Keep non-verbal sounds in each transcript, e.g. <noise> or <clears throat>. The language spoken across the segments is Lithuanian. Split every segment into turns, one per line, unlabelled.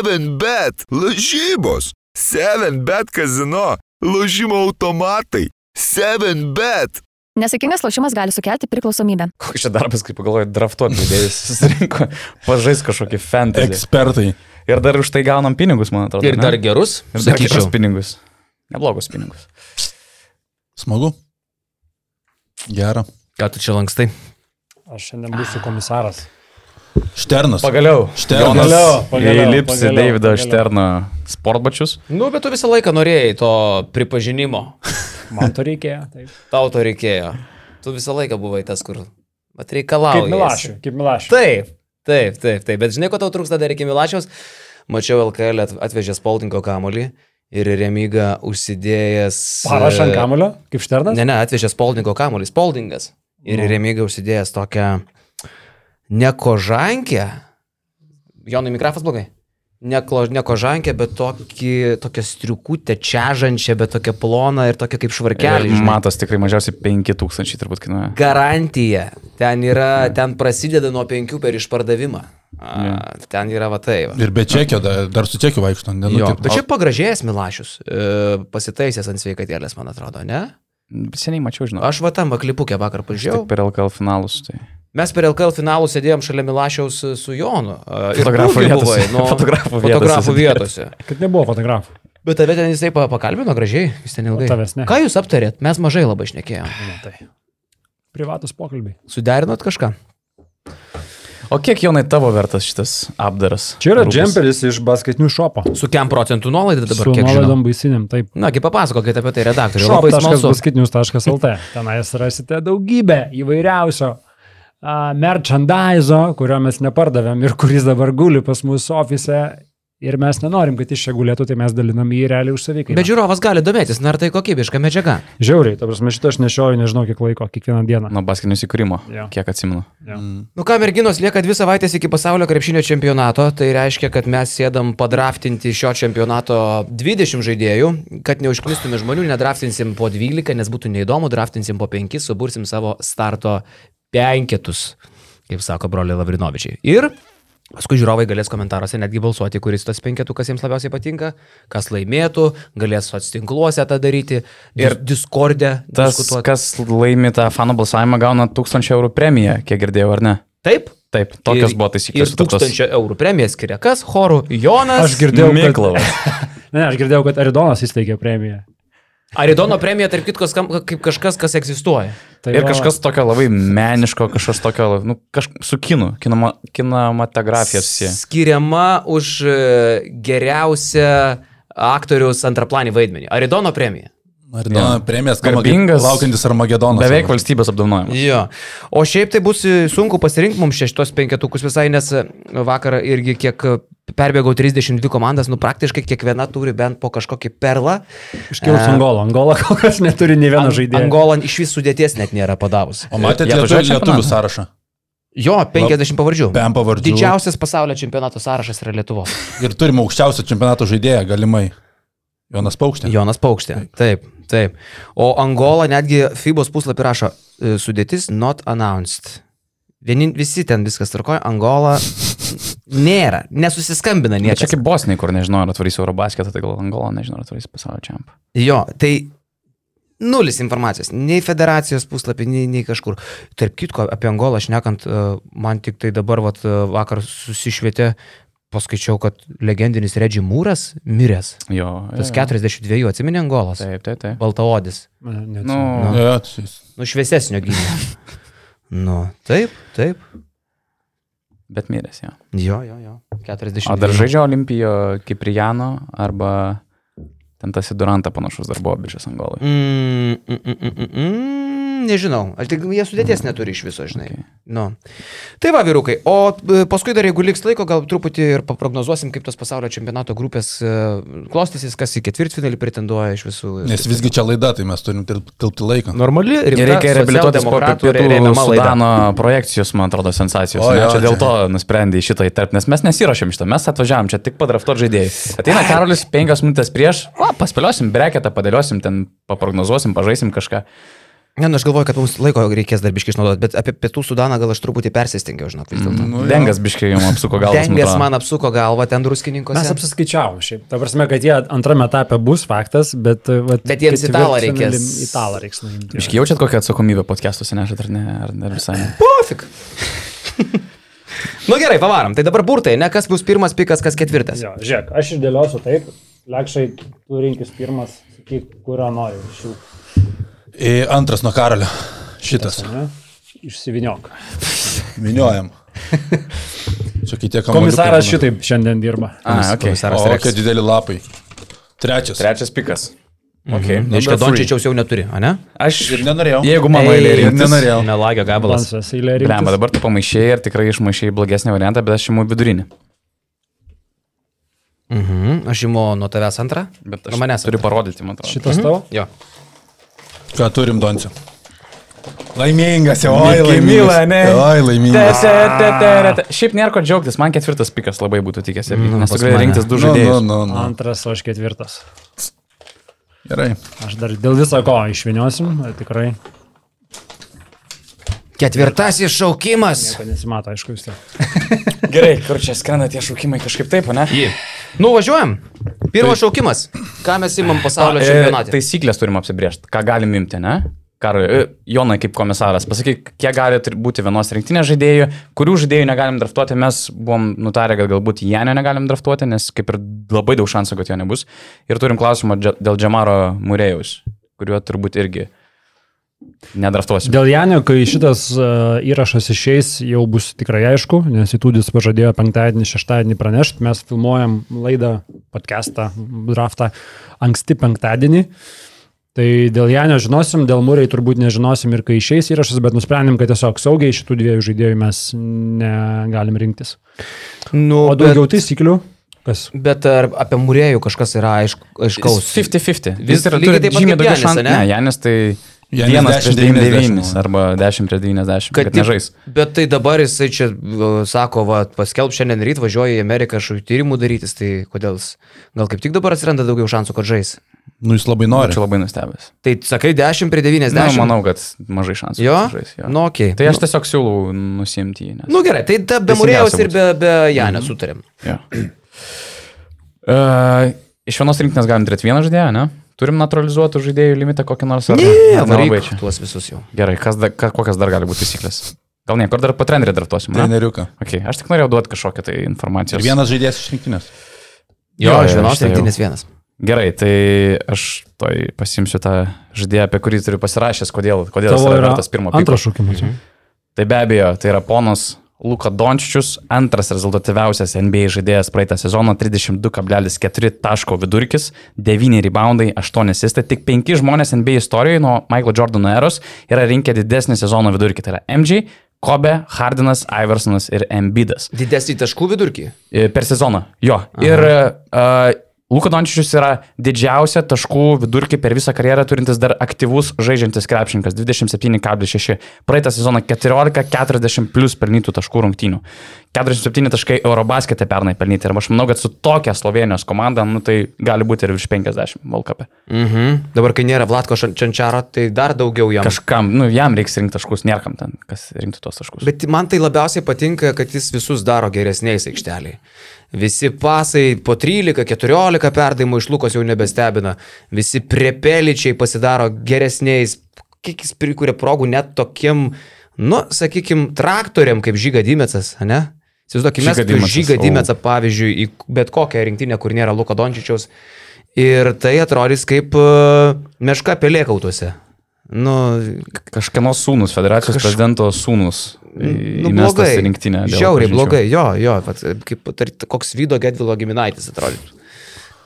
7bet lažybos, 7bet kazino, lažymo automatai, 7bet.
Nesėkmingas lošimas gali sukelti priklausomybę.
Koks čia darbas, kaip pagalvoju, draftuoti žaidėjus susirinko, pažais kažkokį fantasy.
Ekspertai.
Ir dar už tai gaunam pinigus, man atrodo.
Ir
ne?
dar gerus,
ir dar gerus
sakyčiau.
pinigus. Neblogus pinigus.
Smagu. Gera.
Ką tu čia lankstai?
Aš šiandien būsiu
Ah.
komisaras.
Šternas.
Pagaliau.
Šternas.
Jonas
Pagaliau,
Įlipsi
pagaliau,
Davido
pagaliau.
Šterno sportbačius.
Nu, bet tu visą laiką norėjai to pripažinimo.
Man to reikėjo.
<laughs>
Taip.
Tau to reikėjo. Tu visą laiką buvai tas, kur. Bet
Kaip
reikalauji.
Milašiu, kaip Milašiu.
Taip, taip, taip, taip. Bet žinai, ko tau trūksta dar iki Milašiaus? Mačiau LKL at- atvežė spauldingo kamolį ir Remyga užsidėjęs. e,
Parašant kamulio, kaip Šternas.
Ne, ne, atvežė spauldingo kamolį, spauldingas. Ir
Nu.
Remyga užsidėjęs tokią nekožankę. Jonui mikrofas blogai. Neklo, nekožankę, bet tokį, tokią striukutę, čiažančią, bet tokią ploną ir tokią kaip švarkelį.
Ir
žinai.
Matas tikrai mažiausiai 5000 turbūt kainuoja.
garantija. Ten yra, ten prasideda nuo penkių per išpardavimą. A, ten yra va tai. Va.
Ir be čekio, dar, dar su čekiu vaikšto. Ne, nu,
Jo,
taip,
bet čia pagražėjęs Milašius, e, pasitaisęs ant sveikatėlės, man atrodo, ne?
Seniai mačiau, žinau.
Aš va tam vaklipukę vakar pažiūrėjau.
tik per LKL finalus. Tai.
Mes per LKL finalų sėdėjom šalia Milašiaus e, su Jonu. e, ir
Fotografų
Turkijoje
vietose.
buvai, Nu,
Fotografų vietose
fotografų
sėdėjot.
vietose.
Kad nebuvo fotografų.
Bet tave ten jisai pa- pakalbino gražiai, jis ten ilgai.
Tavęs ne.
Ką jūs aptarėt? Mes mažai labai šnekėjom.
Na, tai. Privatus pokalbiai.
Suderinot kažką?
O kiek Jonai tavo vertas šitas apdaras?
Čia yra
Rūbas?
džemperis iš basketinių šopo.
Su kiam procentų nuolaida dabar
Su
kiek žinau?
nuolaidom baisiniam, taip.
Na, kaip papasakokit apie tai redaktoriui. Labai smalsu.
shop.basketinius.lt.
<laughs>
Tenais rasite daugybę įvairiausio a, merchandise, kurio mes nepardavėm ir kuris dabar guli pas mūsų ofise. Ir mes nenorim, kad iš čia gulėtų, tai mes dalinam jį realiai už savykai.
Bet žiūrovas gali domėtis, na ar tai kokybiška medžiaga.
Žiauriai, ta prasme, šitą aš nešioju nežinau kiek laiko, kiekvieną dieną.
Nuo baskinių įkūrimo,
Jo.
kiek atsimenu.
Nu ką, merginos lieka dvi savaitės iki pasaulio krepšinio čempionato, tai reiškia, kad mes sėdam padraftinti šio čempionato 20 žaidėjų, kad neužklistume žmonių, nedraftinsim po 12, nes būtų neįdomu, draftinsim po 5, subursim savo starto penketus, kaip sako broliai Lavrinovičiai. Ir paskui žiūrovai galės komentaruose netgi balsuoti, kuris tas penketukas jiems labiausiai patinka, kas laimėtų, galės socinkluose tą daryti ir Discord'e
Tas,
diskutuoti.
kas laimi tą fanų balsavimą, gauna 1000 eurų premiją, kiek girdėjau, ar ne?
Taip?
Taip, tokios
Ir-
buvo taisyklės.
Ir 1000 eurų premiją skiria kas? Chorų Jonas.
Aš girdėjau, kad,
Miklavas.
<laughs> ne, aš girdėjau, kad Aridonas įsteigė premiją.
Aridono premija, tarp kitko, skamba kaip kažkas, kas egzistuoja.
Tai
Ir
va,
kažkas tokio labai meniško, kažkas tokio, nu, kažkas su kinu, kinoma, kinematografija susiję.
Skiriama už e, geriausią aktorius antraplanį vaidmenį. Aridono premija.
Ar ne? Ja. Premijas
Garbingas-
garbingas. Laukiantis Armagedonas.
Beveik valstybės apdovanojimas.
Jo. O šiaip tai bus e, sunku pasirinkti mums šeštos penketukus visai, nes e, vakar irgi kiek e, perbėgau 32 komandas, nu praktiškai kiekviena turi bent po kažkokį perlą.
iškilus Angolą. e, Angola kol kas neturi ne vieno žaidėjo.
Angolan iš vis sudėties net nėra padavusi.
O matėte
Jie
lietuvių,
atvažiuoja
lietuvių
čempionatą?
sąrašą.
Jo, 50 pavardžių.
Pem pavardžių.
Didžiausias pasaulio čempionato sąrašas yra Lietuvos.
Ir turim aukščiausią čempionato žaidėją, galimai. Jonas Paukštė.
<laughs> Jonas Paukštė. Taip, taip. O Angola netgi FIBOS puslapį rašo e, sudėtis not announced. Vienin, visi ten viskas tvarkoja, Angola nėra, nesusiskambina
Bet čia
niekas.
kaip Bosniai, kur nežinau, ar atvarys Eurobasketą, tai gal Angola, nežinau, ar atvarys pasaulio čempą.
Jo, tai nulis informacijos, nei federacijos puslapį, nei, nei kažkur. Tarp kitko, apie Angolą šnekant, e, man tik tai dabar vat, e, vakar susišvietė, paskaičiau, kad legendinis Redži Mūras miręs.
Jo.
Tas
jo, jo.
42, atsimeni Angolas.
Taip, taip, taip.
Baltaodis.
Nu,
Ne, neatsimenu.
Jo, jis-
Nu, šviesesnio gynėjo. <laughs> nu, taip, taip.
bet miręs, jo.
Jo, jo, jo. 40.
O dar žaidžia Olimpijo Kiprijano arba ten tas į Durantą panašus dar buvo bičias Angolai.
Mm, mm, mm, mm, mm, mm, nežinau. Aš tik jie sudėties neturi iš viso, žinai.
Okay.
Okay. Nu. Tai va, vyrukai. O e, paskui dar, jeigu liks laiko, gal truputį ir paprognozuosim, kaip tos pasaulio čempionato grupės e, klostysis, kas į ketvirtfinalį pretenduoja iš visų.
Nes visgi čia laida, tai mes turim tilp- tilpti laiką.
Nu.
Normali ir
Ir reikia reabilituotis po pietų Sudano projekcijos, man atrodo, sensacijos.
O,
O,
jo,
jo, čia dėl
čia.
to nusprendė į šitą įtarpti, nes mes nesirašėm šitą, mes atvažiavam čia tik padrafto žaidėjai. Ateina Karolis penkios minutės prieš, o paspėliosim breketą, padėliosim ten, paprognozuosim, pažaisim kažką.
Ne, nu aš galvoju, kad mums laiko reikės darbiškai išnaudoti, bet apie pietų Sudaną gal aš truputį persistengiau, žinok, vis dėlto.
Nu, jo.
Dengas biškai jums apsuko galvą.
Dengas man apsuko galvą ten druskininkose.
Mes apsiskaičiavom šiaip. Ta prasme, kad jie antrame etape bus faktas, bet... e, Vat,
Bet jiems italą reikės.
ketvirtfinalį Italą reiks nuimti.
Biškai jaučiat kokią atsakomybę podcastuose nešat ar ne, ar ne visai. ne?
Pofik. nu gerai, pavarom. Tai dabar burtai, ne kas bus pirmas pikas, kas ketvirtas.
Jo, žiūrėk, aš išdėliosiu taip. Lekšai, tu rinkis pirmas, sakyk, kurio nori iš jų.
Į Antras nuo karalio. Šitas.
ne? Išsiviniok.
<laughs>
Miniojam. Čia kitie kamuoliukai
Komisaras
būna.
šitaip šiandien dirba.
A, ok.
Komisaras
O, kokie
Reksas.
dideli lapai. Trečias.
Trečias pikas. Okay.
Reiškia, Nu, Dončičiaus jau neturi, ar ne?
Aš
Ir nenorėjau.
Jeigu mano
Ei,
eilė
ir
rinktis-
nenorėjau.
Melagio gabalas.
Lansas eilė
Blem,
rinktis.
dabar tu pamaišėjai ir tikrai išmaišėjai blogesnį variantą, bet aš imu vidurinį.
Mhm. Aš imu nuo tavęs antrą.
Bet
Nuo
aš
manęs
turiu parodyti, man atrodo.
Šitas tavo?
Jo.
Ką turim, Donci? Laimingas jau, oi,
Mikimila,
laimingas.
ne?
Oi, laimingas.
Šiaip nėra ko džiaugtis, man ketvirtas pikas labai būtų tikęs,
Nu,
nes
pas
tikrai
mane.
Mm, rinktis du
Nu, nu,
žaidėjus.
nu, nu.
Antras, o aš ketvirtas.
Gerai.
Aš dar dėl viso ko išviniosim, tikrai.
Ketvirtasis šaukimas.
Kad nesimato, aišku, vis tiek.
Gerai, kur čia skrenda tie šaukimai kažkaip taip, ne?
Nu važiuojam. Pirmas
Tai-
šaukimas. Ką mes imam pasaulio
e,
čempionatą?
Taisyklės turim apsibriežti, ką galim imti, ne? Kar, Jonai kaip komisaras, pasakyk, kiek gali turi būti vienos rinktinės žaidėjų, kurių žaidėjų negalim draftuoti, mes buvom nutarę, kad galbūt Janio negalim draftuoti, nes kaip ir labai daug šansų, kad jo nebus. Ir turim klausimą dža- dėl Džemaro Murėjus, kuriuo turbūt irgi nedraftuosim.
Dėl Janio, kai šitas uh, įrašas išeis, jau bus tikrai aišku, nes Įtūdis pažadėjo penktadienį, šeštadienį pranešti, mes filmuojam laidą, podcastą, draftą anksti penktadienį. Tai dėl Janio žinosim, dėl Mūrai turbūt nežinosim ir kai išeis įrašas, bet nusprendėm, kad tiesiog saugiai šitų dviejų žaidėjų mes negalim rinktis.
Nu,
O
bet,
daugiau taisyklių? Kas?
bet ar apie murėjų kažkas yra aišku, aiškaus?
50-50.
Vis lygiai taip pat kaip Janis,
šansų.
ane?
Ne, Janis tai
Janis
1 prieš
10,
99 arba 10 prieš 90, kad, kad
tik-
nežais.
Bet tai dabar jisai čia uh, sako, va, paskelb šiandien ryt važiuoja į Ameriką šių tyrimų darytis, tai kodėl? jis- Gal kaip tik dabar atsiranda daugiau šansų, kad žais.
Nu, jis labai
Aš
nori.
labai nustebęs.
Tai sakai 10 prie 90.
Na, Nu, manau, kad mažai šansų.
Jo?
kad žais, jo.
Nu, okay.
Tai aš tiesiog siūlau nusimti jį. Nes...
Nu gerai, tai ta be
Teisingiausia
Murėjaus ir
būtų. Mhm.
be, be Janio mm -hmm. sutarėm.
Jo. <clears throat> Uh, iš vienos rinktinės galim turėti vieną žaidėją, ne? Turim naturalizuotų žaidėjų limitą kokį nors. ar
Ne,
ar nelabai
varyk
čia?
tuos visus jau.
Gerai, kas da, ka, kokias dar gali būti taisyklės? Gal niekur dar patrenderį draftuosim. ne?
Treneriuką.
Okay. Aš tik norėjau duoti kažkokią tai informaciją.
Ir vienas žaidėjas iš rinktinės.
Jo,
Jo,
jo iš
jo,
vienos
štai jau.
rinktinės vienas.
Gerai, tai aš toj pasimsiu tą žaidėją, apie kurį turiu pasirašęs, kodėl, kodėl jis
Tavo
yra
yra
vertas pirmo piko.
antras šūkimas.
Tai be abejo, tai yra ponas Luka Dončičius, antras rezultatyviausias NBA žaidėjas praeitą sezoną, 32,4 taško vidurkis, 9 reboundai, 8 asistai. Tik 5 žmonės NBA istorijoje nuo Michael Jordano eros yra rinkę didesnį sezono vidurkį. Tai yra MJ, Kobe, Hardinas, Iversonas ir Embidas.
Didesnį taškų vidurkį.
E, Per sezoną. Jo. Aha. Ir uh, Luka Dončičius yra didžiausia taškų vidurkį per visą karjerą turintis dar aktyvus žaidžiantis krepšininkas - 27,6. Praeitą sezoną 14,40 plus pelnytų taškų rungtynių. 47 taškai Eurobaskete pernai pelnyti. Ir aš manau, kad su tokia Slovenijos komanda, nu tai gali būti ir virš 50 Valkape.
Mhm. Dabar, kai nėra Vlatko Šan- Čančaro, tai dar daugiau jam. Kaž...
Kažkam, nu jam reiks rinkti taškus, niekam ten, kas rinktų tos taškus.
Bet man tai labiausiai patinka, kad jis visus daro geresniais aikšteliai. Visi pasai po 13-14 perdavimų iš Lukos jau nebestebina. Visi priepeličiai pasidaro geresniais. Kiek jis prikūrė progų net tokiem, nu, sakykim, traktoriam kaip Žyga Dimecas, ne? Įsivaizduokime,
Žiga
mes
Dimecas,
Žyga
o.
Dimecą, pavyzdžiui, į bet kokią rinktinę, kur nėra Luko Dončičiaus. Ir tai atrodys kaip e, meška pelėkautuose. Nu,
Kažkieno sūnus, federacijos Kaž... prezidento sūnus.
nu blogai.
Rinktinė,
Žiauriai blogai, jo, jo, vat, kaip tar, koks Vydo Gedvilo giminaitis atrodytų.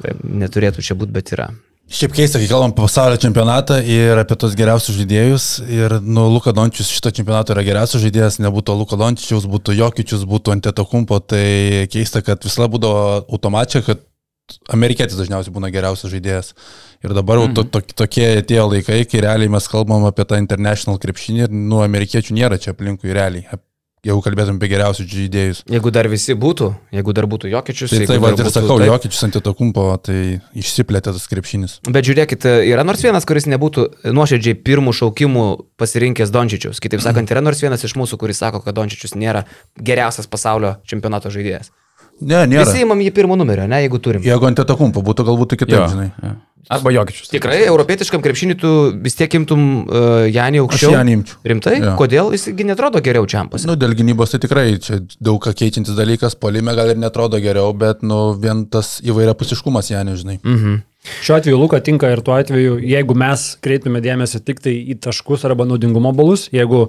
Taip. Neturėtų čia būti, bet yra.
Šiaip keista, kai kalbam apie pasaulio čempionatą ir apie tos geriausius žaidėjus. Ir, nu, Luka Dončius šito čempionato yra geriausias žaidėjas, nebūtų Luka Dončičiaus, būtų Jokičius, būtų Anteto Kumpo. Tai keista, kad visada būdavo automačia, kad amerikietis dažniausiai būna geriausias žaidėjas. Ir dabar jau to, to, tokie atėjo laikai, kai realiai mes kalbam apie tą international krepšinį ir, nu, amerikiečių nėra čia aplinkui realiai. Ap- jeigu kalbėtum apie geriausius žaidėjus.
Jeigu dar visi būtų, jeigu dar būtų Jokiečius,
Tai
jeigu
tai
dar
vad ir
būtų-
sakau,
taip.
Jokiečius ant to kumpo, tai išsiplėtė tas krepšinis.
Bet žiūrėkit, yra nors vienas, kuris nebūtų nuoširdžiai pirmų šaukimų pasirinkęs Dončičius.
Mhm.
Kitaip sakant, yra nors vienas iš mūsų, kuris sako, kad Dončičius nėra geriausias pasaulio čempionato žaidėjas.
Ne, nėra.
Visi įmam jį pirmo numerio, ne, jeigu turim.
Jeigu ant to kumpo būtų, galbūt kitaip,
Jo,
žinai.
jo. Arba Jokiečius.
Tikrai, europietiškam krepšiniui tu vis tiek imtum uh, Janį
Aš
aukščiau.
ją nimčiau.
Rimtai?
Jo.
Kodėl jisgi netrodo geriau čempas?
Nu, dėl gynybos tai tikrai čia daug ką keičiantis dalykas, polime gal ir netrodo geriau, bet nu, vien tas įvairiapusiškumas, Janė, žinai.
Mm,
Mhm.
Šiuo atveju Luka tinka ir tuo atveju, jeigu mes kreiptume dėmesį tik tai į taškus arba naudingumo balus, jeigu,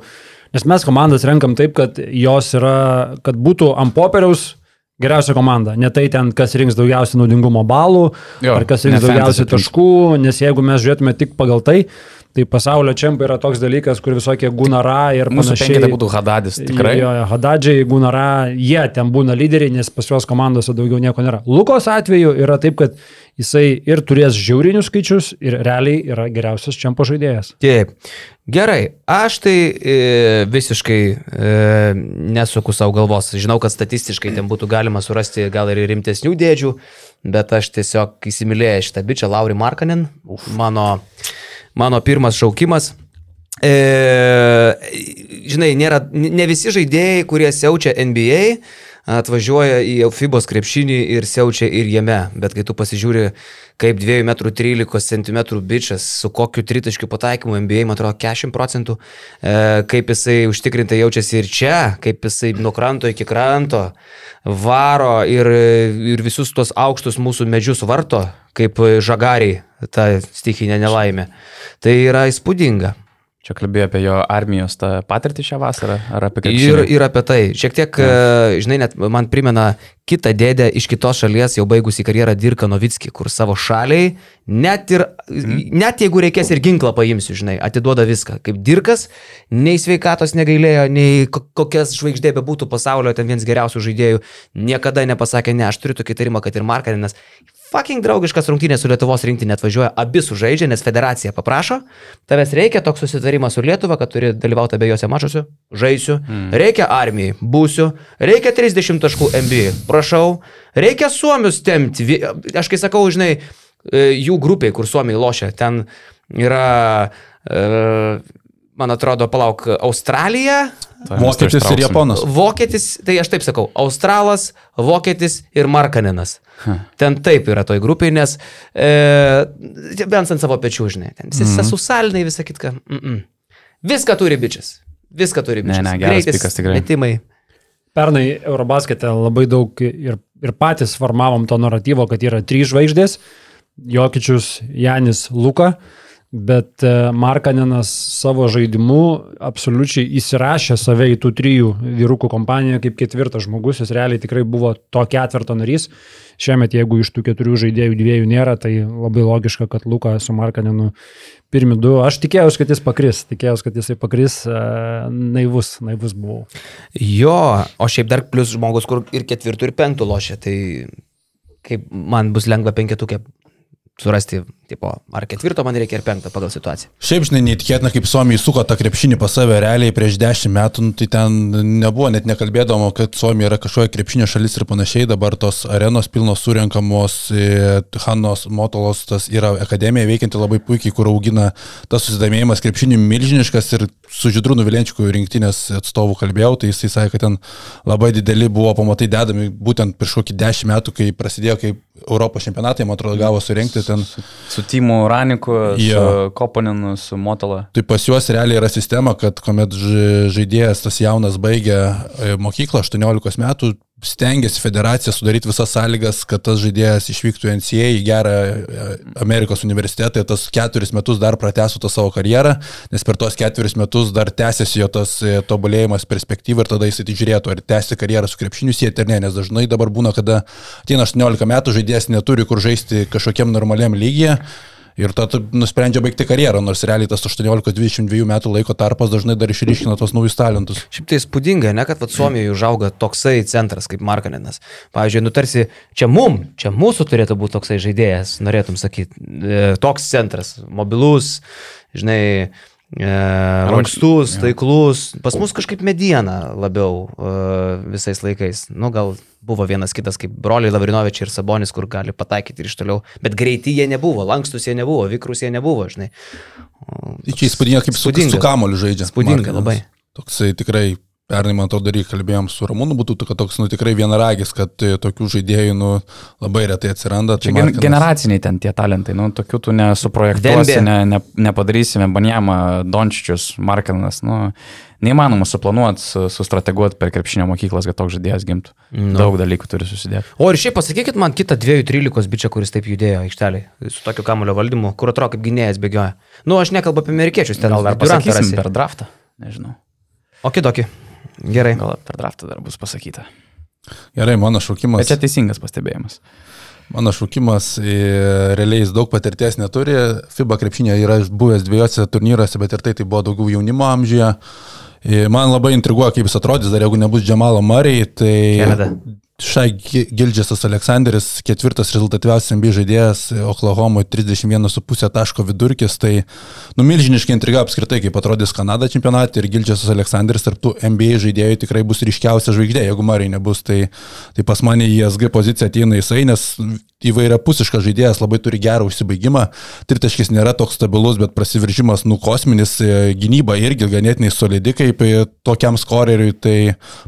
nes mes komandas renkam taip, kad jos yra, kad būtų ant popieriaus geriausia komanda, ne tai ten, kas rinks daugiausiai naudingumo balų,
Jo,
jo, ar kas
ne
rinks daugiausiai
fantasy
taškų, nes jeigu mes žiūrėtume tik pagal tai, tai pasaulio čempai yra toks dalykas, kur visokie gunara ir
Mūsų
panašiai.
penkietą būtų Hadadis. Tikrai.
Jo, jo, Hadadžiai, Gunara, jie ten būna lyderiai, nes pas juos komandose daugiau nieko nėra. Lukos atveju yra taip, kad jisai ir turės žiaurinius skaičius, ir realiai yra geriausias čempo žaidėjas.
Taip. Gerai, aš tai e, visiškai e, nesuku savo galvos. Žinau, kad statistiškai ten būtų galima surasti gal ir rimtesnių dėdžių, bet aš tiesiog įsimylėjau šitą bičią Laurį Markanin. Mano, mano pirmas šaukimas. E, žinai, nėra, ne visi žaidėjai, kurie siaučia NBA, atvažiuoja į FIBOS krepšinį ir siaučia ir jame. Bet kai tu pasižiūri, kaip 2,13 m bičias, su kokiu tritaškiu pataikymu NBA, man atrodo, 40 procentų, e, kaip jisai užtikrintai jaučiasi ir čia, kaip jisai nuo kranto iki kranto varo ir, ir visus tuos aukštus mūsų medžius varto, kaip e, žagariai tą stichinę nelaimę. Tai yra įspūdinga.
Čia kalbėjo apie jo armijos tą patirtį šią vasarą ar apie
Ir,
krepšinį.
ir apie tai. Šiek tiek, e, žinai, net man primena kitą dėdę iš kitos šalies, jau baigusi karjerą Dirka Novitski, kur savo šaliai, net, ir, net jeigu reikės ir ginklą paimsiu, žinai, atiduoda viską. Kaip Dirkas, nei sveikatos negailėjo, nei ko- kokias žvaigždė be būtų pasaulio, ten vienas geriausių žaidėjų, niekada nepasakė, ne, aš turiu tokį įtarimą, kad ir Markarinas. Fucking draugiškas rungtynės su Lietuvos rinktinė atvažiuoja, abi sužaidžia, nes federacija paprašo, tavęs reikia toks susitarimas su Lietuva, kad turi dalyvauti abiejose mačiuose, žaisiu, mm. reikia armijai, būsiu, reikia 30 taškų MBA, prašau, reikia suomius temti, Vi- aš kai sakau, žinai, e, jų grupiai, kur suomiai lošia, ten yra, e, man atrodo, palauk, Australija,
Tai mes tai
Vokietis ir
ištrauksim.
Japonas.
Vokietis, tai aš taip sakau, Australas, Vokietis ir Markaninas. Ten taip yra toj grupiai, nes e, bent ant savo pečių, žinai, ten visi mm. susaliniai, visą kitką. Mm -mm. Viską turi bičias. Viską turi
Ne,
bičias.
ne, geras pikas tikrai.
Metimai.
Pernai Eurobaskete labai daug ir, ir patys formavom to naratyvo, kad yra trys žvaigždės - Jokičius, Janis, Luka. Bet e, Markaninas savo žaidimu absoliučiai įsirašė save į tų trijų vyrukų kompaniją kaip ketvirtas žmogus, jis realiai tikrai buvo to ketvirto narys. Šiemet, jeigu iš tų keturių žaidėjų dviejų nėra, tai labai logiška, kad Luka su Markaninu pirmi du. Aš tikėjausi, kad jis pakris, tikėjausi, kad jisai pakris, e, naivus, naivus buvau.
Jo, o šiaip dar plus žmogus, kur ir ketvirtų, ir penktų lošia, tai kaip man bus lengva penketukė surasti, tipo, ar ketvirto man reikia, ar penkto pagal situaciją.
Šiaip, žinai, neįtikėtina, kaip Suomija įsuko tą krepšinį pas save realiai prieš dešimt metų, nu, tai ten nebuvo, net nekalbėdama, kad Suomija yra kažkokia krepšinio šalis ir panašiai, dabar tos arenos pilnos surinkamos, e, Hannos Motolos, tas yra akademija veikianti labai puikiai, kur augina tas susidomėjimas krepšiniu milžiniškas ir su Židru Nuvilenčiku rinktinės atstovu kalbėjau, tai jisai sakė, kad ten labai dideli buvo pamatai dedami būtent prieš kokį dešimt metų, kai prasidėjo, kai Europos čempionatai, man atrodo, gavo surinkti ten.
Su Timu Raniku,
Jo.
su Koponinu, su Motola.
Tai pas juos realiai yra sistema, kad kuomet ž- žaidėjas tas jaunas baigia e, mokyklą 18 metų, stengiasi federacija sudaryti visas sąlygas, kad tas žaidėjas išvyktų į NCA į gerą e, Amerikos universitetą ir tas keturis metus dar pratęsų tą savo karjerą, nes per tuos keturis metus dar tęsiasi jo tas e, tobulėjimas perspektyva ir tada jis atižiūrėtų, ar tęsti karjerą su krepšiniu sieti ar ne, nes dažnai dabar būna, kada ateina 18 metų žaidėjas neturi kur žaisti kažkokiam normaliam lygiai. Ir tada nusprendžia baigti karjerą, nors realiai tas 18-22 metų laiko tarpas dažnai dar išryškina tos naujus talentus.
Šiaip tai spūdinga, ne, kad vat, Suomijoje užauga toksai centras kaip Markaninas. Pavyzdžiui, nutarsi, čia mum, čia mūsų turėtų būti toksai e, žaidėjas, norėtum sakyti, toks centras, mobilus, žinai, E, Lankstus, taiklus. Pas mus kažkaip mediena labiau e, visais laikais. Nu, gal buvo vienas kitas kaip broliai Lavrinovičiai ir Sabonis, kur gali pataikyti ir iš toliau. Bet greiti jie nebuvo, lankstus jie nebuvo, vikrus jie nebuvo, žinai.
Tai Čia įspūdinga, kaip su,
Įspūdinga.
su kamoliu žaidžia.
Įspūdinga
Martinas.
labai.
Toksai tikrai, pernai man atrodo, irgi kalbėjom su Ramūnu, būtų kad toks, nu tikrai vienaragis, kad e, tokių žaidėjų, nu labai retai atsiranda. Tai
Čia gen,
Martinas-
generaciniai ten tie talentai, nu, tokių tu nesuprojektuosi,
Dembė.
ne, ne, nepadarysime, Banjama, Dončičius, Markinas, nu, neįmanoma suplanuoti, su- sustrateguoti per krepšinio mokyklas, kad toks žaidėjas gimtų.
Nu.
Nu. Daug dalykų turi susidėti.
O ir šiaip pasakykit man kitą 2-13 bičią, kuris taip judėjo aikštelėje su tokiu kamulio valdymu, kur atrodo kaip gynėjas bėgioja. Nu, aš nekalbu apie amerikiečius, ten
Gal dar
Durantą
pasakysim
rasi.
per draftą, nežinau.
O kitokį. Gerai.
Gal per draftą dar bus pasakyta.
Gerai, mano šaukimas.
Bet čia teisingas pastebėjimas.
Mano šaukimas, e, realiai jis daug patirties neturi. FIBA krepšinė yra buvęs dviejose turnyruose, bet ir tai, tai buvo daugiau jaunimo amžyje. E, Man labai intriguoja, kaip jis atrodys, dar jeigu nebus Džemalo Marijai, tai
Kenada.
Šai Gi- Gildžesas Aleksanderis, ketvirtas rezultatyviausias MB žaidėjas, Oklahomoje 31,5 taško vidurkis, tai nu, milžiniškai intriga apskritai, kaip atrodys Kanada čempionate ir Gildžesas Aleksanderis tarp tų MB žaidėjų tikrai bus ryškiausia žvaigždė, jeigu Marijai nebus, tai, tai pas mane į SG poziciją ateina jisai, nes įvairiapusiškas žaidėjas labai turi gerą užsibaigimą, tritaškis nėra toks stabilus, bet prasiveržimas nu kosminis, e, gynyba irgi ganėtinai solidi kaip e, tokiam skoreriui, tai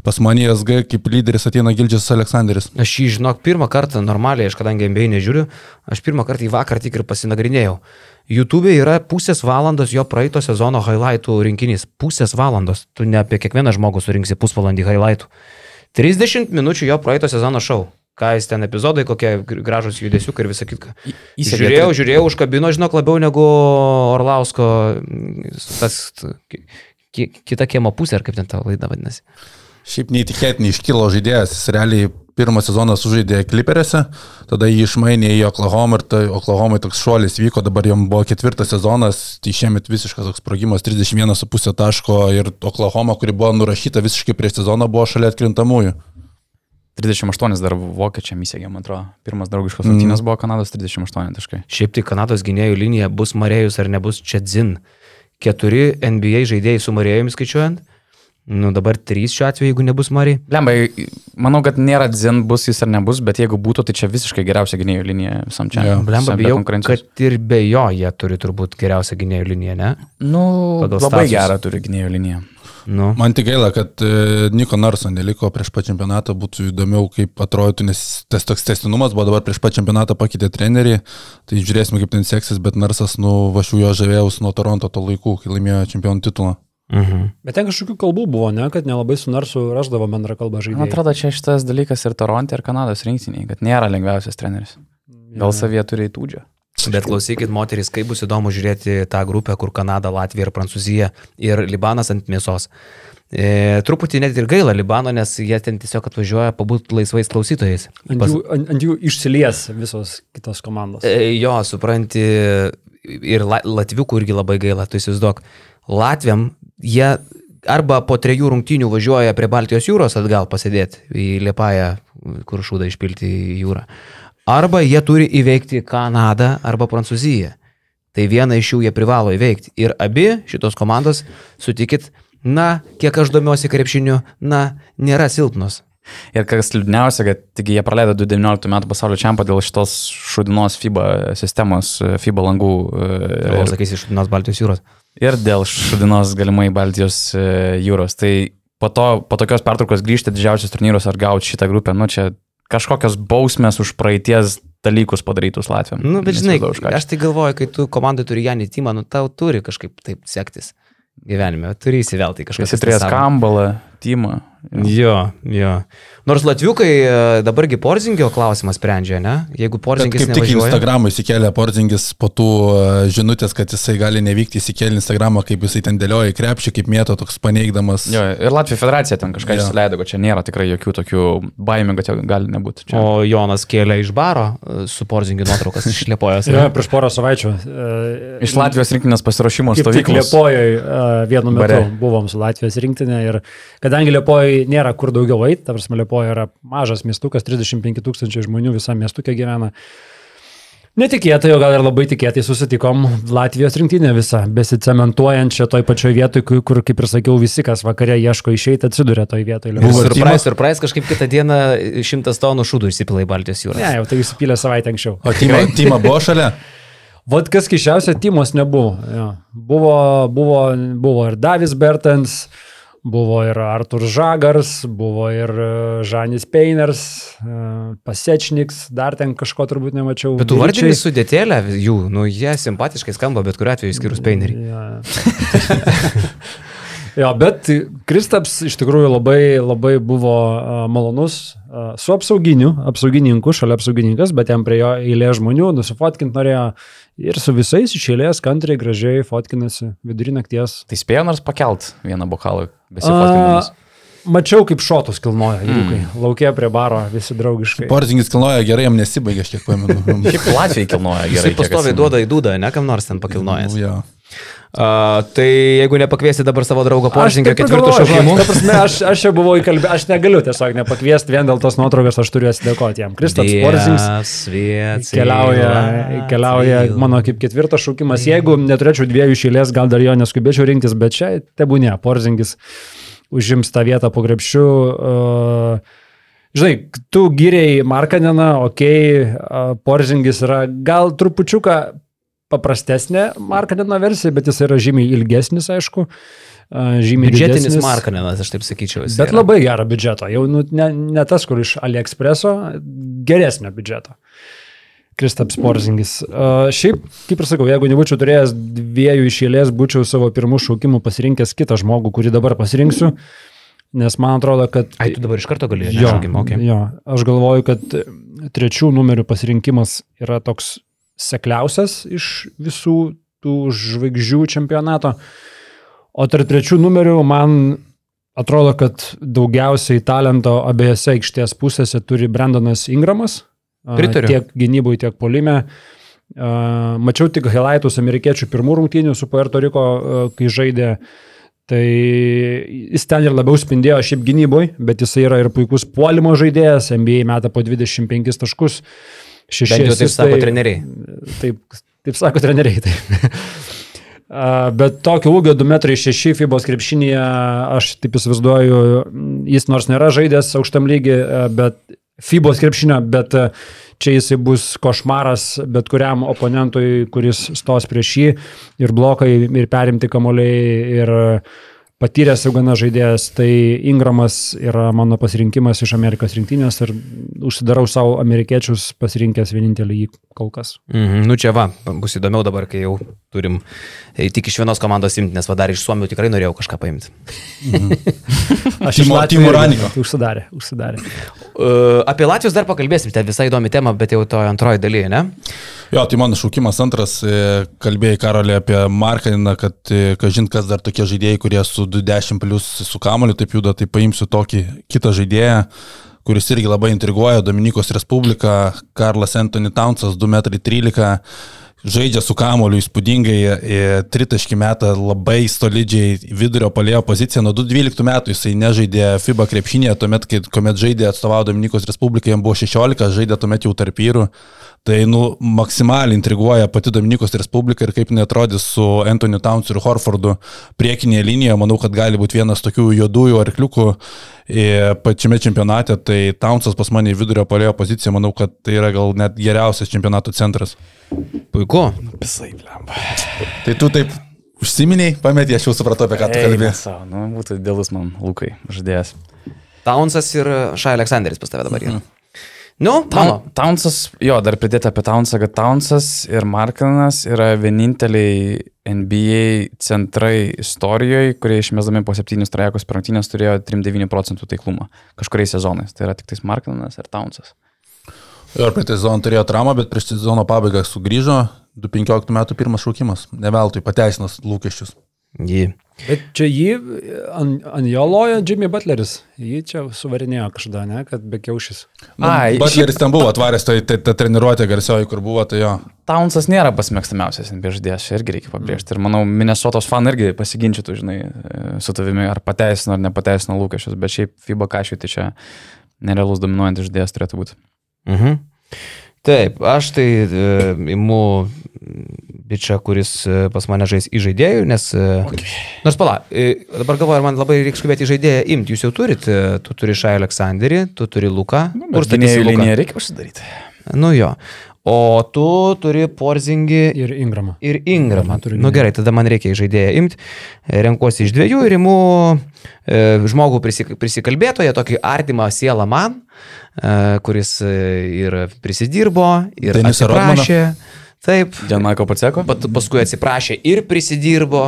pas mane į SG kaip lyderis ateina Gildžis Aleksanderis.
Aš jį, žinok, pirmą kartą normaliai, aš kadangi MBA nežiūriu, aš pirmą kartą į vakar tik ir pasinagrinėjau. YouTube yra pusės valandos jo praeito sezono highlightų rinkinys. Pusės valandos. Tu ne apie kiekvieną žmogų surinksi pusvalandį highlightų. 30 minučių jo praeito sezono šau. Ką jis ten epizodai, kokie gr- gražūs judesiukai ir visą kitką.
įsegė
Žiūrėjau, žiūrėjau, užkabino, žinok, labiau negu Orlausko mm, tas ki- ki- kita kiemo pusė, ar kaip ten ta laida vadinasi.
Šiaip neįtikėtinai iškilo žaidėjas, jis realiai pirmą sezoną sužaidė Kliperėse, tada jį išmainė į Oklahoma ir tai Oklahomai toks šuolis vyko, dabar jam buvo ketvirtas sezonas, tai šiemet visiškas toks sprogimas, 31,5 taško ir Oklahoma, kuri buvo nurašyta visiškai prieš sezoną, buvo šalia atkrintamųjų.
38 dar vokiečiam įsiegė, man atrodo. Pirmas draugiškas rungtynės buvo Kanados 38 taškai.
Šiaip tai Kanados gynėjų linija bus Marėjus ar nebus Čedzin. Keturi NBA žaidėjai su Marėjumi skaičiuojant. Nu dabar trys šiuo atveju, jeigu nebus Marija.
Lembai, manau, kad nėra dzin bus jis ar nebus, bet jeigu būtų, tai čia visiškai geriausia gynėjų linija visam čia.
Jo.
Blemba,
visam be
bijau,
konkurencijos.
kad ir be jo jie turi turbūt geriausią gynėjų liniją, ne?
Nu,
pagal
labai
statsus.
gerą turi gynėjų liniją.
Nu.
Man tik gaila, kad e, Niko Narso neliko prieš pat čempionatą, būtų įdomiau, kaip atrodytų, nes tas toks testinumas buvo dabar prieš pat čempionatą pakeitė trenerį, tai žiūrėsime, kaip ten seksis, bet Narsas, nu, vašiu jo žavėjaus nuo Toronto to laikų, kai laimėjo čempionų titulą.
Mhm.
Bet ten kažkokių kalbų buvo, ne, kad nelabai su narsu raždavo bendrą kalbą
Man
žaidimą.
atrodo, čia šitas dalykas ir Toronto, ir Kanados rinktiniai, kad nėra lengviausias treneris. Gal savyje turi įtūdžią.
Bet klausykit, moteris, kaip bus įdomu žiūrėti tą grupę, kur Kanada, Latvija ir Prancūzija ir Libanas ant mėsos. E, truputį net ir gaila Libano, nes jie ten tiesiog atvažiuoja pabūti laisvais klausytojais.
Ant jų, ant, ant jų išsilies visos kitos komandos.
E, Jo, supranti, ir la, Latviukų irgi labai gaila, tu įsivaizduok. Latviam jie arba po trejų rungtynių važiuoja prie Baltijos jūros atgal pasėdėti į Liepają, kur šūdą išpilti į jūrą. Arba jie turi įveikti Kanadą arba Prancūziją. Tai vieną iš jų jie privalo įveikti. Ir abi šitos komandos, sutikit, na, kiek aš domiuosi krepšiniu, na, nėra silpnos.
Ir kas liūdniausia, kad tik jie praleido 2019 metų pasaulio čempą dėl šitos šudinos FIBA sistemos, e, FIBA langų e,
Ir, sakys, iš vienos Baltijos jūros.
ir dėl šudinos galimai Baltijos e, jūros. Tai po, to, po tokios pertraukos grįžti didžiausios turnyros ar gauti šitą grupę, nu čia kažkokios bausmės už praeities dalykus padarytus Latvijam.
Nu, bet žinai,
Neįsivaizduoju, už ką.
aš tai galvoju, kai tu komandai turi Janį Timą, nu tau turi kažkaip taip sektis gyvenime, turi įsivelti į kažką.
Esi turėjęs kambalą, timą.
Jo, jo. Nors latviukai e, dabargi Porzingio klausimą sprendžia, ne? Jeigu
Bet
Porzingis
Kaip tik
nevažiuoja.
Instagramą įsikėlė Porzingis po tų e, žinutės, kad jisai gali nevykti, įsikėlė Instagramą, kaip jisai ten dėlioja į krepšį, kaip mėto toks paneigdamas.
Jo, ir Latvijos federacija ten kažką
Jo.
išleido, kad čia nėra tikrai jokių tokių baimių, kad jo gali nebūti. Čia.
O Jonas kėlė iš baro e, su Porzingio nuotraukas išlėpojęs.
<laughs>
Jo, prieš porą savaičių. e,
Iš Latvijos rinkinės pasiruošimo
Kaip tik
stovyklos.
Liepojoje vienu metu
Bare.
Bare. buvom su Latvijos rinktinė ir kadangi Liepojoje nėra kur daugiau eiti, ta prasme Liepojoje yra mažas miestukas, 35 tūkstančiai žmonių visam miestukė gyvena. Netikėtai, o gal ir labai tikėtai susitikom Latvijos rinktinę visą, besicementuojančią toj pačioj vietoj, kur, kur, kaip ir sakiau, visi, kas vakare ieško išeiti, atsiduria toj vietoj.
Buvo
Lietuvoj.
ir
Surprise,
Timas-
surprise, kažkaip kitą dieną e, šimtas tonų šūdų įsipilai Baltijos jūroje.
Ne, jau tai įsipylė savaitę anksčiau.
O Tima, Tima buvo
<laughs>
šalia?
Vat kas keščiausia, Timos nebuvo. Jo. Buvo, buvo, buvo ir Davis Bertens, buvo ir Artur Žagars, buvo ir e, Žanis Peiners, e, Pasečniks, dar ten kažko turbūt nemačiau.
Bet tu
Vyričiai.
vardžiai sudėtėlę jų, nu jie simpatiškai skamba, bet kuriu atveju išskyrus
Mm.
peinerį.
<laughs> Jo, bet Kristaps iš tikrųjų labai, labai buvo a, malonus a, su apsauginiu, apsaugininku, šalia apsaugininkas, bet jam prie jo eilė žmonių, nusifotkinti norėjo ir su visais iš eilės kantriai gražiai fotkinasi vidurį nakties.
Tai spėjo nors pakelt vieną bokalą
A,
besifotkindamas.
mačiau, kaip šotus kilnoja jūkai, mm. laukia prie baro visi draugiškai.
Portingis kilnoja gerai, jam nesibaigė, aš kiek
<laughs>
pamenu.
Kaip Latvijai kilnoja gerai.
Jisai
kiek
pastoviai
atsimenu. Nu,
duoda į dūdą, ne kam nors ten pakilnojęs.
Jo.
A, tai jeigu nepakviesi dabar savo draugo
Aš
poržinkio
taip
ketvirtų
pagalvojau,
šaukimų.
ta prasme, Aš, aš jau buvau įkalbėjęs, aš negaliu tiesiog nepakviesti vien dėl tos nuotraukos, aš turiu atsidėkoti jam. Kristaps Porzins keliauja, keliauja mano kaip ketvirtas šūkimas. Jeigu neturėčiau dviejų išėlės, gal dar jo neskubėčiau rinktis, bet čia tebūnė, Porzingis užims tą vietą po grepšiu. Uh, žinai, tu gyriai Markaniną, okei, okay, Porzingis yra gal trupučiuką paprastesnė Markanino versija, bet jis yra žymiai ilgesnis, aišku. a, Žymiai
Biudžetinis
didesnis.
markaninas, aš taip sakyčiau. jis
Bet
yra.
labai gerą biudžetą. Jau nu, ne, ne tas, kur iš AliExpreso, geresnio biudžeto. Kristaps Porzingis. Uh, šiaip, kaip ir sakau, jeigu nebūčiau turėjęs dviejų išėlės, būčiau savo pirmų šaukimų pasirinkęs kitą žmogų, kurį dabar pasirinksiu, nes man atrodo, kad...
Ai, tu dabar iš karto gali
jo,
žaugimą, okei.
jo, aš galvoju, kad trečių numerių pasirinkimas yra toks sekliausias iš visų tų žvaigždžių čempionato. O tarp trečių numerių man atrodo, kad daugiausiai talento abiejose aikštės pusėse turi Brendonas Ingramas. A,
Pritariu.
Tiek gynybui, tiek polime. A, Mačiau tik highlightus amerikiečių pirmų rungtynių su Puerto Riko, a, kai žaidė. Tai jis ten ir labiau spindėjo šiaip gynybui, bet jis yra ir puikus puolimo žaidėjas, NBA meta po 25 taškus.
Bent jau
Šešėlis.
taip sako treneriai.
Taip, taip sako treneriai. Taip. A, Bet tokio ūgio 2,6 m FIBOS krepšinėje, aš taip įsivaizduoju, m, jis nors nėra žaidęs aukštam lygiui, a, bet FIBOS krepšinio, bet a, čia jisai bus košmaras bet kuriam oponentui, kuris stos prieš jį ir blokai, ir perimti kamuoliai, ir a, patyręs jau gana žaidėjas, tai Ingramas yra mano pasirinkimas iš Amerikos rinktinės ir užsidarau savo amerikiečius pasirinkęs vienintelį jį kol kas.
Mhm, nu čia va, bus įdomiau dabar, kai jau turim e, tik iš vienos komandos imti, nes vadar iš Suomijų tikrai norėjau kažką paimti.
Aš iš
Timo-
Latvijos
Timo
irgi-
Raniko.
tai Užsidarė, užsidarė.
Uh, apie Latvijos dar pakalbėsim, ten visai įdomi tema, bet jau toje antroje dalyje, ne?
Jo, tai mano šaukimas antras, e, kalbėjai Karolė apie Markaniną, kad, e, kažin kas dar tokie žaidėjai, kurie su 20 plus su kamoliu taip juda, tai paimsiu tokį kitą žaidėją, kuris irgi labai intriguoja, Dominikos Respublika, Karlas Anthony Townsas, 2,13 m, žaidžia su kamoliu įspūdingai, e, tritaškį metą labai solidžiai vidurio palėjo poziciją, nuo 2012 metų jisai nežaidė FIBA krepšinėje, tuomet, kai kuomet žaidė atstovavo Dominikos Respublikai, jam buvo 16, žaidė tuomet jau tarp vyrų. Tai, nu, maksimaliai intriguoja pati Dominikos Respublika ir kaip netrodys su Antoniu Townsu ir Horfordu priekinėje linijoje. Manau, kad gali būti vienas tokių juodųjų arkliukų e, pačiame čempionate. Tai Townsas pas mane į vidurio palėjo poziciją. Manau, kad tai yra gal net geriausias čempionato centras.
Puiku.
Visai lemba.
Tai tu taip užsiminiai, pametė, aš jau supratau, apie ką tu kalbėsi.
Sau, nu, būtų dėlus man, Lukai, žaidėjas.
Taunsas ir Šai Aleksanderis pas tave dabar yra. Nu, mano.
Taun- Taunsas, jo, dar pridėti apie Taunsą, kad Taunsas ir Markinas yra vieninteliai NBA centrai istorijoje, kurie išmesdami po septynis trajekus per rungtynės turėjo 3-9 procentų taiklumą kažkuriais sezonais. Tai yra tik tais Markinas ir Taunsas.
Ir prieš sezoną turėjo traumą, bet prieš sezono pabaigą sugrįžo. 2015 metų pirmas šaukimas. Neveltui pateisinas lūkesčius.
Jį.
Bet čia jį ant an jo lojo Jimmy Butleris. Jį čia suvarinėjo kažkada, ne, kad be kiaušis.
Nu,
Ai,
Butleris ten buvo atvaręs, tai ta, ta treniruotė garsioji, kur buvo, tai jo.
Taunsas nėra pasimėgstamiausias NBA žaidėjas, čia irgi reikia pabrėžti. Ir manau, Minnesotos fan irgi pasiginčytų, žinai, e, su tavimi, ar pateisino ar nepateisino lūkesčius, bet šiaip FIBA kažkaip tai čia nerealus dominuojantis žaidėjas turėtų būti.
Mhm. Taip, aš tai e, imu bičią, kuris e, pas mane žais į žaidėjų, nes... E, okay. Nors pala, e, dabar galvoju, ar man labai reikia skubėti į žaidėją imti. Jūs jau turite, tu turi Šai Aleksandrį, tu turi Luką.
Nu,
Kur statysi Luką?
liniją reikia užsidaryti?
Nu jo. O tu turi Porzingį ir,
Ir Ingramą.
ir Ingramą. Na nu, gerai, tada man reikia į žaidėją imti. Renkuosi iš dviejų ir imu e, žmogų prisik- prisikalbėtoją, tokį artimą sielą man, e, kuris e, ir prisidirbo, ir
Denisą Rodmaną? Mhm.
atsiprašė. Taip.
Dėl Maiko Paceko?
Pat, paskui atsiprašė ir prisidirbo.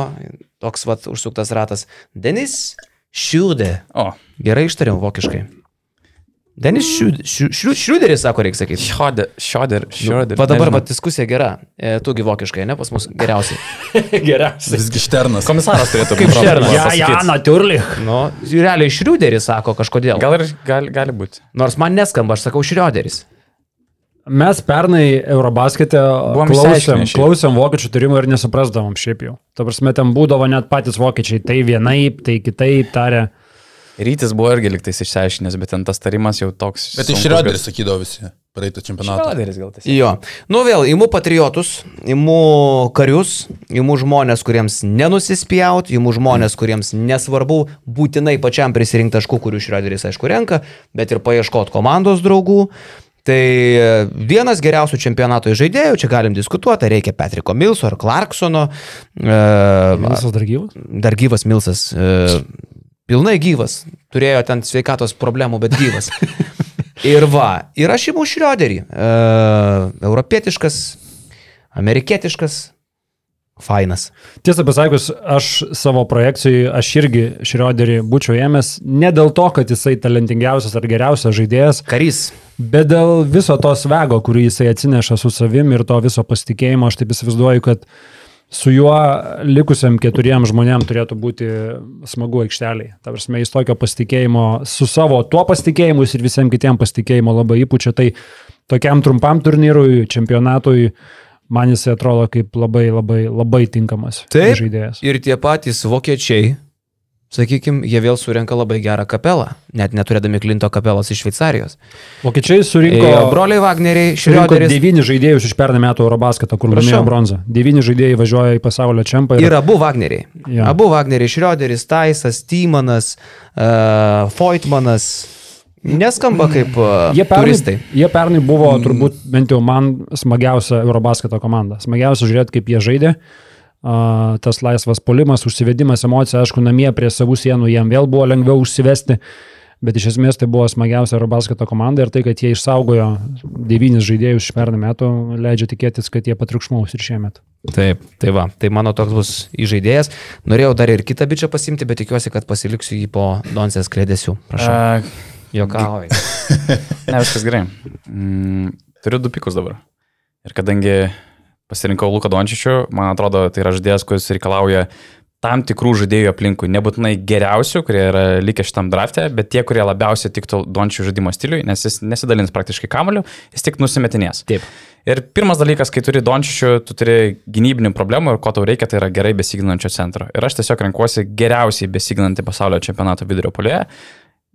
Toks vat užsuktas ratas. Denis Šiūdė.
O.
Gerai ištariau vokiškai. Denis Šiūderis, sako, reikia sakyti.
Šioder, šioder, šioder.
Va dabar va, diskusija gera. E, tugi vokiškai, ne, pas mus geriausiai.
<laughs> geriausias.
Visgi šternas.
Komisaras <laughs> turėtų
Kaip
būti.
Šernas.
Ja, ja, na.
naturlich.
Nu, realiai Šriuderis sako kažkodėl. Gal...
Gal ir gali, gali būti.
Nors man neskamba, aš sakau Šriuderis.
Mes pernai Eurobaskete
Buvom
klausėm,
išsiaiškinę šiaip.
klausėm vokiečių tyrimų ir nesuprasdavom šiaip jau. Ta prasme, ten būdavo net patys vokiečiai, tai vienaip, tai kitaip tarė.
Rytis buvo irgi liktais išsiaiškinęs, bet ten tas tarimas jau toks.
Bet iš Šrioderis sakydavo visi praeitą čempionatą.
Šrioderis gal tas.
Jo. Nu vėl, imu patriotus, imu karius, imu žmonės, kuriems nenusispjaut, imu žmonės, kuriems nesvarbu būtinai pačiam prisirinkti taškų, kurių Šriuderis aišku renka, bet ir paieškot komandos draugų. Tai e, vienas geriausių čempionato žaidėjų, čia galim diskutuoti, ar reikia Patriko Milso ar Clarksono. E,
Visas dar gyvas?
dar gyvas Milsas. E, pilnai gyvas. Turėjo ten sveikatos problemų, bet gyvas. ir va, ir aš įmu šrioderį. E, europietiškas, amerikietiškas, fainas.
Tiesą pasakius, aš savo projekcijai, aš irgi Šrioderį būčiau ėmęs ne dėl to, kad jisai talentingiausias ar geriausias žaidėjas,
Karys.
bet dėl viso to svego, kurį jisai atsineša su savim ir to viso pasitikėjimo, aš taip įsivaizduoju, kad su juo likusiam keturiem žmonėm turėtų būti smagu aikšteliai. Ta prasme, jis tokio pasitikėjimo, su savo tuo pasitikėjimu jis ir visiems kitiem pasitikėjimo labai įpučia. Tai tokiam trumpam turnyrui, čempionatui, man jisai atrodo kaip labai labai labai tinkamas
Taip.
žaidėjas.
Ir tie patys vokiečiai, sakykime, jie vėl surenka labai gerą kapelą, net neturėdami Klinto kapelos iš Šveicarijos.
Vokiečiai surinko,
Ėjo broliai Wagneriai,
surinko
Šrioderis.
devynis žaidėjus iš pernai metų Eurobasketą, kur
Prašau.
laimėjo bronzą. Devyni žaidėjai važiuoja į pasaulio čempą.
Ir abu Wagneriai.
Jo.
Ja. Abu Wagneriai, Šrioderis, Taisas, Tymanas, uh, Foitmanas. Neskamba kaip uh,
Mm. Jie pernai,
turistai.
jie pernai buvo turbūt bent jau man smagiausia Eurobasketo komanda. Smagiausia žiūrėti, kaip jie žaidė. A, Tas laisvas polimas, užsivedimas emocijų, aišku, namie prie savų sienų jiem vėl buvo lengviau užsivesti, bet iš esmės tai buvo smagiausia Eurobasketo komanda ir tai, kad jie išsaugojo devynis žaidėjus iš pernai metų, leidžia tikėtis, kad jie patriukšmaus ir šiemet.
Taip, tai va, tai mano toks bus įžaidėjas. Norėjau dar ir kitą bičią pasimti, bet tikiuosi, kad pasiliksiu jį po Donsės klėdėsių. Prašau.
Uh,
Jokauju.
ne, viskas gerai. Mm, turiu du pikus dabar. Ir kadangi pasirinkau Luką Dončičių, man atrodo, tai yra žaidėjas, kuris reikalauja tam tikrų žaidėjų aplinkui. Nebūtinai geriausių, kurie yra likę šitam drafte, bet tie, kurie labiausiai tiktų Dončių žaidimo stiliui, nes jis nesidalins praktiškai kamoliu, jis tik nusimetinės.
Taip.
Ir pirmas dalykas, kai turi Dončičių, tu turi gynybinių problemų ir ko tau reikia, tai yra gerai besiginančio centro. Ir aš tiesiog renkuosi geriausiai besiginantį pasaulio čempionato vidurio polėje.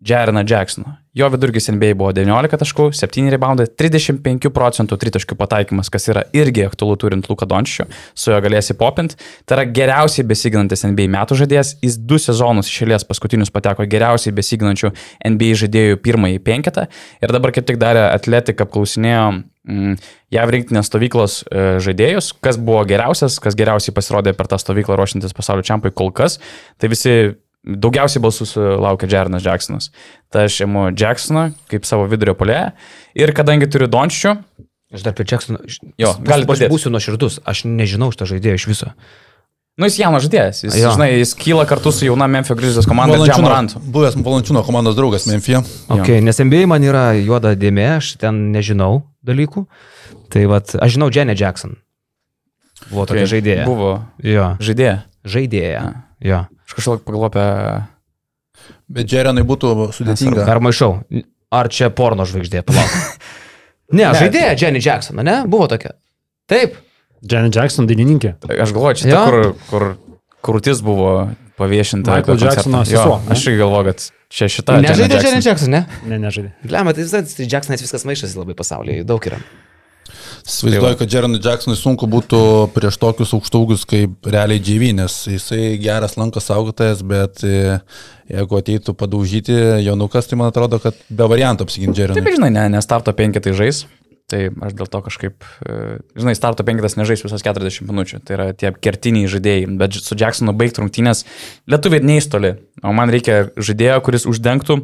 Jerena Jacksono. Jo vidurkis NBA buvo 19 taškų, 7 reboundai, 35 procentų tritaškių pataikymas, kas yra irgi aktualu turint Luką Dončičių, su juo galėsi popint. Tai yra geriausiai besiginantis NBA metų žaidėjas, jis du sezonus išėlės paskutinius pateko geriausiai besiginančių NBA žaidėjų pirmąjį penketą ir dabar kaip tik darė atletiką, apklausinėjo mm, JAV rinktinės stovyklos e, žaidėjus, kas buvo geriausias, kas geriausiai pasirodė per tą stovyklą ruošintis pasaulio čempionui kol kas, tai visi daugiausiai balsų sulaukė Jernas Jacksonas. Tai aš imu Jacksoną kaip savo vidurio polėje ir kadangi turiu nu, Dončičių,
Aš dar prie Jacksono.
Jo, galit
aš
padėt.
būsiu nuoširdus, aš nežinau šitą žaidėją iš viso.
nu jis jaunas žaidėjas, jis,
Jo.
žinai, jis kyla kartu su jauna Memphis Grizzlies komanda Jamorantu.
buvęs Valančiūno komandos draugas Memphie.
Okay, nes MBA man yra juoda dėmė, aš ten nežinau dalykų. Tai va, aš žinau Jenny Jackson. Buvo tokia okay. žaidėja.
Buvo
Jo.
žaidėja.
Žaidėja. Jo.
Aš kažkaip pagalvoju apie
Bet Džerenai būtų sudėtinga.
Ar maišau? Ar čia porno žvaigždė, <laughs> palauk. Ne, tai- ne, žaidėja Jenny Jackson, ne? Buvo tokia. Taip.
Janet Jackson dainininkė.
Aš galvoju, čia ta,
Jo.
kur, kur krūtis buvo paviešinta.
Michael
apie koncertą.
Jacksono
Jo,
sesuo, ne?
Aš irgi galvoju, kad čia šita.
Nežaidė
Janet
Jenny Jackson, ne?
Ne, nežaidė.
tai Lemia, tai Jacksonas viskas maišasi labai pasaulyje, jų daug yra.
Įsivaizduoju, kad Jeronui Jacksonui sunku būtų prieš tokius aukštaugius kaip realiai GV, nes jisai geras lankas saugotojas, bet e, jeigu ateitų padaužyti jaunukas, tai man atrodo, kad be variantų apsiginti
Taip,
Jeronui.
bet žinai, ne, ne starto penketai žais. Tai aš dėl to kažkaip, e, žinai, starto penketas nežais visas 40 minučių. Tai yra tie kertiniai žaidėjai. Bet su Jacksonu baigti rungtynės lietuviai neįstoli. O man reikia žaidėjo, kuris uždengtų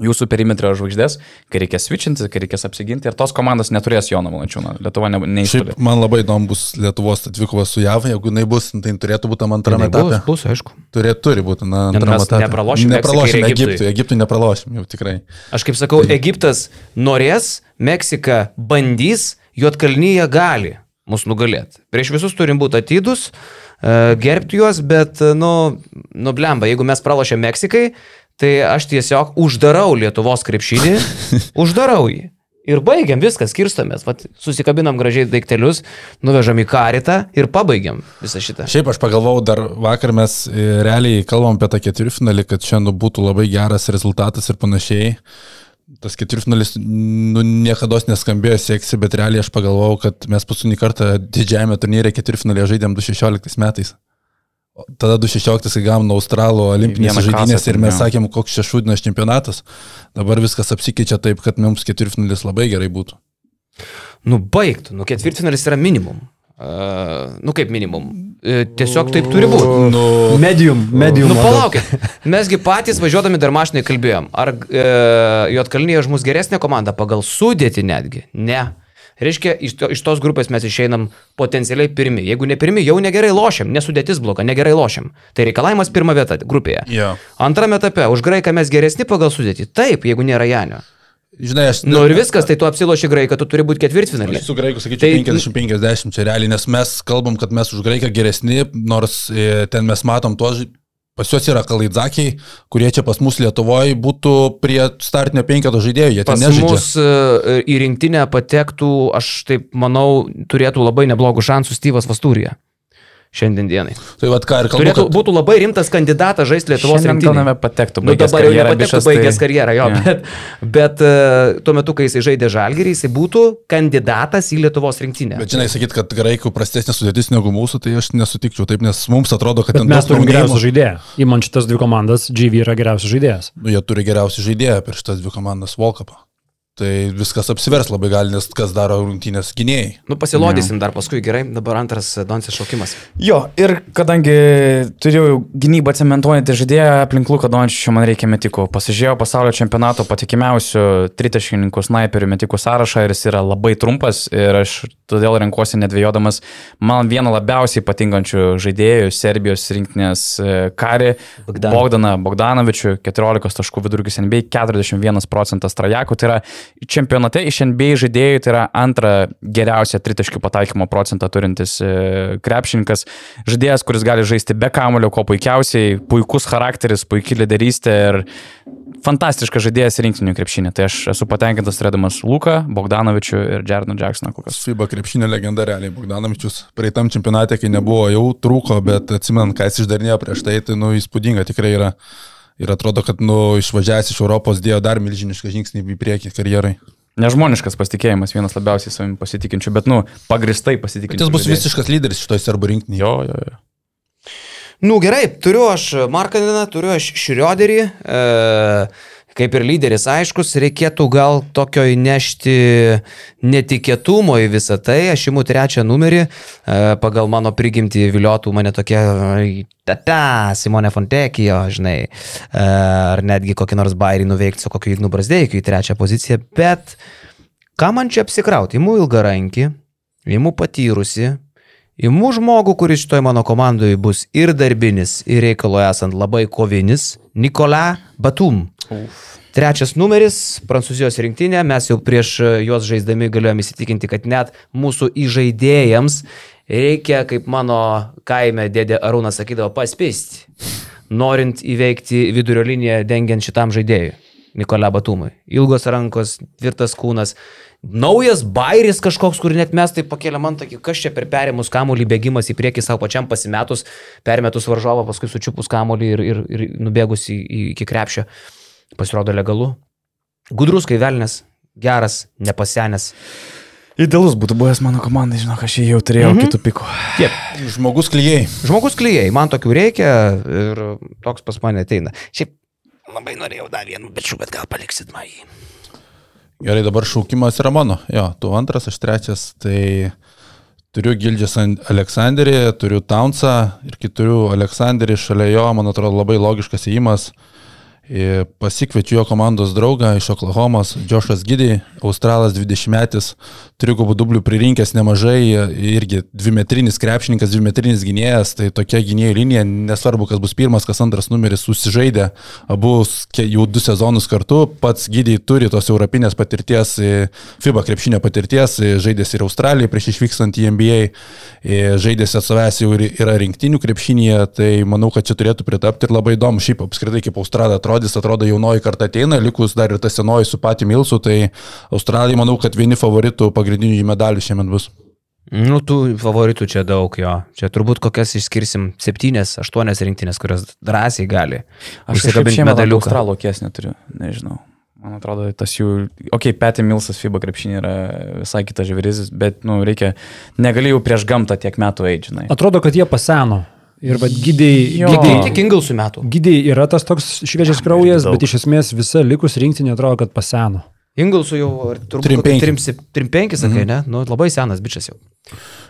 jūsų perimetrio žvaigždės, kai reikės switchinti, kai reikės apsiginti. Ir tos komandos neturės Jono Valančiūno. Lietuva ne,
Šiaip
neįstoli.
man labai įdomu bus Lietuvos atvykova su JAV, jeigu jinai bus, tai jin turėtų būti tam antram
Bus,
etapui.
bus, aišku.
Turėtų, turi būti, na,
Ne,
antram
mes
etapui.
nepralošim
nepralošim
Meksikai ir
Egiptui,
Egiptui.
Egiptui nepralošim, jau tikrai.
Aš kaip sakau, Egiptas norės, Meksika bandys, Juotkalnyje gali mus nugalėti. Prieš visus turim būti atidus, e, gerbti juos, bet, e, nu, nublemba, jeigu mes pralašėm Meksikai, tai aš tiesiog uždarau Lietuvos krepšinį, uždarau jį. Ir baigiam viską, skirstomės, Vat, susikabinam gražiai daiktelius, nuvežam į karitą ir pabaigiam visą šitą.
Šiaip aš pagalvojau, dar vakar mes e, realiai kalbam apie tą ketvirtfinalį, kad šiandien būtų labai geras rezultatas ir panašiai. Tas ketvirtfinalis nu, niekada neskambėjo sėksi, bet realiai aš pagalvojau, kad mes paskutinį kartą didžiajame turnyre ketvirtfinalį žaidėm 2016 metais. O Tada 2016 kai gavom nuo Australų olimpinės
Vieną kasą
žaidynės ir mes
turėjom.
sakėm, koks šešūdinas čempionatas. Dabar viskas apsikeičia taip, kad mums ketvirtfinalis labai gerai būtų.
Nu baigtų, nu ketvirtfinalis yra minimum. Uh, nu kaip minimum. E, Tiesiog taip turi būti.
Nu,
Medium, medium.
Nu
maždaug.
palaukit, mesgi patys važiuodami dar mašinai kalbėjom, ar e, Jotkalnyje už mus geresnė komanda pagal sudėti netgi? Ne. Reiškia, iš, to, iš tos grupės mes išeinam potencialiai pirmi. Jeigu ne pirmi, jau negerai lošiam, nesudėtis bloga, negerai lošiam. Tai reikalavimas pirma vieta grupėje.
Jo.
Antrame etape, už graiką mes geresni pagal sudėtį. Taip, jeigu nėra Janio.
Žinai, aš...
Nu ir viskas, tai tu apsiloši graiką, tu turi būti ketvirtfinalį.
Aš su graiku sakyčiau 50-50 čia realiai, nes mes kalbam, kad mes už graiką geresni, nors e, ten mes matom tuos, ži- pas juos yra kalidzakiai, kurie čia pas mus Lietuvoje būtų prie startinio penketo žaidėjų, jie
Pas
ten nežaidžia.
mus e, į rinktinę patektų, aš taip manau, turėtų labai neblogų šansų Styvas Vasturija. Šiandien dienai.
Tai vad ką ir kalbu,
Turėtų
kad,
būtų labai rimtas kandidatas žaisti Lietuvos
Šiandien gal
rinktinę.
nebe patektų.
Nu,
baigęs
dabar jau
karjerą,
nepatektų
bišas, tai-
baigęs karjerą, jo,
Jo.
bet, bet e, tuo metu, kai jis žaidė žalgerį, jis būtų kandidatas į Lietuvos rinktinę.
bet žinai, sakyt, kad graikų prastesnė sudėtis negu mūsų, tai aš nesutikčiau taip, nes mums atrodo, kad
Bet
ten
mes
daug
turim geriausią
naujų-
žaidėją. Įman šitas dvi komandas, GV yra geriausias žaidėjas.
Nu, jie turi geriausią žaidėją per šitas dvi komandas Volkapą. Tai viskas apsivers labai gali, nes kas daro rungtynės gynėjai.
Nu, pasilodysim dar paskui, gerai, dabar antras Donsės šaukimas.
Jo, ir kadangi turėjau gynybą cementuojantį žaidėją, aplink Luką Dončičių man reikia metikų. Pasižiūrėjau pasaulio čempionato patikimiausių tritaškininkų snaiperių metikų sąrašą ir jis yra labai trumpas ir aš todėl renkuosi nedvėjodamas man vieną labiausiai patinkančių žaidėjų Serbijos rinktinės e, karį
Bogdaną.
Bogdaną Bogdanovičių, 14 taškų vidurkis NBA, 41 procentas trajakų, tai yra čempionate iš NBA žaidėjų tai yra antra geriausia tritaškių pataikymo procentą turintis e, krepšininkas, žaidėjas, kuris gali žaisti be kamulio, ko puikiausiai, puikus charakteris, puikiai lyderystė ir fantastiškas žaidėjas rinktinių krepšinį. Tai aš esu patenkintas turėdamas Luką, Bogdanovičių ir Jarną Jacksoną kol kas.
FIBA krepšinio legenda realiai Bogdanovičius. Praeitam čempionate, kai nebuvo, jau trūko, bet atsimenu, ką jis išdarinėjo prieš tai, tai nu, įspūdinga tikrai yra. Ir atrodo, kad nu, išvažiavęs iš Europos dėjo dar milžinišką žingsnį į priekį karjerai.
Nežmoniškas pasitikėjimas, vienas labiausiai savimi pasitikinčių, bet, nu, pagristai
Bet
pasitikinčių.
jis bus
žaidėjų.
visiškas lyderis šitoje serbų rinktinėje.
Jo, jo, jo.
Nu gerai, turiu aš Markaniną, turiu aš Šrioderį, e, kaip ir lyderis aiškus, reikėtų gal tokio įnešti netikėtumo į visą tai, aš imu trečią numerį, e, pagal mano prigimtį viliotų mane tokie, ai, tata, Simone Fontekijo, žinai, e, ar netgi kokį nors bairį nuveikti su kokiu Ignu Brasdeikiu į trečią poziciją, bet ką man čia apsikrauti, imu ilgą rankį, imu patyrusi, Imu žmogų, kuris šitoj mano komandoje bus ir darbinis, ir reikalo esant labai kovinis - Nikola Batum. Trečias numeris - Prancūzijos rinktinė. Mes jau prieš e, juos žaisdami galėjome įsitikinti, kad net mūsų įžaidėjams reikia, kaip mano kaime dėdė Arūnas sakydavo, paspisti, norint įveikti vidurio liniją dengiant šitam žaidėjui. Nikola Batumui. Ilgos rankos, tvirtas kūnas. Naujas bairis kažkoks, kur net mes tai pakeliam ant tokį, kas čia per perėmus kamuolį bėgimas į priekį savo pačiam pasimetus, permetus varžovą, paskui sučiupus kamuolį ir, ir, ir nubėgus į, į, iki krepšio. Pasirodo legalu. Gudrus kaivelnės, geras, nepasenęs.
Idealus būtų buvęs mano komandai, žinok, aš jį jau turėjau
Mhm.
kitų pikų.
Žmogus klyjei.
Žmogus klyjei, man tokių reikia ir toks pas mane ateina. Šiaip labai norėjau dar vieną bičių, bet gal paliksit man jį.
Gerai, dabar šaukimas yra mano. Jo, tu antras, aš trečias. Tai turiu Gildžias Aleksandrį, turiu Taunsą ir kai turiu Aleksandrį šalia jo, man atrodo, labai logiškas įėjimas. Ir Pasikviečiu jo komandos draugą iš Oklahomos, Džošas Gidį, Australas 20-metis, trigubų dublių pririnkęs nemažai, irgi dvimetrinis krepšininkas, dvimetrinis gynėjas, tai tokia gynėjų linija, nesvarbu, kas bus pirmas, kas antras numeris, susižaidė abu s- ke- jau du sezonus kartu, pats Gidį turi tos europinės patirties, i, FIBA krepšinio patirties, i, žaidęs ir Australijai prieš išvykstant į NBA, i, e, žaidęs atsavęs jau ir yra rinktinių krepšinėje, tai manau, kad čia turėtų pritapti ir labai įdomu, šiaip apskritai kaip Australija atrodys, atrodo jaunoji karta ateina, likus dar ir ta senoji su pati Milsu, tai Australija manau, kad vieni favoritų pagrindinių į medalių šiemet bus.
Nu, tų favoritų čia daug jo. Čia turbūt kokias išskirsim septynės, aštuonės rinktinės, kurios drąsiai gali.
Aš
Užsikabint
kažkaip šiemet medalių
medaliuką.
australokės neturiu, nežinau. Man atrodo, tas jų, okei, okay, Petė Milsas FIBA krepšinė yra visai kitas žvirizis, bet, nu, reikia, negalėjau prieš gamtą tiek metų eidžinai.
Atrodo, kad jie paseno. Ir vad gydiai,
Jo.
Lygiai
gydiai,
Tai tik Ingalsų metų.
gydiai yra tas toks šviežias kraujas, bet iš esmės visa likus rinktinė atrodo, kad paseno.
Ingalsų jau ar turbūt
Trim
kokį
penki.
trim sep- trim penki, sakai, ne? Nu, labai senas bičias jau.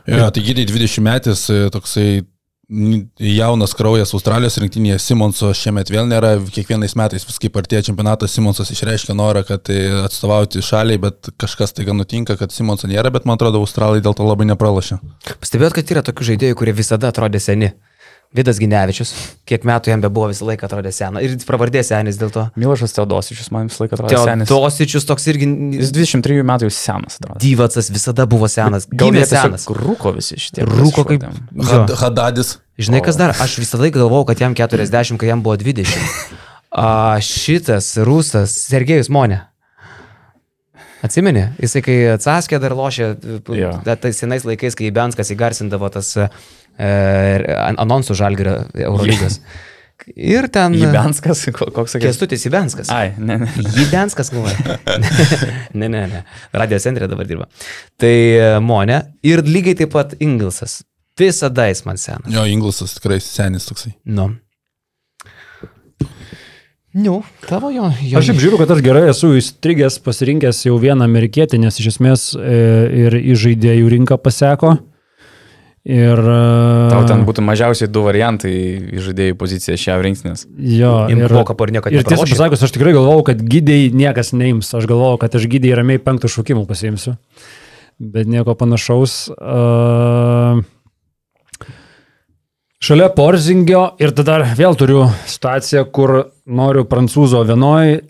Jo, tai Gidį 20 metis, toksai n- jaunas kraujas Australijos rinktinėje, Simonso šiemet vėl nėra, kiekvienais metais vis kaip artėja čempionatas, Simonsas išreiškia norą, kad e, atstovauti šaliai, bet kažkas taiga nutinka, kad Simonso nėra, bet man atrodo, Australai dėl to labai nepralašė.
Pastebėjot, kad yra tokių žaidėjų, kurie visada atrodė seni. Vidas Ginevičius, kiek metų jam be buvo visą laiką atrodė senas. Ir pravardė senis dėl to.
Milošas Teodosičius man visą laiką atrodo senis.
Teodosičius toks irgi
Jis 23 metų jau senas atrodo.
Dyvacas visada buvo senas. Gimė
jie tiesiog
senas.
Rūko visi šitie.
Rūko kaip.
Išvardėm.
Jo.
Had, hadadis.
Žinai, kas dar? Aš visą laiką galvojau, kad jam 40, kai jam buvo 20. A, šitas rusas, Sergejus Monė. Atsimeni, jisai kai atsaskė dar lošė,
Jo.
da- tais senais laikais, kai Benskas įgarsindavo tas e, an- anonsų žalgerio Eurolygos. Ir ten
Jibenskas, ko- koks sakė.
Kestutis Įbenskas.
Ai, ne, ne.
Jidenskas galvoja. ne, ne, ne. Radio centrė dabar dirba. Tai e, Monė ir lygiai taip pat Ingilsas. Visada jis man senas.
Jo, Inglisas tikrai senis toksai.
Nu. Nu, tavo jo. jo
Aš šiaip žiūriu, kad aš gerai esu įstrigęs, pasirinkęs jau vieną amerikietį, nes iš esmės e, ir į žaidėjų rinką paseko. Ir... e,
Tau ten būtų mažiausiai du variantai į žaidėjų poziciją šią rinktinės.
Jo, ir,
Imko kaparnio, kad
ir tiesą
nepralošė.
pasakius, aš tikrai galvojau, kad gydiai niekas neims. Aš galvojau, kad aš gydiai ramiai penktų šaukimų pasiimsiu. Bet nieko panašaus. Uh, šalia Porzingio ir tada vėl turiu situaciją, kur noriu prancūzo vienoj e,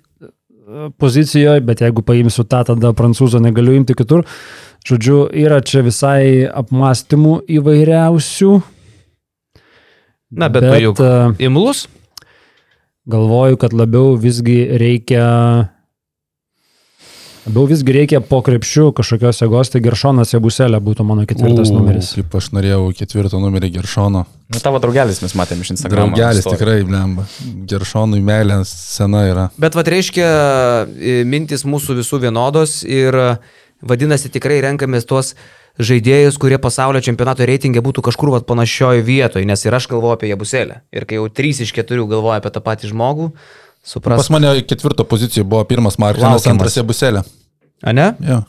pozicijoje, bet jeigu paimsiu tą, tada prancūzo negaliu imti kitur. Žodžiu, yra čia visai apmąstymų įvairiausių.
Na, bet tu juk-
e,
Imlus?
galvoju, kad labiau visgi reikia. Labiau visgi reikia po krepšių kažkokios jėgos, tai Geršonas Jebuselė būtų mano ketvirtas
U,
numeris.
Kaip aš norėjau ketvirtą numerį Geršono.
Nu, tavo draugelis mes matėm iš Instagram.
Draugelis tikrai, blemba. Geršonui meilė sena yra.
Bet vad reiškia, i, mintis mūsų visų vienodos ir e, vadinasi tikrai renkamės tuos žaidėjus, kurie pasaulio čempionato reitingė būtų kažkur vat panašioje vietoje, nes ir aš galvoju apie Jabuselę. Ir kai jau 3 iš 4 galvoju apie tą patį žmogų, supras.
Pas mane ketvirto pozicijoje buvo pirmas Markinas,
Laukiamas.
antras Jebuselė.
A ne?
Jo.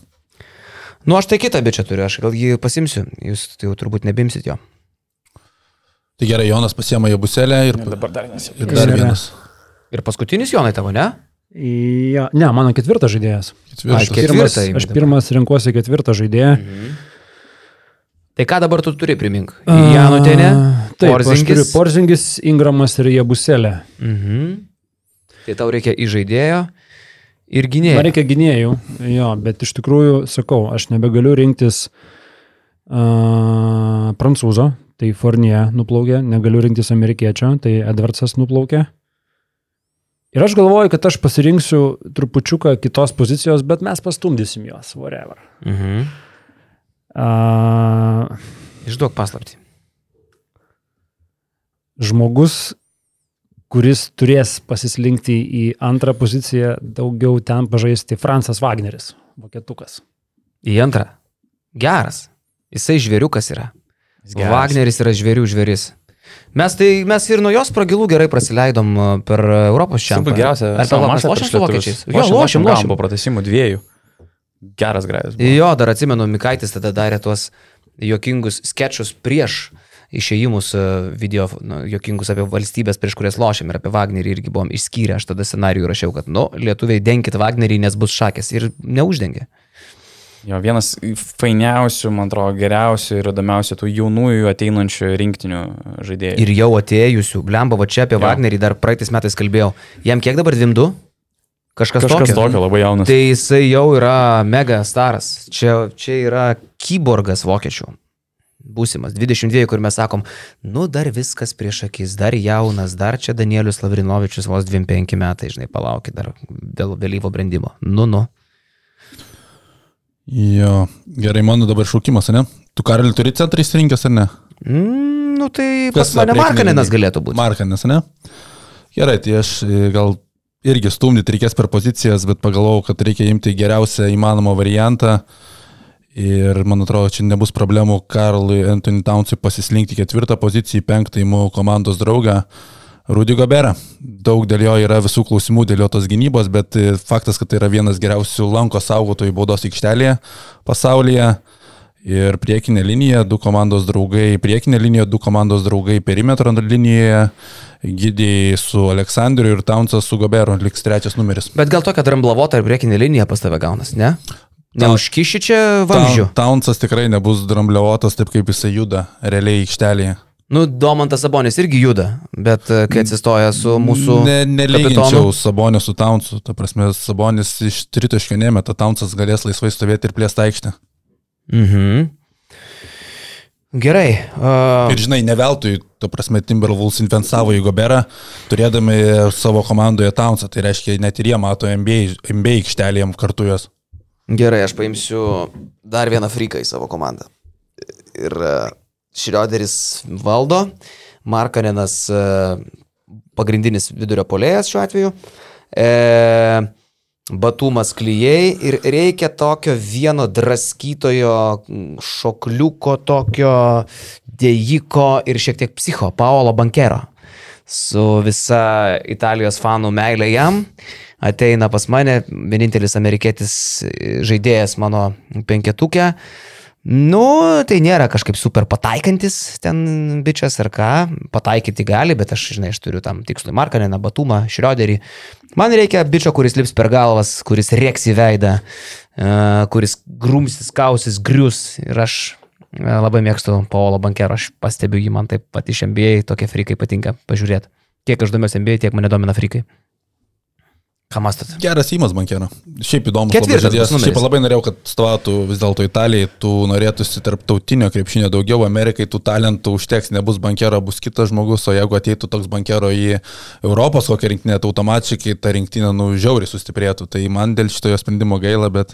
Nu, aš tai kitą bičią turiu, aš gal jį pasimsiu, jūs tai jau turbūt nebimsit jo.
Tai gerai, Jonas pasiema Jebuselę ir,
Dabar dar nesu.
ir dar
Yra.
vienas.
Ir paskutinis Jonai tavo, ne?
Ja, ne, mano ketvirtas žaidėjas.
Ai,
Ketvirtas.
ketvirtą
Pirmas,
imi
aš
dabar.
pirmas renkuosi ketvirtą žaidėją.
Tai ką dabar tu turi primink? Janutinė,
A, Taip, Porzingis. aš turiu Porzingis, Ingramas ir Jebuselė.
Mhm. Tai tau reikia įžaidėjo ir
Man
gynėjo.
reikia gynėjų, jo, bet iš tikrųjų, sakau, aš nebegaliu rinktis uh, prancūzo, tai Fornie nuplaukė, negaliu rinktis amerikiečio, tai Edvardsas nuplaukė. Ir aš galvoju, kad aš pasirinksiu trupučiuką kitos pozicijos, bet mes pastumdysim juos, whatever.
Mhm.
Uh,
Išduok paslapti.
žmogus, kuris turės pasislinkti į antrą poziciją, daugiau ten pažaisti Fransas Wagneris, vokietukas.
Į antrą. Geras. Jisai žvėriukas yra.
Jis geras.
Wagneris yra žvėrių žvėris. Mes, tai, mes ir nuo jos pragilų gerai praleidom per e, Europos čia.
Turbūt geriausia.
Ar tau mašas lošim su vokiečiais? Jo, lošim, lošim.
Po pratesimų dviejų. Geras grajus. buvo.
Jo, dar atsimenu, Mikaitis tada darė tuos juokingus sketšus prieš išėjimus e, video, nu, juokingus apie valstybės, prieš kurias lošėm ir apie Wagnerį irgi buvom išskyrę. Aš tada scenarijų rašiau, kad, nu, lietuviai denkit Wagnerį, nes bus šakės ir neuždengė.
Jo, vienas fainiausių, man atrodo, geriausių ir įdomiausių tų jaunųjų ateinančių rinktinių žaidėjų.
Ir jau atėjusių, blemba, va čia apie
Jo.
Wagnerį dar praeitais metais kalbėjau. Jam kiek dabar 2-2? Kažkas,
Kažkas tokio labai jaunas.
Tai jisai jau yra mega staras. Čia, čia yra kyborgas vokiečių. Būsimas 22, kur mes sakom, nu dar viskas prieš akis, dar jaunas, dar čia Danielius Lavrinovičius vos 25 metai, žinai, palaukit dar vėl vėlyvo brandimo. Nu, nu.
Jo, gerai, mano dabar šaukimas, ne? Tu karalių turi centrą įsirinkęs ar ne?
Mm, nu tai pas
Kas
mane
priekinėj
Markaninas
linijoj?
galėtų būti.
Markanas, ne? Gerai, tai aš e, gal irgi stumdyti reikės per pozicijas, bet pagalvojau, kad reikia imti geriausią įmanomą variantą. Ir man atrodo, čia nebus problemų Karlui Antony Townsui pasislinkti ketvirtą poziciją, į penktą į mūsų komandos draugą Rudy Goberą. Daug dėl jo yra visų klausimų, dėl jo tos gynybos, bet e, faktas, kad tai yra vienas geriausių lanko saugotojų baudos aikštelėje pasaulyje. Ir priekinė linija, du komandos draugai, priekinė linija, du komandos draugai perimetro linijoje, gydiai su Aleksandriu ir Taunsas su Goberu, liks trečias numeris.
Bet gal tokia dramblavota ir priekinė linija pas tave gaunas, ne? Neužkiši čia vamzdžių.
Taun- Taunsas tikrai nebus drambliotas taip, kaip jisai juda realiai aikštelėje.
Nu, Domantas Sabonis irgi juda, bet e, kai atsistoja su mūsų...
ne,
kapitonu.
nelyginčiau Sabonio su Taunsu, ta prasme, Sabonis iš tritaškio nemeta, Taunsas galės laisvai stovėti ir plėsti aikštę.
Mhm. Gerai. Uh,
Ir žinai, ne veltui, ta prasme, Timberwolves investavo į Goberą, turėdami savo komandoje Townsą, tai reiškia, net ir jie mato NBA, NBA aikštelėje kartu juos.
gerai, aš paimsiu dar vieną friką į savo komandą. Ir uh, Šrioderis valdo, Markanenas uh, pagrindinis vidurio polėjas šiuo atveju. E, Batumas klyjei ir reikia tokio vieno draskytojo, mm, šokliuko, tokio dėjiko ir šiek tiek psicho, Paolo Bankero. Su visa Italijos fanų meilė jam ateina pas mane, vienintelis amerikietis e, žaidėjas mano penketukė. Nu, tai nėra kažkaip super pataikantis ten bičias ar ką, pataikyti gali, bet aš, žinai, aš turiu tam tikslui Markaniną, Batumą, Šrioderį. Man reikia bičio, kuris lips per galvas, kuris rieks į veidą, e, kuris grumsis, kausis, grius. Ir aš e, labai mėgstu Paolo Bankero, aš pastebiu jį, man taip pat iš MBA tokie frikai patinka pažiūrėti. Kiek aš domiuosi MBA, tiek mane domina frikai. Ką mastot?
Geras įmas bankėra. Šiaip įdomu.
Ketvirtas bus numeris.
Šiaip labai norėjau, kad stovėtų vis dėlto Italijai, tu norėtųsi tarptautinio krepšinio daugiau, Amerikai tų talentų užteks, nebus bankėro, bus kitas žmogus, o jeigu ateitų toks bankėro į Europos kokią rinktinę, tai automatiškai ta rinktinė nu žiauriai sustiprėtų. Tai man dėl šitojo sprendimo gaila, bet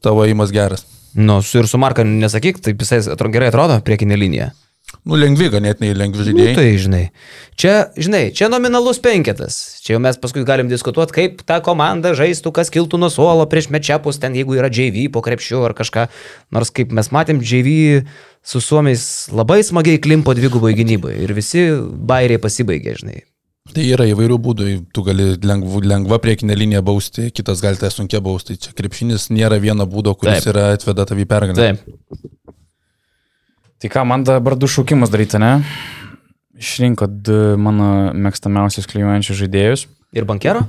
tavo įmas geras.
Nu, su ir su Markaniu nesakyk, taip jisai atro- gerai atrodo, priekinė linija.
Nu, lengvi, ganėtinai lengvi žaidėjai.
Nu, tai žinai. Čia, žinai, čia nominalus penketas. Čia jau mes paskui galim diskutuoti, kaip ta komanda žaistų, kas kiltų nuo suolo prieš mečiapus, ten jeigu yra JV po krepšiu ar kažką. Nors kaip mes matėm, JV su suomiais labai smagiai klimpo dvigubai gynybai ir visi bairiai pasibaigė, žinai.
Tai yra įvairių būdų, tu gali lengv, lengva priekinė linija bausti, kitas gali tai sunkia bausti. Čia krepšinis nėra vieno būdo, kuris
Taip.
Taip. yra atveda tavį pergalę.
Taip.
Tai ką, man dabar du šaukimus daryti, ne? Išrinko du mano mėgstamiausius klijuojančius žaidėjus.
Ir bankero?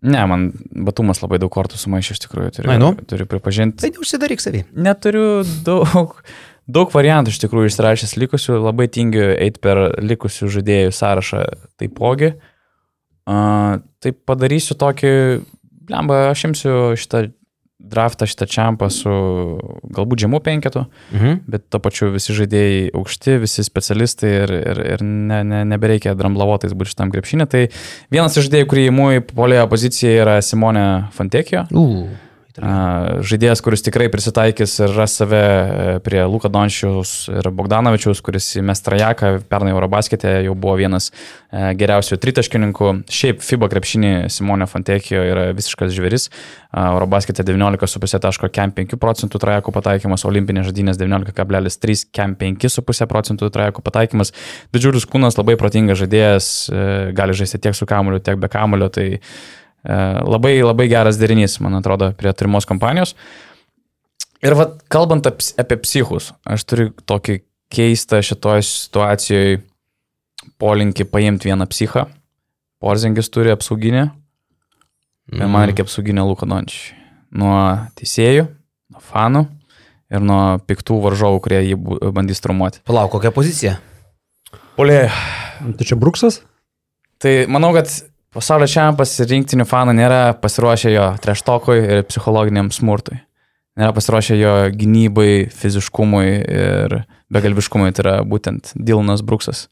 Ne, man batumas labai daug kortų sumaišė, iš tikrųjų, turiu,
Ai, nu.
turiu pripažinti.
Tai neužsidaryk savį.
Neturiu daug, daug variantų, iš tikrųjų, išrašęs likusių, labai tingiu eiti per likusių žaidėjų sąrašą taipogi. Uh, tai padarysiu tokį, blemba, aš imsiu šitą draftą, šitą čempą su galbūt žemų penketu.
Mhm.
Bet to pačiu visi žaidėjai aukšti, visi specialistai ir, ir, ir ne, ne, nebereikia dramblavotais būti šitam krepšinė. Tai vienas iš žaidėjų, kurį įimu į polėjo poziciją yra Simone Fantekijo.
U,
A, Žaidėjas, kuris tikrai prisitaikys ir ras save e, prie Luka Dončiaus ir Bogdanovičiaus, kuris į Mestrajaką pernai Eurobasketė jau buvo vienas e, geriausių tritaškininkų. Šiaip FIBA krepšinį Simonė Fantekijo yra visiškas žvėris. A, Eurobasketė 19,5 procentų trajakų pataikymas, olimpinės žaidynės 19,3, kem 5,5 procentų trajakų pataikymas. Didžiulis kūnas, labai protingas žaidėjas, e, gali žaisti tiek su kamuliu, tiek be kamuliu. Tai E, labai labai geras derinys, man atrodo, prie turimos kompanijos. Ir vat, kalbant aps- apie psichus, aš turiu tokį keistą šitoj situacijoje polinkį paimti vieną psichą. Porzingis turi apsauginę, bet man reikia apsauginę Luko Dončiui. Nuo teisėjų, nuo fanų ir nuo piktų varžovų, kurie jį bu- bandys traumuoti.
Palauk, kokia pozicija?
Polėjai.
Tai čia Bruksas?
Tai manau, kad pasaulio čempionas ir rinktinių fanų nėra pasiruošę jo treštokui ir psichologiniam smurtui. Nėra pasiruošę jo gynybai, fiziškumui ir begalbiškumui. Tai yra būtent Dilonas Bruksas.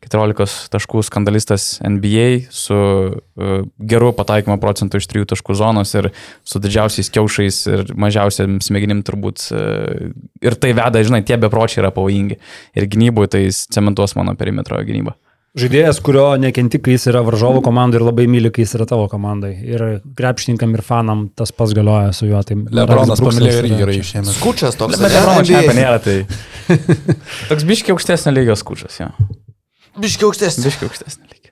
14 taškų skandalistas NBA su uh, geru pataikymo procentu iš 3 taškų zonos ir su didžiausiais kiaušais ir mažiausiam smegenim turbūt. Uh, ir tai veda, žinai, tie bepročiai yra pavojingi. Ir gynybui tai jis cementuos mano perimetro gynybą.
Žaidėjas, kurio nekenti, kai jis yra varžovo komandai ir labai myli, kai jis yra tavo komandai. Ir krepšininkam ir fanam tas pats galioja su juo. Tai
Lebronas
Bruksas
pamilėjo irgi
yra-
gerai išėmė.
Skučas toks.
Bet Lebrono čempionė nėra, tai. Toks biškiai aukštesnio lygio skučas, jo.
Biškiai aukštesnis.
Biškiai aukštesnio lygio.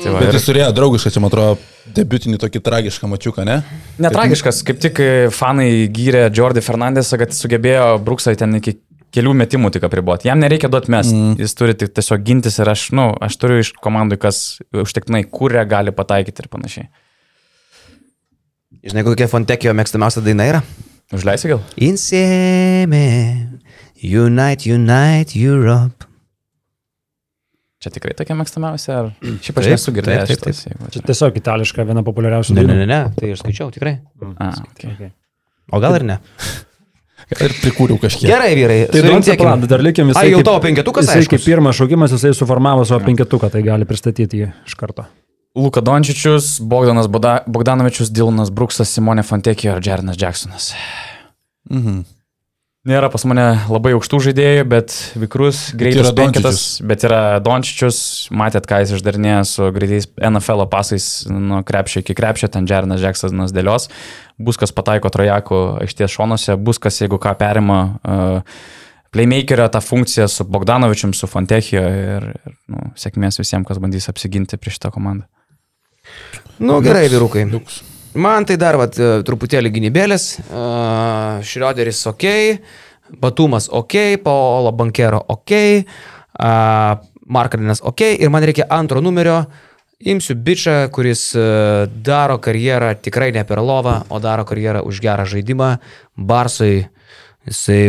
Tai va,
Bet
ir,
jis turėjo draugišką, čia man atrodo, debiutinį tokį tragišką mačiuką, ne?
netragiškas, kaip tik e, fanai gyrė Jordi Fernandesą, kad sugebėjo Bruksą ten iki kelių metimų tik apriboti. Jam nereikia duoti mes, mm. jis turi tik tiesiog gintis ir aš, na, nu, aš turiu iš komandų, kas užtektinai kūrė, gali pataikyti ir panašiai.
Žinai, kokia Fontekio mėgstamiausia daina yra?
Užleisi gal?
Insėmė. Unite, unite Europe.
Čia tikrai tokia mėgstamiausia, ar šiaip aš
Taip,
nesu girdėjęs
taip, taip, taip.
šitos, jeigu
Čia
atvirai.
tiesiog itališka viena populiariausių
Ne,
dainų.
ne, ne, ne, tai aš skaičiau tikrai.
A, okay.
O gal ir ne.
Ir prikūriau kažkiek.
Gerai, vyrai.
Tai Dončiai
surimtėkim.
plan, dar likim visai.
Ai, jau
kaip-
tavo penketukas,
Jisai kaip
aišku.
pirmas šaukimas, jisai suformavo savo penketuką, tai gali pristatyti jį iš karto.
Luka Dončičius, Bogdanas Boda- Bogdanovičius, Dilonas Bruksas, Simonė Fantekija ir Džernas Džeksonas.
Mhm.
Nėra pas mane labai aukštų žaidėjų, bet vikrus, greitas
yra
penketas, bet yra Dončičius, matėt, ką jis išdarinėja su greitais NFL pasais nuo krepšio iki krepšio, ten Džernas Džeksonas dėlios, Buskas pataiko trojakų aikštės šonuose, Buskas, jeigu ką perima uh, playmakerio tą funkciją su Bogdanovičium, su Fantekijo ir, ir nu, sėkmės visiems, kas bandys apsiginti prieš šitą komandą.
Nu, gerai, vyrukai.
Liuks.
Man tai dar vat, e, truputėlį gynybėlės. Uh, Šrioderis ok, Batumas ok, Paolo Bankero ok, uh, Markarinas ok ir man reikia antro numerio. Imsiu bičią, kuris e, daro karjerą tikrai ne per lovą, o daro karjerą už gerą žaidimą. Barsui jisai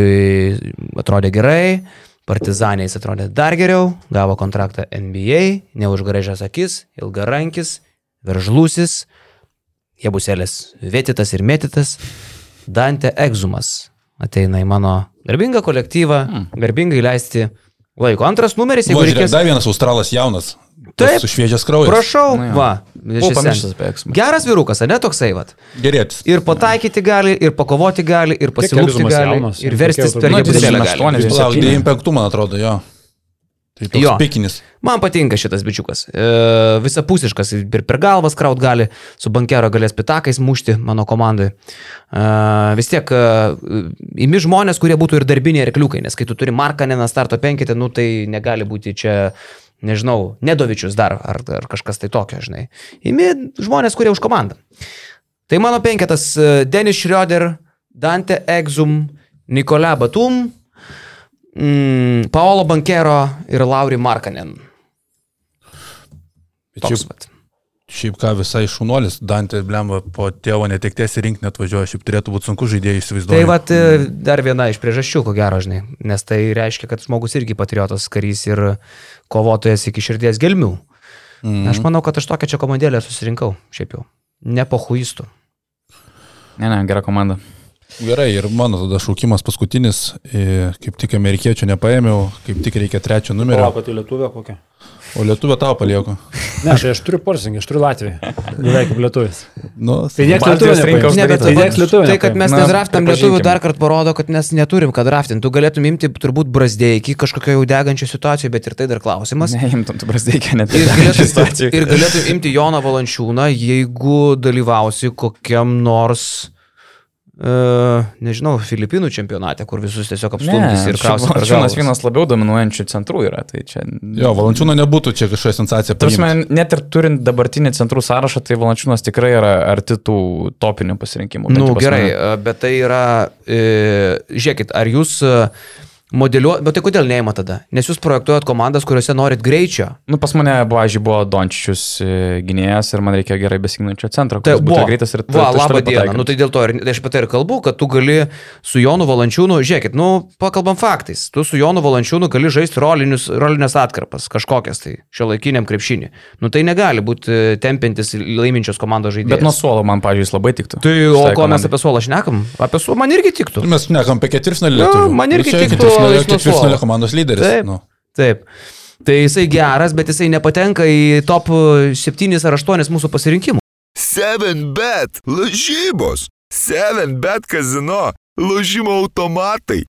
atrodė gerai, Partizanė jis atrodė dar geriau, gavo kontraktą NBA, neužgražęs akis, ilgarankis, veržlusis, Jebuselis Vietitas ir Mėtitas, Dante Egzumas ateina į mano garbingą kolektyvą,
Hmm.
garbingai leisti laiko. Antras numeris, jeigu
Buvo, žiūrėk,
reikės.
dar vienas australas jaunas. tas
Taip.
Su šviežias kraujas.
Prašau,
Nu jo.
va.
Buvau
šis
pamiršęs
sen-
apie Egzumą.
Geras vyrukas, ne toksai, va.
Gerėtis.
Ir pataikyti gali, ir pakovoti gali, ir pasilūpti
Egzumas
gali,
jaunas,
ir
jau
verstis
tokia
per
jau
turbūt.
Jebuselį.
Nu,
gali.
28.
Jis palauk,
septyni.
95, man atrodo, jo. Tai
Jo.
toks pikinis.
Man patinka šitas bičiukas. E, visapusiškas, ir per galvas kraut gali, su bankero galės pitakais mušti mano komandai. E, vis tiek e, imi žmonės, kurie būtų ir darbiniai arkliukai, nes kai tu turi Markaniną starto penketį, nu tai negali būti čia, nežinau, Nedovičius dar ar, ar kažkas tai tokio, žinai. Imi žmonės, kurie už komandą. Tai mano penketas e, Denis Schroeder, Dante Exum, Nikola Batum, mm, Paolo Bankero ir Lauri Markanen.
Bet
Toks,
Šiaip,
vat.
šiaip ką visai šunuolis, Dantė Blemba po tėvo netekties į rinkinį atvažiuoja, šiaip turėtų būti sunku žaidėjai įsivaizduoti.
Tai vat, e, dar viena iš priežasčių, ko gero, žinai, nes tai reiškia, kad žmogus irgi patriotas karys ir kovotojas iki širdies gelmių. Mm. Aš manau, kad aš tokią čia komandėlę susirinkau, šiaip jau. Ne po huistų.
Ne, ne, gera komanda.
Gerai, ir mano tada šaukimas paskutinis, e, kaip tik amerikiečių nepaėmiau, kaip tik reikia trečio numerio.
tai lietuvė kokia?
O lietuvę tau palieku.
Ne, tai aš turiu porsingį, aš turiu Latviją. Beveik kaip lietuvis.
Nu,
Tai nieks
Baltijos
lietuvių
rinka
nepaims.
uždaryta.
Ne, bet
Tai nieks lietuvių.
tai, kad mes
Na,
nedraftam
pripažinkim.
lietuvių dar kartą parodo, kad mes neturim ką draftinti. Tu galėtum imti turbūt brazdėjikį kažkokio jau degančio situacijoje, bet ir tai dar klausimas.
Neimtum, tu prasidėkė net
Ir galėtum,
situacijų.
ir galėtum imti Joną Valančiūną, jeigu dalyvausi kokiam nors, e, nežinau, Filipinų čempionate, kur visus tiesiog apstumdys ir kraustys. per
Valančiūnas
galvas.
vienas labiau dominuojančių centrų yra, tai čia...
Jo, valančiūno nebūtų čia kažkokia sensacija.
Tarsi,
paimt.
net ir turint dabartinį centrų sąrašą, tai Valančiūnas tikrai yra arti tų topinių pasirinkimų.
Na
bent
nu,
jau pas
gerai,
mane.
e, bet tai yra, e, žiūrėkit, ar jūs modeliuojate, bet tai kodėl neima tada? Nes jūs projektuojat komandas, kuriuose norit greičio.
Nu, pas mane, pavyzdžiui, buvo Dončius gynėjas ir man reikėjo gerai besignuojančio centro,
Tai
kuris tai, būtų
buvo
ir greitas ir
Va,
taškų
laba diena.
pataikantis.
Nu, tai dėl to ir, tai aš pat ir kalbu, kad tu gali su Jonu Valančiūnu, žiūrėkit, nu, pakalbam faktais. Tu su Jonu Valančiūnu gali žaisti rolinius, rolinės atkarpas, kažkokias tai šio laikiniam krepšinį. Nu, tai negali būti tempintis laiminčios komandos žaidėjas.
Bet nuo suolo man, pavyzdžiui, jis labai tiktų.
Tai, o ko mes apie suolą šnekam? Apie suolą man irgi tiktų.
Mes nekam apie ketvirtfinalį.
Nu,
lietuvių.
man
Nu,
irgi
čia
tiktų
ketvirtfinalio-
jis nuo
Ketvirtfinalio
suolo.
komandos lyderis.
Taip.
Nu.
Taip. Tai jisai geras, bet jisai nepatenka į top 7 ar 8 mūsų pasirinkimų.
7bet lažybos, 7bet kazino, lošimo automatai,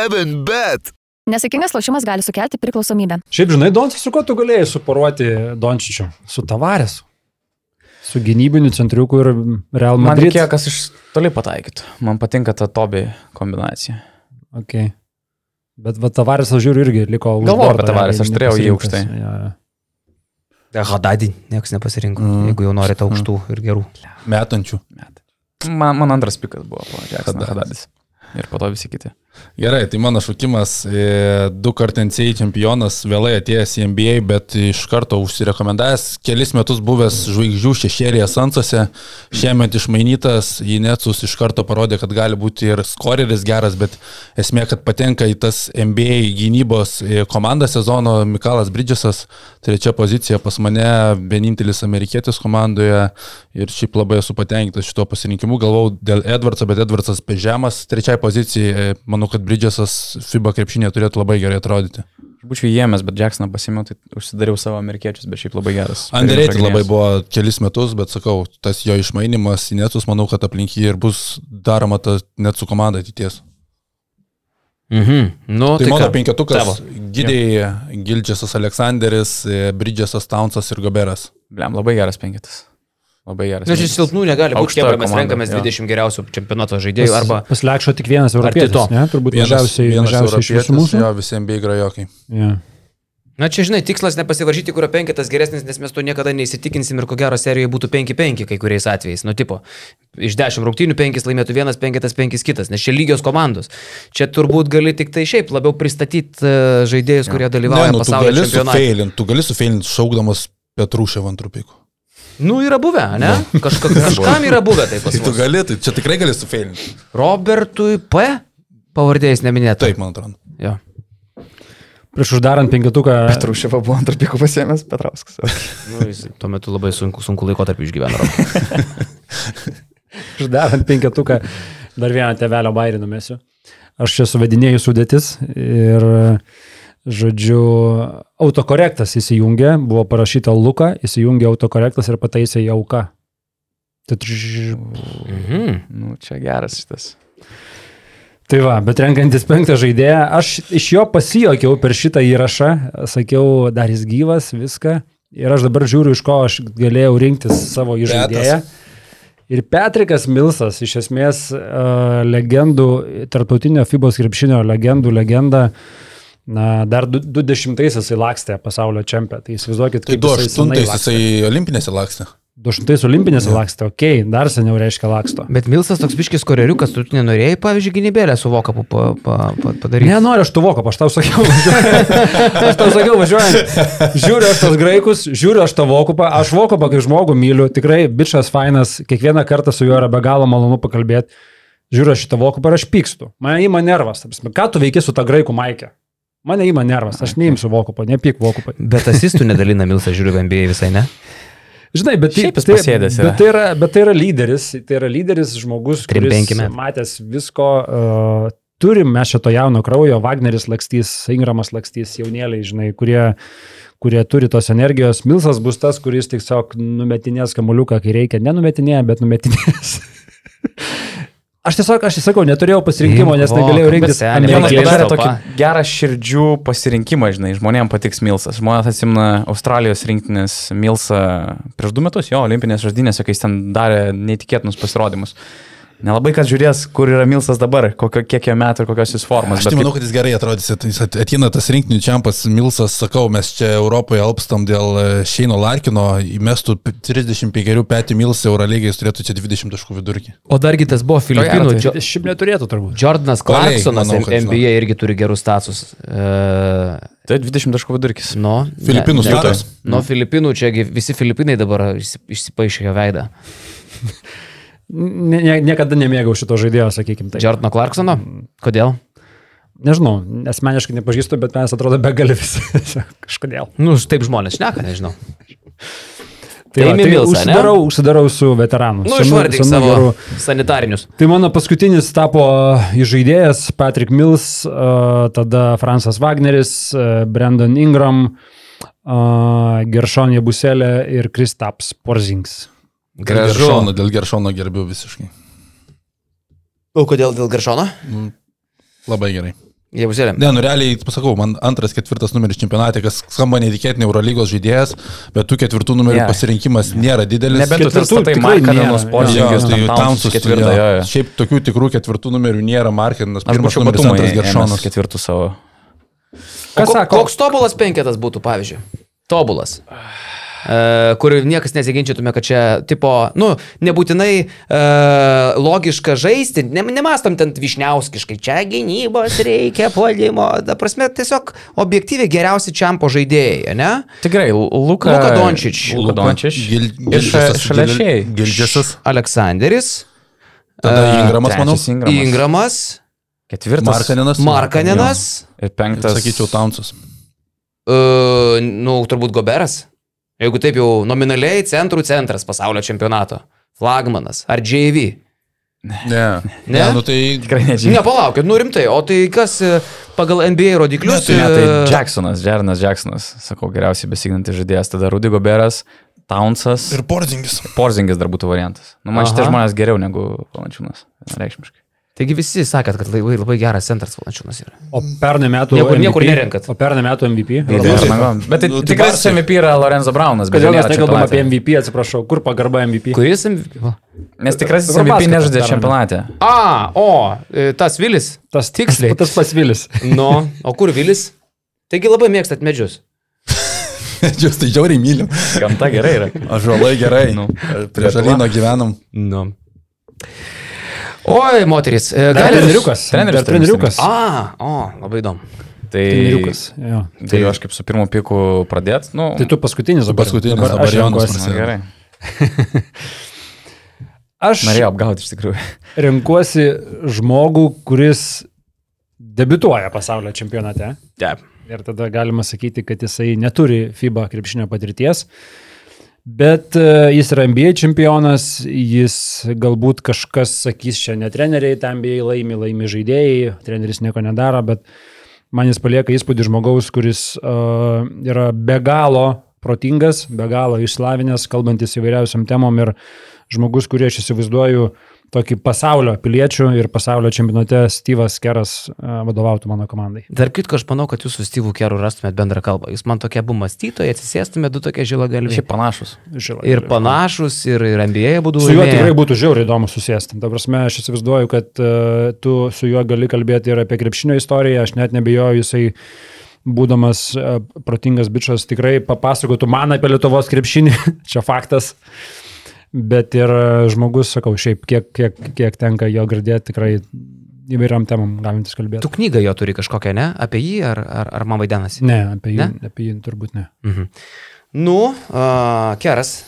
7bet.
Nesaikingas lošimas gali sukelti priklausomybę.
Šiaip žinai, Dončičius, su kuo tu galėjai suporuoti Dončičiu? Su Tavarėsu. Su gynybiniu centriuku ir Real
Man
Madrid.
reikėjo, kas iš toli pataikytų. Man patinka ta Tobi kombinacija.
Okay. Bet va, Tavarės, aš žiūriu, irgi liko už.
Galvojau apie
borto,
Tavaresą,
realiai
aš turėjau jį
nepasirinktas.
aukštai.
Jo, jo.
Hadadį niekas nepasirinko, mm. jeigu jau norite aukštų mm. ir gerų.
Metančių.
Man, man antras pikas buvo po Jacksono Hadadis.
Hadadis.
Ir po to visi kiti.
Gerai, tai mano šaukimas e, du kart NCAA čempionas, vėlai atėjęs į NBA, bet iš karto užsirekomendavęs, kelis metus buvęs žvaigždžių šešėlėje Sansuose, šiemet išmainytas, jį netsus iš karto parodė, kad gali būti ir skoreris geras, bet esmė, kad patenka į tas NBA gynybos e, komandą sezono Mikalas Bridgesas, trečia pozicija pas mane, vienintelis amerikietis komandoje ir šiaip labai esu patenkintas šituo pasirinkimu. Galvau dėl Edvardso, bet Edvardsas per žemas, trečiai pozicijai, e, manau, kad Bridgesas FIBA krepšinė turėtų labai gerai atrodyti.
Aš būčiau įėmęs, bet Jacksoną pasimiau, tai užsidariau savo amerikiečius, bet šiaip labai geras.
Andrėti
Perimetro
labai
gynėjas.
buvo kelis metus, bet sakau, tas jo išmainimas į netus, manau, kad aplink jį ir bus daroma tas net su komanda ateities.
Mhm. Nu,
Tai, tai mano
ką?
penketukas
Tavo.
- Gidėjai, Gildžesas Aleksanderis, e, Bridgesas Townsas ir Goberas.
Blem, labai geras penketas. Labai geras.
Na, čia
penketas.
silpnų negali būti.
Aukšta
Kebra, mes
komanda,
renkamės
jo.
20 geriausių čempionato žaidėjų arba...
Pasilekšo tik vienas europietis,
to.
ne? Turbūt mažiausiai, mažiausiai iš visų mūsų.
Jo, visi MBA grajokai.
Ja.
Na, čia žinai, tikslas nepasivaržyti, kurio penketas geresnis, nes mes to niekada neįsitikinsim ir ko gero serijoje būtų 5-5 kai kuriais atvejais. Nu, tipo, iš 10 rungtynių 5 laimėtų vienas, penketas 5 kitas, nes čia lygios komandos. Čia turbūt gali tik tai šiaip labiau pristatyti e, žaidėjus, kurie dalyvauja
Ne, nu, tu
pasaulio
gali
čempionate.
sufeilint, tu gali sufeilint šaukdamas Petrušėv ant rupikų.
Nu, yra buvę, ne?
<laughs>
Kažka, kažkam yra buvę taip
Tai <laughs> tu
pat.
gali, tai čia tikrai gali sufeilint.
Robertui P. Pavardėjais neminėta.
Taip, man atrodo.
Jo.
Prieš uždarant penketuką.
Trušėva buvo antrą pikų pasėmęs Petrauskas.
Nu, jis tuo metu labai sunku, sunku laikotarpį išgyveno.
<laughs>
Robertas.
<laughs> Uždarant penketuką, dar vieną tevelio bairį numesiu. Aš čia suvedinėjau sudėtis ir, žodžiu, autokorektas įsijungė, buvo parašyta Luka, įsijungė autokorektas ir pataisė į auką. Tai, tš-
Mhm.
Nu, čia geras šitas.
tai va, bet renkantis penktą žaidėją, aš iš jo pasijokiau per šitą įrašą, sakiau, dar jis gyvas, viską. Ir aš dabar žiūriu, iš ko aš galėjau rinktis savo įžaidėją. Ir Patrikas Milsas, iš esmės uh, legendų, tarptautinio FIBOS krepšinio legendų legenda, na, dar 20-aisiais jisai lakstė pasaulio čempionatą. Tai įsivaizduokit,
Tai
kaip
2-8 jisai olimpinėse lakstė.
20-aisiais olimpinėse lakstė, ok, dar seniau reiškia laksto.
Bet Milsas toks biškis koreriukas, tu nenorėjai, pavyzdžiui, gynybėlę su vokapu pa, pa, pa, padaryti.
Nenoriu aš tuvoko, aš tau sakiau, važiuojant. aš tau sakiau, važiuojant. Žiūriu aš tos graikus, žiūriu aš tavo okupą, aš okupą kaip žmogų myliu, tikrai bičias fainas, kiekvieną kartą su juo yra be galo malonu pakalbėti. Žiūriu aš šitą okupą ir aš pykstu. Mane įma nervas, ta prasme, ką tu veiki su ta graikų maikė? Mane įma nervas, aš neimsiu okupą, nepyk okupą.
Bet asistų nedalina Milsas, žiūriu, NBA visai ne.
Žinai, bet, tai-
Šiaip jis
tai-
pasėdęs yra.
bet, tai yra, bet tai yra lyderis, tai yra lyderis žmogus,
Trim
kuris
penki metai.
matęs visko, uh, turim mes šito jauno kraujo, Wagneris lakstys, Ingramas lakstys, jaunėliai, žinai, kurie, kurie turi tos energijos. Milsas bus tas, kuris tiesiog numetinės kamuliuką, kai reikia. Nenumetinėja, bet numetinės. <laughs> Aš tiesiog, aš įsakau, neturėjau pasirinkimo, nes
Vo,
negalėjau
kaip
rinktis.
beseni.
Jonas
Amerikietis
padarė
telpa.
tokį gerą širdžių pasirinkimą, žinai, žmonėms patiks Milsas. Žmonės atsimna Australijos rinktinės Milsą prieš du metus, jo, olimpinės žaidynėse, kai jis ten darė neįtikėtinus pasirodymus. Nelabai kas žiūrės, kur yra Milsas dabar, kokio, kiek jo metų ir kokios jis formos.
Aš tai
bet
manau, kad jis gerai atrodys, at- jis at- ateina tas rinkinių čempas Milsas, sakau, mes čia Europoje alpstam dėl e, Šeino Larkino, įmestų p- 35 petį Milsą Eurolygiai, jis turėtų čia 20 taškų vidurkį.
O dargi tas buvo Filipinų.
gero,
Džo-
Šiaip neturėtų turbūt.
Jordanas
Koliai,
Clarksonas
manau, kad žinau.
NBA irgi turi gerus status. Uh,
tai 20 taškų vidurkis.
nu,
Filipinų
ne- ne-
status.
Nuo Filipinų, čia visi Filipinai dabar išsi- išsipaišė jo veidą.
Ne, ne, niekada nemėgau šito žaidėjo, sakykim. Tai.
Jordano Clarksono? Kodėl?
Nežinau, asmeniškai nepažįstu, bet mes atrodo <laughs> begalvis. Kažkodėl.
Nu, taip žmonės šneka, nežinau.
Tai, va,
Imi
tai
Milsą, ne?
užsidarau, užsidarau su veteranu.
Nu,
senu-
išvardyk
senu
savo
geru.
sanitarinius.
Tai mano paskutinis tapo žaidėjas Patrick Mills, a, tada Fransas Wagneris, a, Brandon Ingram, Geršonė Buselė ir Kristaps Porzings.
Geršono, dėl Geršono gerbiu visiškai.
O kodėl dėl Garšono?
Labai gerai.
Jie užsėlė.
Ne, nu realiai, pasakau, man antras, ketvirtas numeris čempionate, kas skamba neįtikėtinai Eurolygos žaidėjas, bet tų ketvirtų numerių
Jo.
pasirinkimas nėra didelis.
Nebent tu ten
Ketvirtų
statai
tikrai nėra.
Markaninus,
Jo,
Porzingius,
tai
Tamsus,
tamsus
ketvirtą. jo, jo.
Šiaip tokių tikrų ketvirtų numerių nėra Markinas.
Aš
Pirmas
būčiau
numeris
matumai
antras Geršonas.
ketvirtų savo.
Kas sako?
Koks tobulas penketas būtų, pavyzdžiui? Tobulas. E, kur niekas nesiginčytume, kad čia, tipo, nu, nebūtinai e, logiška žaisti, ne, nemastam ten višniauskiškai, čia gynybos reikia, puolimo, ta prasme, tiesiog objektyviai geriausi čiampo žaidėjai, ne?
Tikrai, Luka,
Luka Dončič.
Luka Dončič.
Gil-
Ir ša-
Gildžiasas.
šalia šiai.
Gil- Gildžiasas.
Aleksanderis,
Tada Ingramas, manau.
Trečias Ingramas.
Ingramas,
Ketvirtas.
Markaninas.
Markaninas,
Ir
Jo.
penktas.
Sakyčiau, Tamsus.
e, nu, turbūt Goberas, jeigu taip jau nominaliai centrų centras pasaulio čempionato, flagmanas ar JV.
Ne.
Ne?
Ne, nu tai
Tikrai nežinau.
Ne, palaukit, nu rimtai, o tai kas e, pagal NBA rodiklius?
Ne, tai
e,
Jacksonas, Jernas Jacksonas, sakau, geriausiai besiginantis žaidėjas, tada Rudy Goberas, Townsas ir
ir <laughs> Porzingis.
Porzingis dar būtų variantas. Nu, man šitie
Aha.
žmonės geriau negu Valančiūnas, reikšmiškai.
Taigi visi sakėt, kad labai, labai geras centras valančiūnas yra.
O pernai metų
Niekur- niekur
MVP?
nerenkat.
O pernai metų MVP.
Bet tai
Nu, tai
tikras
Barsai.
MVP yra Lorenzo Braunas, bet
tai- Kodėl
nėra
mes
čia
nekalbam apie
čempionate.
MVP, atsiprašau, kur pagarba MVP?
Kuris? MVP? Va.
Nes tikrasis
Dabar
MVP
basketą
nežaidė
darome.
čempionate.
A, o, e, tas Vilis.
Tas
tiksliai.
Tas pats Vilis.
Nu, o kur Vilis? Taigi labai mėgstat medžius.
Jūs tai žiauriai myliu.
Gamta gerai yra.
Ąžuolai gerai.
Nu.
Prie žalino gyvenam.
Nu. Oi, moteris. e, Gali...
Treneriukas.
treneris
Dar Treneriukas.
A, o, labai įdomu.
Tai,
Treneriukas. jo.
tai aš kaip su pirmu piku pradėt, nu,
Tai tu paskutinis dabar.
paskutinis
dabar
dabar
aš
Jonas
renkuosi.
nu,
prasideda.
gerai.
Aš
Norėjau apgauti iš tikrųjų.
renkuosi žmogų, kuris debituoja pasaulio čempionate.
Taip.
Ir tada galima sakyti, kad jisai neturi FIBA krepšinio patirties. Bet e, jis yra NBA čempionas, jis galbūt kažkas sakys, čia ne treneriai, ten NBA laimi, laimi žaidėjai, treneris nieko nedaro, bet man jis palieka įspūdį žmogaus, kuris uh, yra be galo protingas, be galo išslavinęs, kalbantis įvairiausiam temom ir žmogus, kurį aš įsivaizduoju tokį pasaulio piliečių ir pasaulio čempionate Steve'as Keras uh, vadovautų mano komandai.
Dar kitko, aš manau, kad jūs su Steve'u Keru rastumėt bendrą kalbą. Jūs man tokie abu mąstytojai, atsisėstumėt du tokie žilagalviai.
Šiaip panašus.
Žinoma.
Ir panašus, ir, ir NBA būdų.
Su juo tikrai būtų žiauriai įdomu susėsti. Ta prasme, aš įsivaizduoju, kad e, tu su juo gali kalbėti ir apie krepšinio istoriją, aš net nebejoju, jisai būdamas e, protingas bičias tikrai papasakotų man apie Lietuvos krepšinį, <laughs> čia faktas. Bet ir e, žmogus, sakau, šiaip kiek, kiek, kiek tenka jo girdėti, tikrai įvairiam temam galintis kalbėti.
Tu knygą jo turi kažkokią, ne? Apie jį ar, ar, ar man vaidinasi?
Ne, apie jį,
Ne?
apie jį turbūt ne.
Mhm. Nu, uh, Keras.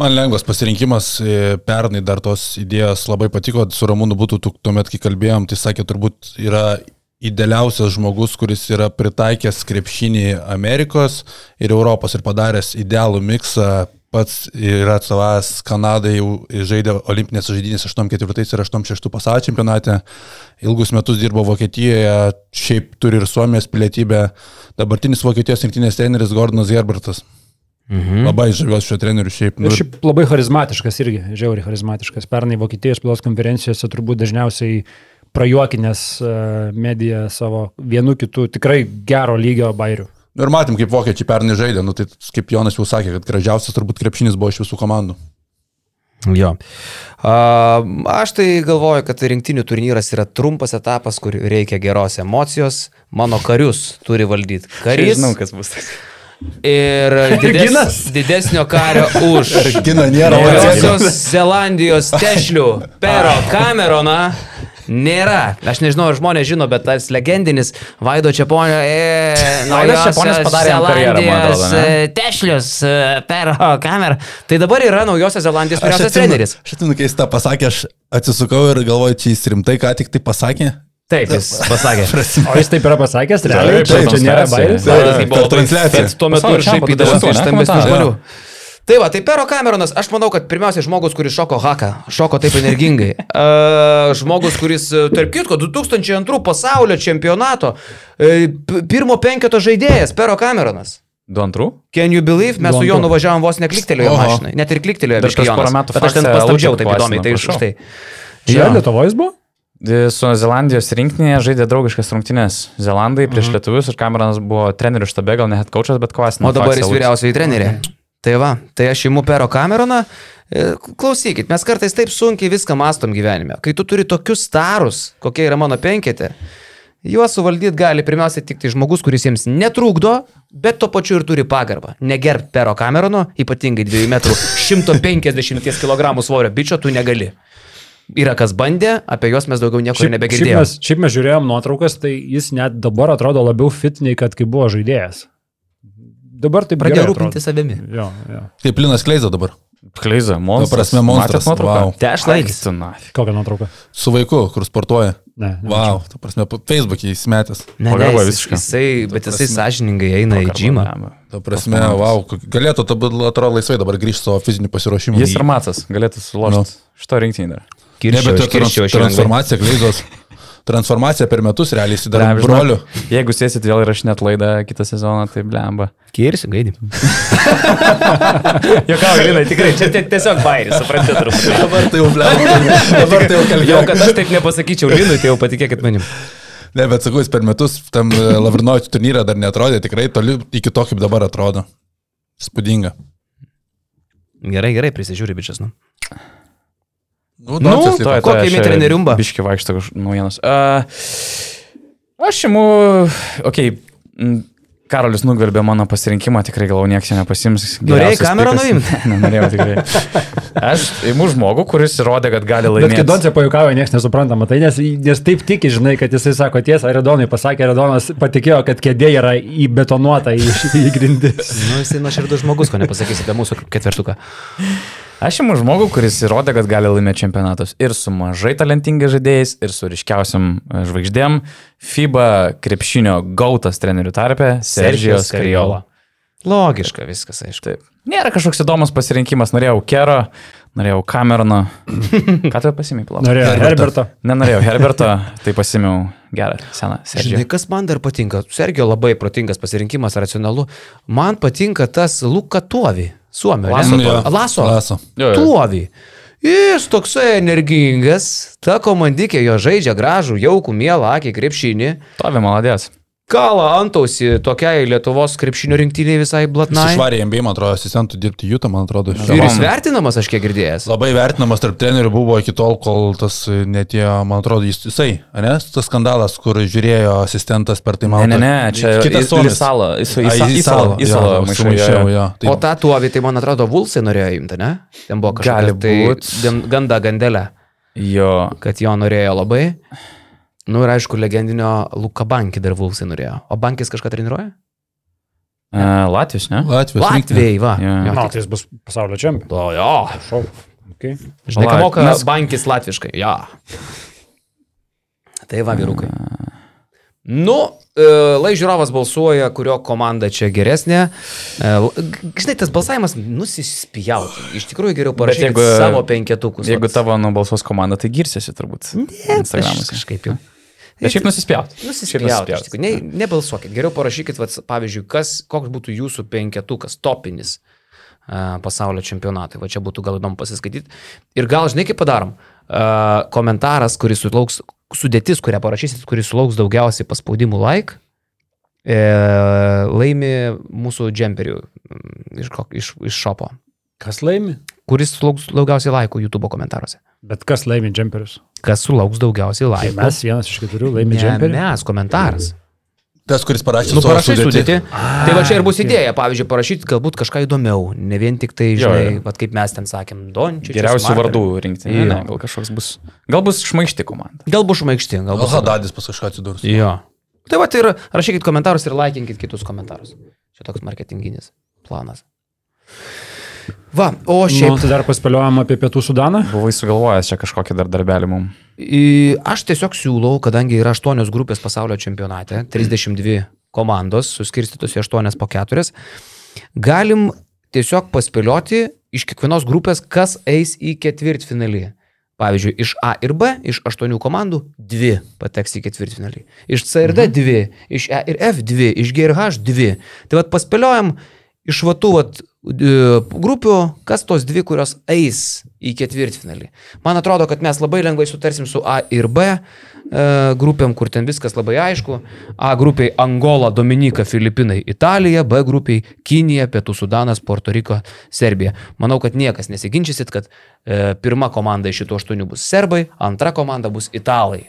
Man lengvas pasirinkimas, e, pernai dar tos idėjos labai patiko, su Ramūnu būtų tu- tuomet, kai kalbėjom, tai sakė, turbūt yra idealiausias žmogus, kuris yra pritaikęs krepšinį Amerikos ir Europos ir padaręs idealų miksą pats yra atstovavęs Kanadai, jau žaidė olimpinės žaidynės 84 ir 86 pasaulio čempionate, ilgus metus dirbo Vokietijoje, šiaip turi ir Suomijos pilietybę, dabartinis Vokietijos rinktinės treneris Gordonas Gerbertas. Mhm. Labai žaviuosi šio treneriu šiaip.
Nu Ir šiaip labai charizmatiškas irgi, žiauriai charizmatiškas. Pernai Vokietijos spaudos konferencijose turbūt dažniausiai prajuokinės e, mediją savo vienu kitu tikrai gero lygio bairių.
Nu ir matėm, kaip vokiečiai pernai žaidė, nu, tai kaip Jonas jau sakė, kad gražiausias turbūt krepšinis buvo iš visų komandų.
Jo. A, aš tai galvoju, kad rinktinių turnyras yra trumpas etapas, kur reikia geros emocijos. Mano karius turi valdyti karys.
Žinau, kas bus.
Ir
<laughs>
dides,
Ginas?
didesnio kario už
Gina nėra
Naujosios Zelandijos tešlių pero Camerona nėra. Aš nežinau, ar žmonės žino, bet tas legendinis Vaido Čiaponio e,
Vaidas
Naujosios
Čeponis padarė jam karjerą, man atrodo,
Zelandijos e, tešlius e, pero Camerona. Tai dabar yra Naujosios Zelandijos
Aš
vyriausias treneris.
atsimenu, kai jis tą pasakė, aš atsisukau ir galvoju, čia jis rimtai ką tik tai pasakė.
Taip, jis pasakė.
<laughs> O jis taip yra pasakęs, realiai,
Taip,
čia, čia nėra
transliacija.
bairis.
Vaidas
Per transliaciją.
bet tuo metu
Pasaulio
ir
čempionato
šaipydavosi iš
dalyvavo, ne,
stambesnių
komentavo.
žmonių. Tai va, tai Pero Cameronas, aš manau, kad pirmiausia žmogus, kuris šoko haką, šoko taip energingai.
<laughs>
E, žmogus, kuris, e, tarp kitko, 2002 pasaulio čempionato e, p- pirmo penketo žaidėjas, Pero Cameronas.
Du antrų?
Can you believe, mes su
Duontu.
Jonu nuvažiavom vos nekliktelėjo
Oho.
mašinai, net ir kliktelėjo
Dar prieš
biškį
porą
Jonas.
metų
Bet aš ten
fakse
pastabdžiau
Lūtį
taip įdomiai, tai už
klasino,
tai.
Čia
Jo.
Lietuvojais buvo?
E, Su Zelandijos rinktinėje žaidė draugiškas rungtynės Zelandai
Mhm.
prieš lietuvius ir Kameronas buvo trenerių štabe, gal ne head coachas, bet kvasinas.
O dabar jis vyriausiai trenerė.
Mhm.
Tai va, tai aš įimu Pero Cameroną. E, Klausykit, mes kartais taip sunkiai viską mastom gyvenime. Kai tu turi tokius starus, kokie yra mano penketė, juos suvaldyti gali pirmiausia tik tai žmogus, kuris jiems netrukdo, bet tuo pačiu ir turi pagarbą. Negerb Pero Camerono, ypatingai 2 m
<laughs>
150 kg svorio bičio tu negali. Yra kas bandė, apie juos mes daugiau nieko ir
šiaip,
nebegirdėjome.
mes, šiaip mes žiūrėjom nuotraukas, tai jis net dabar atrodo labiau fit nei kad kai buvo žaidėjas. Dabar tai
Pradėjo rūpintis savimi.
Jo, jo.
Kaip Linas Kleiza dabar.
Kleiza, monstras.
Ta prasme, monstras, vau.
Tešlaitis.
Wow.
Kokią nuotrauką?
Su vaiku, kur sportuoja.
Ne. ne.
Vau, wow, ta prasme, Facebook'e jis metęs.
Ne, ne,
Pagarba
jis,
visiška.
jisai, bet jisai sąžiningai eina į džimą.
Ta prasme, vau, wow, galėtų ta būt atrodo laisvai dabar grįžti savo fizinį pasiruošimą.
Jis ir Matas galėtų
Nu.
sulošti. Šito rinktinį dar.
Ne, bet ta trans,
Kirščiau, aš lengvai.
transformacija Kleizos. Transformacija per metus realiai įsidaro
Blemba,
broliu.
žinok, Jeigu sėsit vėl ir aš net laidą kitą sezoną, tai blemba.
Kirsi, <laughs> gaidį.
Jokau, Linai,
Tikrai, čia tie- tiesiog bairis, suprantate, turbūt.
Dabar tai jau blebba.
<laughs>
Dabar tai jau
Jau,
kalbėjau.
kad aš taip nepasakyčiau Linui, tai jau patikėkit manim.
Ne, bet sakau, jis per metus tam e, Lavrinovičių turnyrą dar netrodė tikrai toli iki to, kaip dabar atrodo. Spūdinga.
Gerai, gerai, prisižiūri bičias. Nu.
Nu,
Nu,
Doncas
to-
liko.
Kokį imi treneriumba?
Biški vaikšto kaž- naujienos. A, Aš imu, okei, okay. Karolis nugvelbė mano pasirinkimą, tikrai galvoju, niekas jo nepasims.
Norėjai
Geriausias
kamerą
pikas.
nuimt?
<laughs> Ne, Nenorėjau tikrai. Aš imu žmogų, kuris įrodė, kad gali
Bet
laimėti.
kai Donce pajukavo, niekas nesupranta, matai, tai nes, nes taip tiki, žinai, kad jisai sako tiesą, Redonai pasakė, Redonas patikėjo, kad kėdė yra įbetonuota į, į grindis.
Nu, jisai nuoširdus žmogus, ko nepasakysite mūsų ketvertuką.
Aš imu žmogų, kuris įrodė, kad gali laimėti čempionatus ir su mažai talentingai žaidėjais, ir su ryškiausiam e, žvaigždėm. FIBA krepšinio gautas trenerių tarpe Sergijos Kariola.
Logiška viskas, aišku.
Taip. Nėra kažkoks įdomus pasirinkimas. Norėjau Kero, norėjau
<laughs>
Camerono. Ką tu pasimėjai, planas?
<laughs> Norėjo Herberto.
Nenorėjau Herberto, tai pasimiau gerą seną Sergiją.
Žinai, kas man dar patinka? Sergio labai protingas pasirinkimas, racionalu. Man patinka tas Luka Tuovi, Suomio. ne?
Laso Tuovi.
Laso.
Mm, Laso.
Jo, jo.
Tuovi. Jis toksai energingas, ta komandikė jo žaidžia gražų, jaukų, mielą akį krepšinį.
Tovi, maladės.
Kala antausi tokiai Lietuvos krepšinio rinktiniai visai
Jis
blatnai.
išvarė MBA, man atrodo, asistentų dirbti Jūtą, man atrodo.
Ir jis
Žavonu.
vertinamas, aš kiek girdėjęs.
Labai vertinamas tarp trenerių buvo iki tol, kol tas e, netėjo, man atrodo, jis, jisai, ne, tas skandalas, kur žiūrėjo asistentas per
Ne,
tai man.
ne, ne, čia
kitas suomis.
Salą. Jis
Ai, į salą,
į
jo,
salą
jo,
maišė.
sumaišiau, jo. Tai
O tą tuovį, tai man atrodo, Vulsai norėjo imti, ne? Ten buvo
Gali
kažkas tai
būt.
gan- ganda gandelė,
Jo.
kad jo norėjo labai. Nu ir aišku, legendinio Luka Bankį dar Vulsai norėjo. O Bankis kažką treniruoja?
E, Latvijos, ne?
Latvijos. rinktinė.
Latvijai, va.
Jo.
Jo,
Na,
tik-
tai jis bus pasaulio čempionas.
O, jo.
Šau. Okay.
Žinai, ką
Lat-
moka
nes-
bankis latviškai. Ja. Tai va, vyrukai. Nu, e, lai žiūrovas balsuoja, kurio komanda čia geresnė. E, l- g- Žinai, tas balsavimas nusispjaut. Iš tikrųjų geriau parašyti
jeigu-
savo penketukus.
Jeigu tavo nubalsos komanda, tai girsiesi turbūt.
Mm.
Ne,
Instagramas kažkaip jau.
Bet šiaip nusispjaut.
nu, Nusispjaut. iš tikrųjų. Ne, nebalsuokit. Geriau parašykit, vat, pavyzdžiui, kas, koks būtų jūsų penketukas, topinis a, pasaulio čempionatui. Va čia būtų gal įdomu pasiskaityti. Ir gal, žinai, kaip padarom, A, komentaras, kuris sulauks, sudėtis, kurią parašysit, kuris sulauks daugiausiai paspaudimų like, e, laimi mūsų džemperių mm, iš, kok- iš, iš šopo,
Kas laimi?
kuris sulauks daugiausiai laikų YouTube komentaruose.
Bet kas laimi džemperius?
Kas sulauks daugiausiai
Tai
laikų?
mes vienas iš keturių laimi
Ne,
džemperius.
mes komentaras.
Tas, kuris parašė
Nu,
savo
parašai
sudėtį.
sudėti. Tai va čia ir
Ah,
bus idėja, pavyzdžiui, parašyti galbūt kažką įdomiau, ne vien tik tai,
Jo,
žinai,
jo.
vat kaip mes ten sakėm, Dončičius.
Geriausių
Martin.
vardų rinkti. Ne, ne,
Jo.
gal kažkoks bus. Gal bus šmaišti komanda.
Gal bus šmaišti, gal
Gal
bus.
Hadadis pas kažką atsidurs.
Jo. Tai va ir rašykit komentarus ir laikinkit kitus komentarus. Čia toks marketinginis planas. Va, o
Šiaip
šiaip,
tai dar paspėliojom apie Pietų Sudaną.
Buvai sugalvojęs čia kažkokį dar darbelį mums.
į- aš tiesiog siūlau, kadangi yra aštuonios grupės pasaulio čempionate, 32 komandos, suskirstytos į aštuonias po keturias, galim tiesiog paspėlioti iš kiekvienos grupės, kas eis į ketvirtfinalį. Pavyzdžiui, iš A ir B, iš aštuonių komandų, dvi pateks į ketvirtfinalį. Iš C ir D dvi, iš E ir F dvi, iš G ir H dvi. Tai vad paspėliojam iš vatų vat, e, grupių, kas tos dvi, kurios eis į ketvirtfinalį. Man atrodo, kad mes labai lengvai sutarsim su A ir B e, grupėm, kur ten viskas labai aišku. A grupiai Angola, Dominika, Filipinai, Italija, B grupiai Kinija, Pietų Sudanas, Puerto Riko, Serbija. Manau, kad niekas nesiginčysit, kad e, pirma komanda iš šitų aštuonių bus serbai, antra komanda bus italai.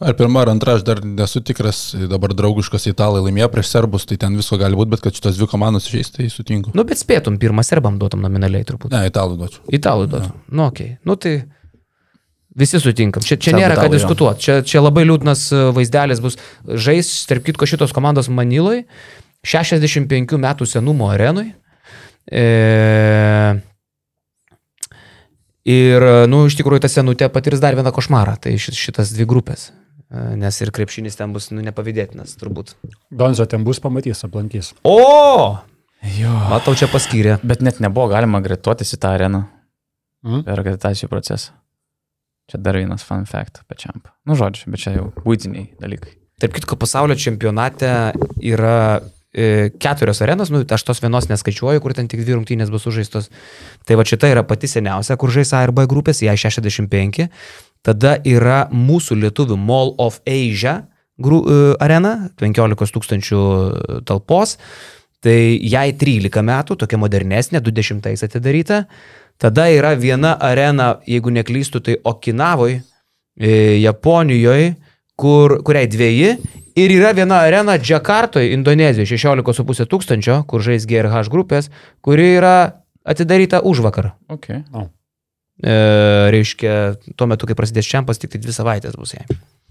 Ar pirma, ar antra, aš dar nesu tikras, dabar draugiškas italai laimėjo prieš serbus, tai ten visko gali būti, bet kad šitos dvi komandos išeis, tai sutinku.
Nu, bet spėtum, pirmą serbam duotum nominaliai turbūt.
Ne, italų duočiau.
Italų duotum. Nu, okei. Okay. Nu, tai visi sutinkam. Čia, čia
Serbai,
nėra ką
italai, jo.
diskutuoti. Čia, čia labai liūdnas e, vaizdelis bus. Žais, tarp kitko, šitos komandos Maniloj, 65 metų senumo arenui. E... Ir, nu, iš tikrųjų, ta senutė patirs dar vieną košmarą. Tai šit- šitas dvi grupės. E, Nes ir krepšinis ten bus, nu, nepavydėtinas, turbūt.
Donzo ten bus, pamatys, aplankys.
O!
Jo.
Matau, čia paskyrė.
Bet net nebuvo galima greituotis į tą areną
Mhm.
Mm.
per akreditacijų procesą. Čia dar vienas fun fact pačiam. Nu, žodžiu, bet čia jau būtiniai dalykai.
Tarp kitko, pasaulio čempionate yra e, keturios arenos, nu, aš tos vienos neskaičiuoju, kur ten tik dvi rungtynės bus sužaistos. Tai va šita yra pati seniausia, kur žais A ir B grupės, jai 65. Tada yra mūsų lietuvių Mall of Asia gru, e, arena, 15 tūkstančių talpos. Tai jai 13 metų, tokia modernesnė, 20-ais atidaryta. Tada yra viena arena, jeigu neklystu, tai Okinavoje, e, Japonijoje, kur, kuriai dviejai. Ir yra viena arena Džakartoje, Indonezijoje, 16,5 tūkstančio, kur žais GRH grupės, kuri yra atidaryta už vakar.
Okay.
E, reiškia, tuo metu, kai prasidės čempas, tik tai dvi savaitės bus jai.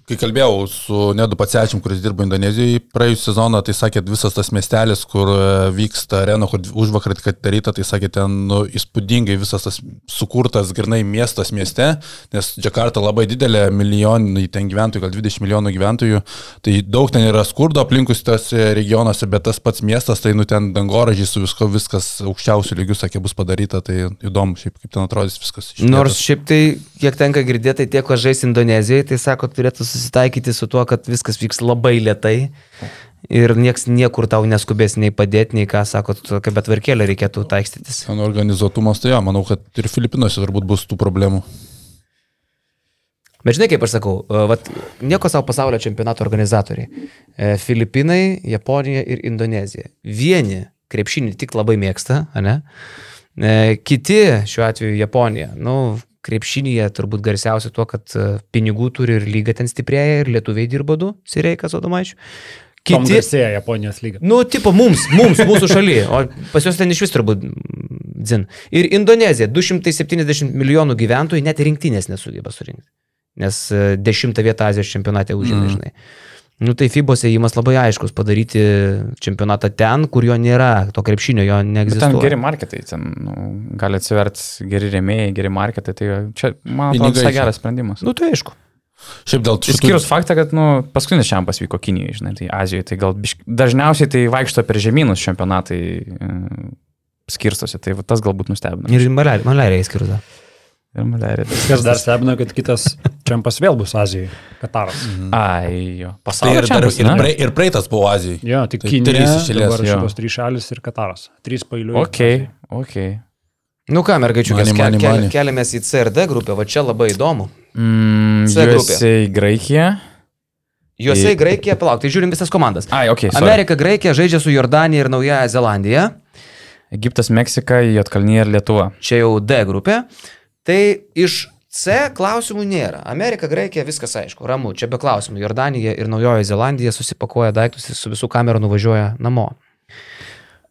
Kai kalbėjau su Nedu Patsiačiam, kuris dirbo Indonezijoje praėjusią sezoną, tai sakė, visas tas miestelis, kur e, vyksta arena, kur už vakarą tik atidaryta, tai sakė, ten nu, įspūdingai visas tas sukurtas grinai miestas mieste, nes Džakarta labai didelė, milijonai ten gyventojų, gal 20 milijonų gyventojų, tai daug ten yra skurdo aplinkus tose regionuose, bet tas pats miestas, tai nu ten dangoražiai su visko, viskas aukščiausių lygių, sakė, bus padaryta, tai įdomu šiaip, kaip ten atrodys viskas. iš
Nors
vietos.
šiaip tai, kiek tenka girdėti, tai tie, kas žais Indonezijoje, tai sako, turėtų susitaikyti su tuo, kad viskas vyks labai lietai. Ir nieks niekur tau neskubės nei padėti, nei ką, sako, tokia betvarkėlė reikėtų taikstytis.
Ten organizuotumas, tai jo, manau, kad ir Filipinuose turbūt bus tų problemų.
Bet žinai, kaip aš sakau, e, vat, nieko savo pasaulio čempionato organizatoriai. E, Filipinai, Japonija ir Indonezija. Vieni krepšinį tik labai mėgsta, ne? E, Kiti, šiuo atveju Japonija, nu, krepšinėje turbūt garsiausia tuo, kad e, pinigų turi ir lyga ten stiprėja, ir lietuviai dirba du, Sireikas Odomaičių.
Tom
Kiti,
garsėja Japonijos lyga.
Nu, tipo mums, mums, mūsų šalyje, o pas juos ten iš vis turbūt mm, dzin. Ir Indonezija, 270 milijonų gyventojų net rinktinės nesugeba surinkti, nes e, dešimtą vietą Azijos čempionate užima, mm. žinai. Nu, tai FIBOS įėjimas labai aiškus, padaryti čempionatą ten, kur jo nėra, to krepšinio jo
Bet ten geri
neegzistuoja.
marketai, ten nu, gali atsiverti geri rėmėjai, geri marketai, tai čia, man atrodo,
Pinigai
visai
čia.
geras sprendimas.
Nu, tai aišku.
Šiaip dėl šitų-
Išskyrus faktą, kad nu, paskutinis čempionatas vyko Kinijoje, žinai, tai Azijoje, tai gal bišk... dažniausiai tai vaikšto per žemynus čempionatai e, skirstosi, tai va tas galbūt nustebino.
Ir maliarija įskirta.
Ir malerija.
Kas dar stebina, kad kitas čempas vėl bus Azijoje. Kataras.
Ai, jo.
Tai
Pasaulio
ir, dar,
čempionatas.
ir,
na?
prei, ir praeitas buvo Azijai.
Jo, tik
Tai
Kinija.
trys iš eilės,
Dabar
jo.
šitos trys šalis ir Kataras. Trys pailiui.
Ok, ok.
Nu ką, mergaičiukės,
Mani,
ke,
mani,
ke,
mani.
keliamės į CRD grupę, va čia labai įdomu.
Mm,
C grupė.
USA į Graikiją.
Juose
Į-
į Graikiją, palauk, tai žiūrim visas komandas.
Ai, ok. sorry.
Amerika, Graikija žaidžia su Jordanija ir Naujaja Zelandija.
Egiptas, Meksika, Jotkalnyje ir Lietuva.
Čia jau D grupė. Tai iš C klausimų nėra. Amerika, Graikija, viskas aišku, ramu, čia be klausimų. Jordanija ir Naujoji Zelandija susipakuoja daiktus ir su visų kamerų nuvažiuoja namo.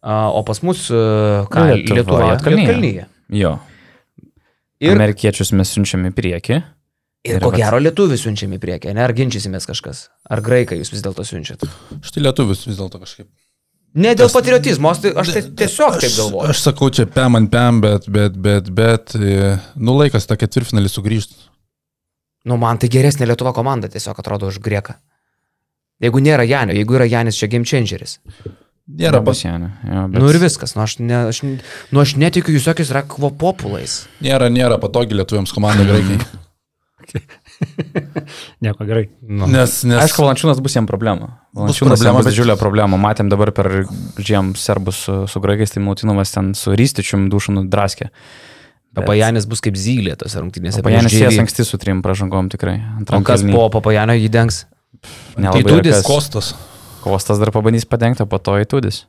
A, O pas mus, a, ką,
Lietuva,
Lietuva,
Juodkalnija.
Jotkalnyje.
Jo. Ir...
Ir,
Amerikiečius mes siunčiam į priekį.
ir
ir
ko
vat-
gero lietuvių siunčiami į priekį, ne? Ar ginčysimės kažkas? Ar graikai jūs vis dėlto siunčiat?
Štai lietuvius tai vis dėlto kažkaip.
Ne dėl patriotizmo, aš, tai, aš tai tiesiog taip galvoju.
Aš, aš sakau, čia pem ant pem, bet, bet, bet, bet, e, nu laikas tą ketvirtfinalį sugrįžti.
Nu, man tai geresnė Lietuva komanda tiesiog atrodo už grieką. Jeigu nėra Janio, jeigu yra Janis čia game changeris.
Nėra, pas,
pasienio. Jo,
Bet... Nu ir viskas, nu aš, ne, aš, nu, aš netikiu jūs jokiais rakvopopulais.
nėra, nėra patogi lietuviams komanda
<laughs>
greikiai.
Nieko gerai.
Nu.
Nes, nes...
Aišku, Valančiūnas bus jam problema. Valančiūnas
problema,
jam bus
bet-
didžiulė problema. Matėm dabar per žiem serbus su, su graikais, tai Mautinovas ten su rystičium dušinu draskė.
Papajanis bus kaip zylė tose rungtynėse.
Pajanis
prieš
sės
GV.
anksti su trim pražangom tikrai.
O
Antram
kas
kėliny.
po papajanio jį dengs?
Nelabai
tai Tūdis,
yra kas.
Kostas.
Kostas dar pabandys padengti, o po to įtūdis.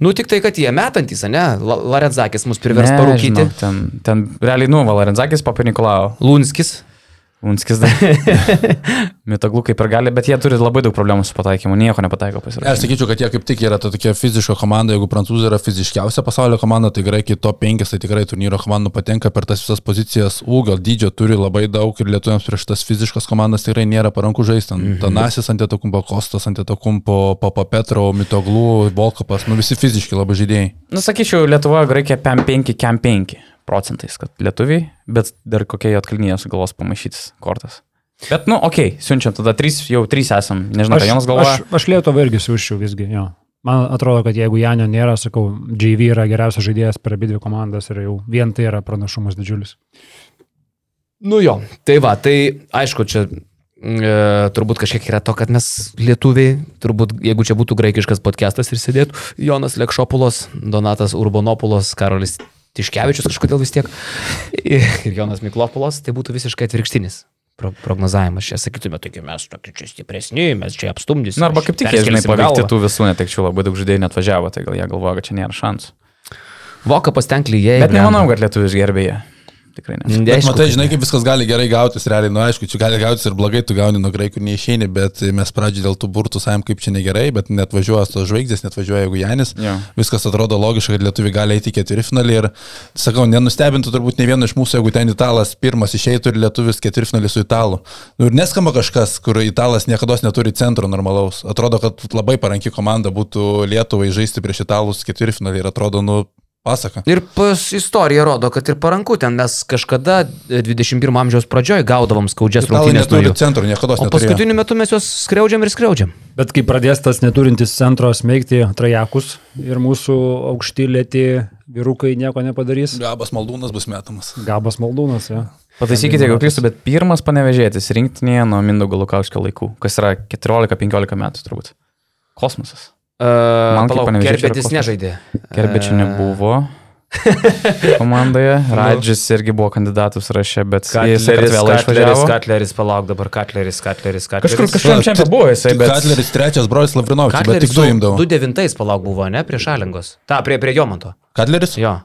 Nu tik tai, kad jie metantys, ne? La- Larenzakis mus privers parūkyti.
Ten, ten realiai, nu, Valarenzakis, Papa Nikolau,
Lunskis.
Unskis
<laughs>
dar. Mitoglu kaip ir gali, bet jie turi labai daug problemų su pataikymu, nieko nepataiko
Aš
pasirašyti.
sakyčiau, kad jie kaip tik yra ta tokia fiziška komanda, jeigu prancūzai yra fiziškiausia pasaulio komanda, tai graikiai top 5, tai tikrai turnyro komandų patenka per tas visas pozicijas, ūgio dydžio turi labai daug ir lietuviams prieš tas fiziškas komandas tikrai nėra paranku žaisti. Mm -hmm. Tanasis ant etokumpo, Kostas ant etokumpo, Papa Petro, Mitoglų, Volkopas, nu visi fiziški labai žaidėjai.
Na, Nu, sakyčiau, Lietuva, Graikija, PM5, KM5 procentais, kad lietuviai, bet dar kokie jo atkalnyje sugalvos pamaišytis kortas. Bet, nu, okei, okay, siunčiam tada trys, jau trys esam,
tai
nežinau, ką jiems galvoja.
aš, aš Lietuvą irgi siūščiau visgi. Jo. Man atrodo, kad jeigu Janio nėra, sakau, JV yra geriausias žaidėjas per abi dvi komandas ir jau vien tai yra pranašumas didžiulis.
Nu jo, tai va, tai aišku, čia e, turbūt kažkiek yra to, kad mes lietuviai, turbūt jeigu čia būtų graikiškas podcastas ir sėdėtų Jonas Lekšopulos, Donatas Urbanopulos, Karolis Tiškevičius kažkodėl vis tiek ir ir Jonas Miklopulos, tai būtų visiškai atvirkštinis pro- prognozavimas. Čia sakytume, taigi mes tokie čia stipresni, mes čia apstumdysime.
Na, Nu, arba kaip tik, jie, žinai, paveikti tų visų netekčių, labai daug žaidėjų net važiavo, tai gal jie galvoja, kad čia nėra šansų.
Voka pastenklyje.
Bet nemanau, kad lietuvius gerbėja. Tikrai ne.
Mm.
Bet matai, žinai, kaip viskas gali gerai gautis, realiai, nu aišku, čia gali gautis ir blogai, tu gauni nuo graikų neišeini, bet mes pradžiai dėl tų burtų savim kaip čia negerai, bet net važiuoja tos žvaigždės, net važiuoja jeigu Janis,
Jo.
viskas atrodo logiška, kad lietuvi gali eiti į ketvirtfinalį ir, sakau, nenustebintų turbūt ne vieno iš mūsų, jeigu ten italas pirmas išeitų ir lietuvis ketvirtfinalį su italu. Nu, ir neskamba kažkas, kur italas niekada neturi centro normalaus. Atrodo, kad labai paranki komanda būtų Lietuvai žaisti prieš italus ketvirtfinalį ir atrodo, nu, pasaka.
Ir pas istorija rodo, kad ir paranku ten mes kažkada e, 21 amžiaus pradžioje gaudavom skaudžias
Italai
rungtynės. nuo
neturi
jų.
centro, niekada
O
neturi.
paskutiniu metu mes juos skriaudžiam ir skriaudžiam.
Bet kai pradės tas neturintis centro smeigti trajakus ir mūsų aukšti lėti vyrukai nieko nepadarys,
Gabas maldūnas bus metamas.
gabas maldūnas. Ja.
Pataisykite, jeigu klystu, bet pirmas panevežėtis rinktinėje nuo Mindaugo Lukauskio laikų, kas yra 14-15 metų turbūt. Kosmosas.
Uh,
Man kaip
palauk,
Panevėžiečiui
Kerbetis
yra
nežaidė.
Kerbečio
E,
nebuvo komandoje. Radžis irgi buvo kandidatų sąraše, bet jis ir vėl
Katleris,
išvažiavo.
Katleris, palauk dabar, Katleris, Katleris, Katleris.
Kažkur kažkam čia buvo jisai, bet...
Katleris trečias, brolis Lavrinovičius, bet tik du imdavo.
2-9 palauk buvo, ne, prie Šalingos. Ta, prie, prie Jomanto.
Katleris?
Jo.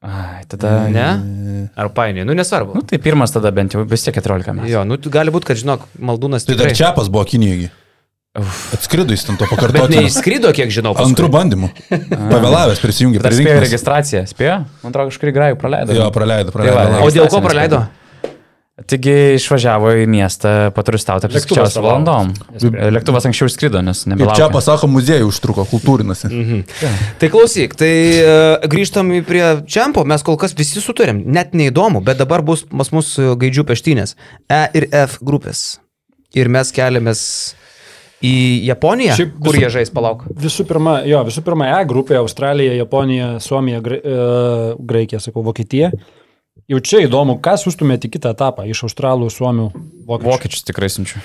Ai, tada...
Ne? Ar painiai, nu nesvarbu.
Nu, tai pirmas tada bent jau vis tiek 14 metų.
Jo, nu tu- gali būti, kad žinok, Maldūnas
Tai dar
tikrai.
Čiapas buvo Kinijoje. Atskrido jis ten to
Bet
pakartoti.
neįskrido, kiek žinau. paskui.
Antrų bandymų. Pavėlavęs prisijungė
Dar
prie
spėjo
rinktinės.
registraciją, spėjo? Man atrodo, kažkurį grajų praleido.
Jo, praleido,
Tai va,
praleido. O
O dėl ko
registracinis
praleido?
E, Taigi išvažiavo į miestą paturistauti apie
Lėktuvas
6 valandom. e, Lėktuvas anksčiau išskrido, nes
Ir čia
nebelaukė.
pasako, muziejų užtruko, kultūrinasi.
Tai klausyk, tai e, grįžtam į prie čempo, mes kol kas visi sutarėm, net neįdomu, bet dabar bus pas mus e, gaidžių peštynės E ir F grupės. Ir mes keliamės į Japoniją, Šiaip,
Šiaip
kur
visų-
jie žais, palauk.
Visų pirma, jo, visų pirma, E grupė - Australija, Japonija, Suomija, Gra e, Graikija, sakau, Vokietija. Jau čia įdomu, ką siūstumėte į kitą etapą iš Australų, Suomių, Vokiečių.
Vokiečius tikrai siunčiu.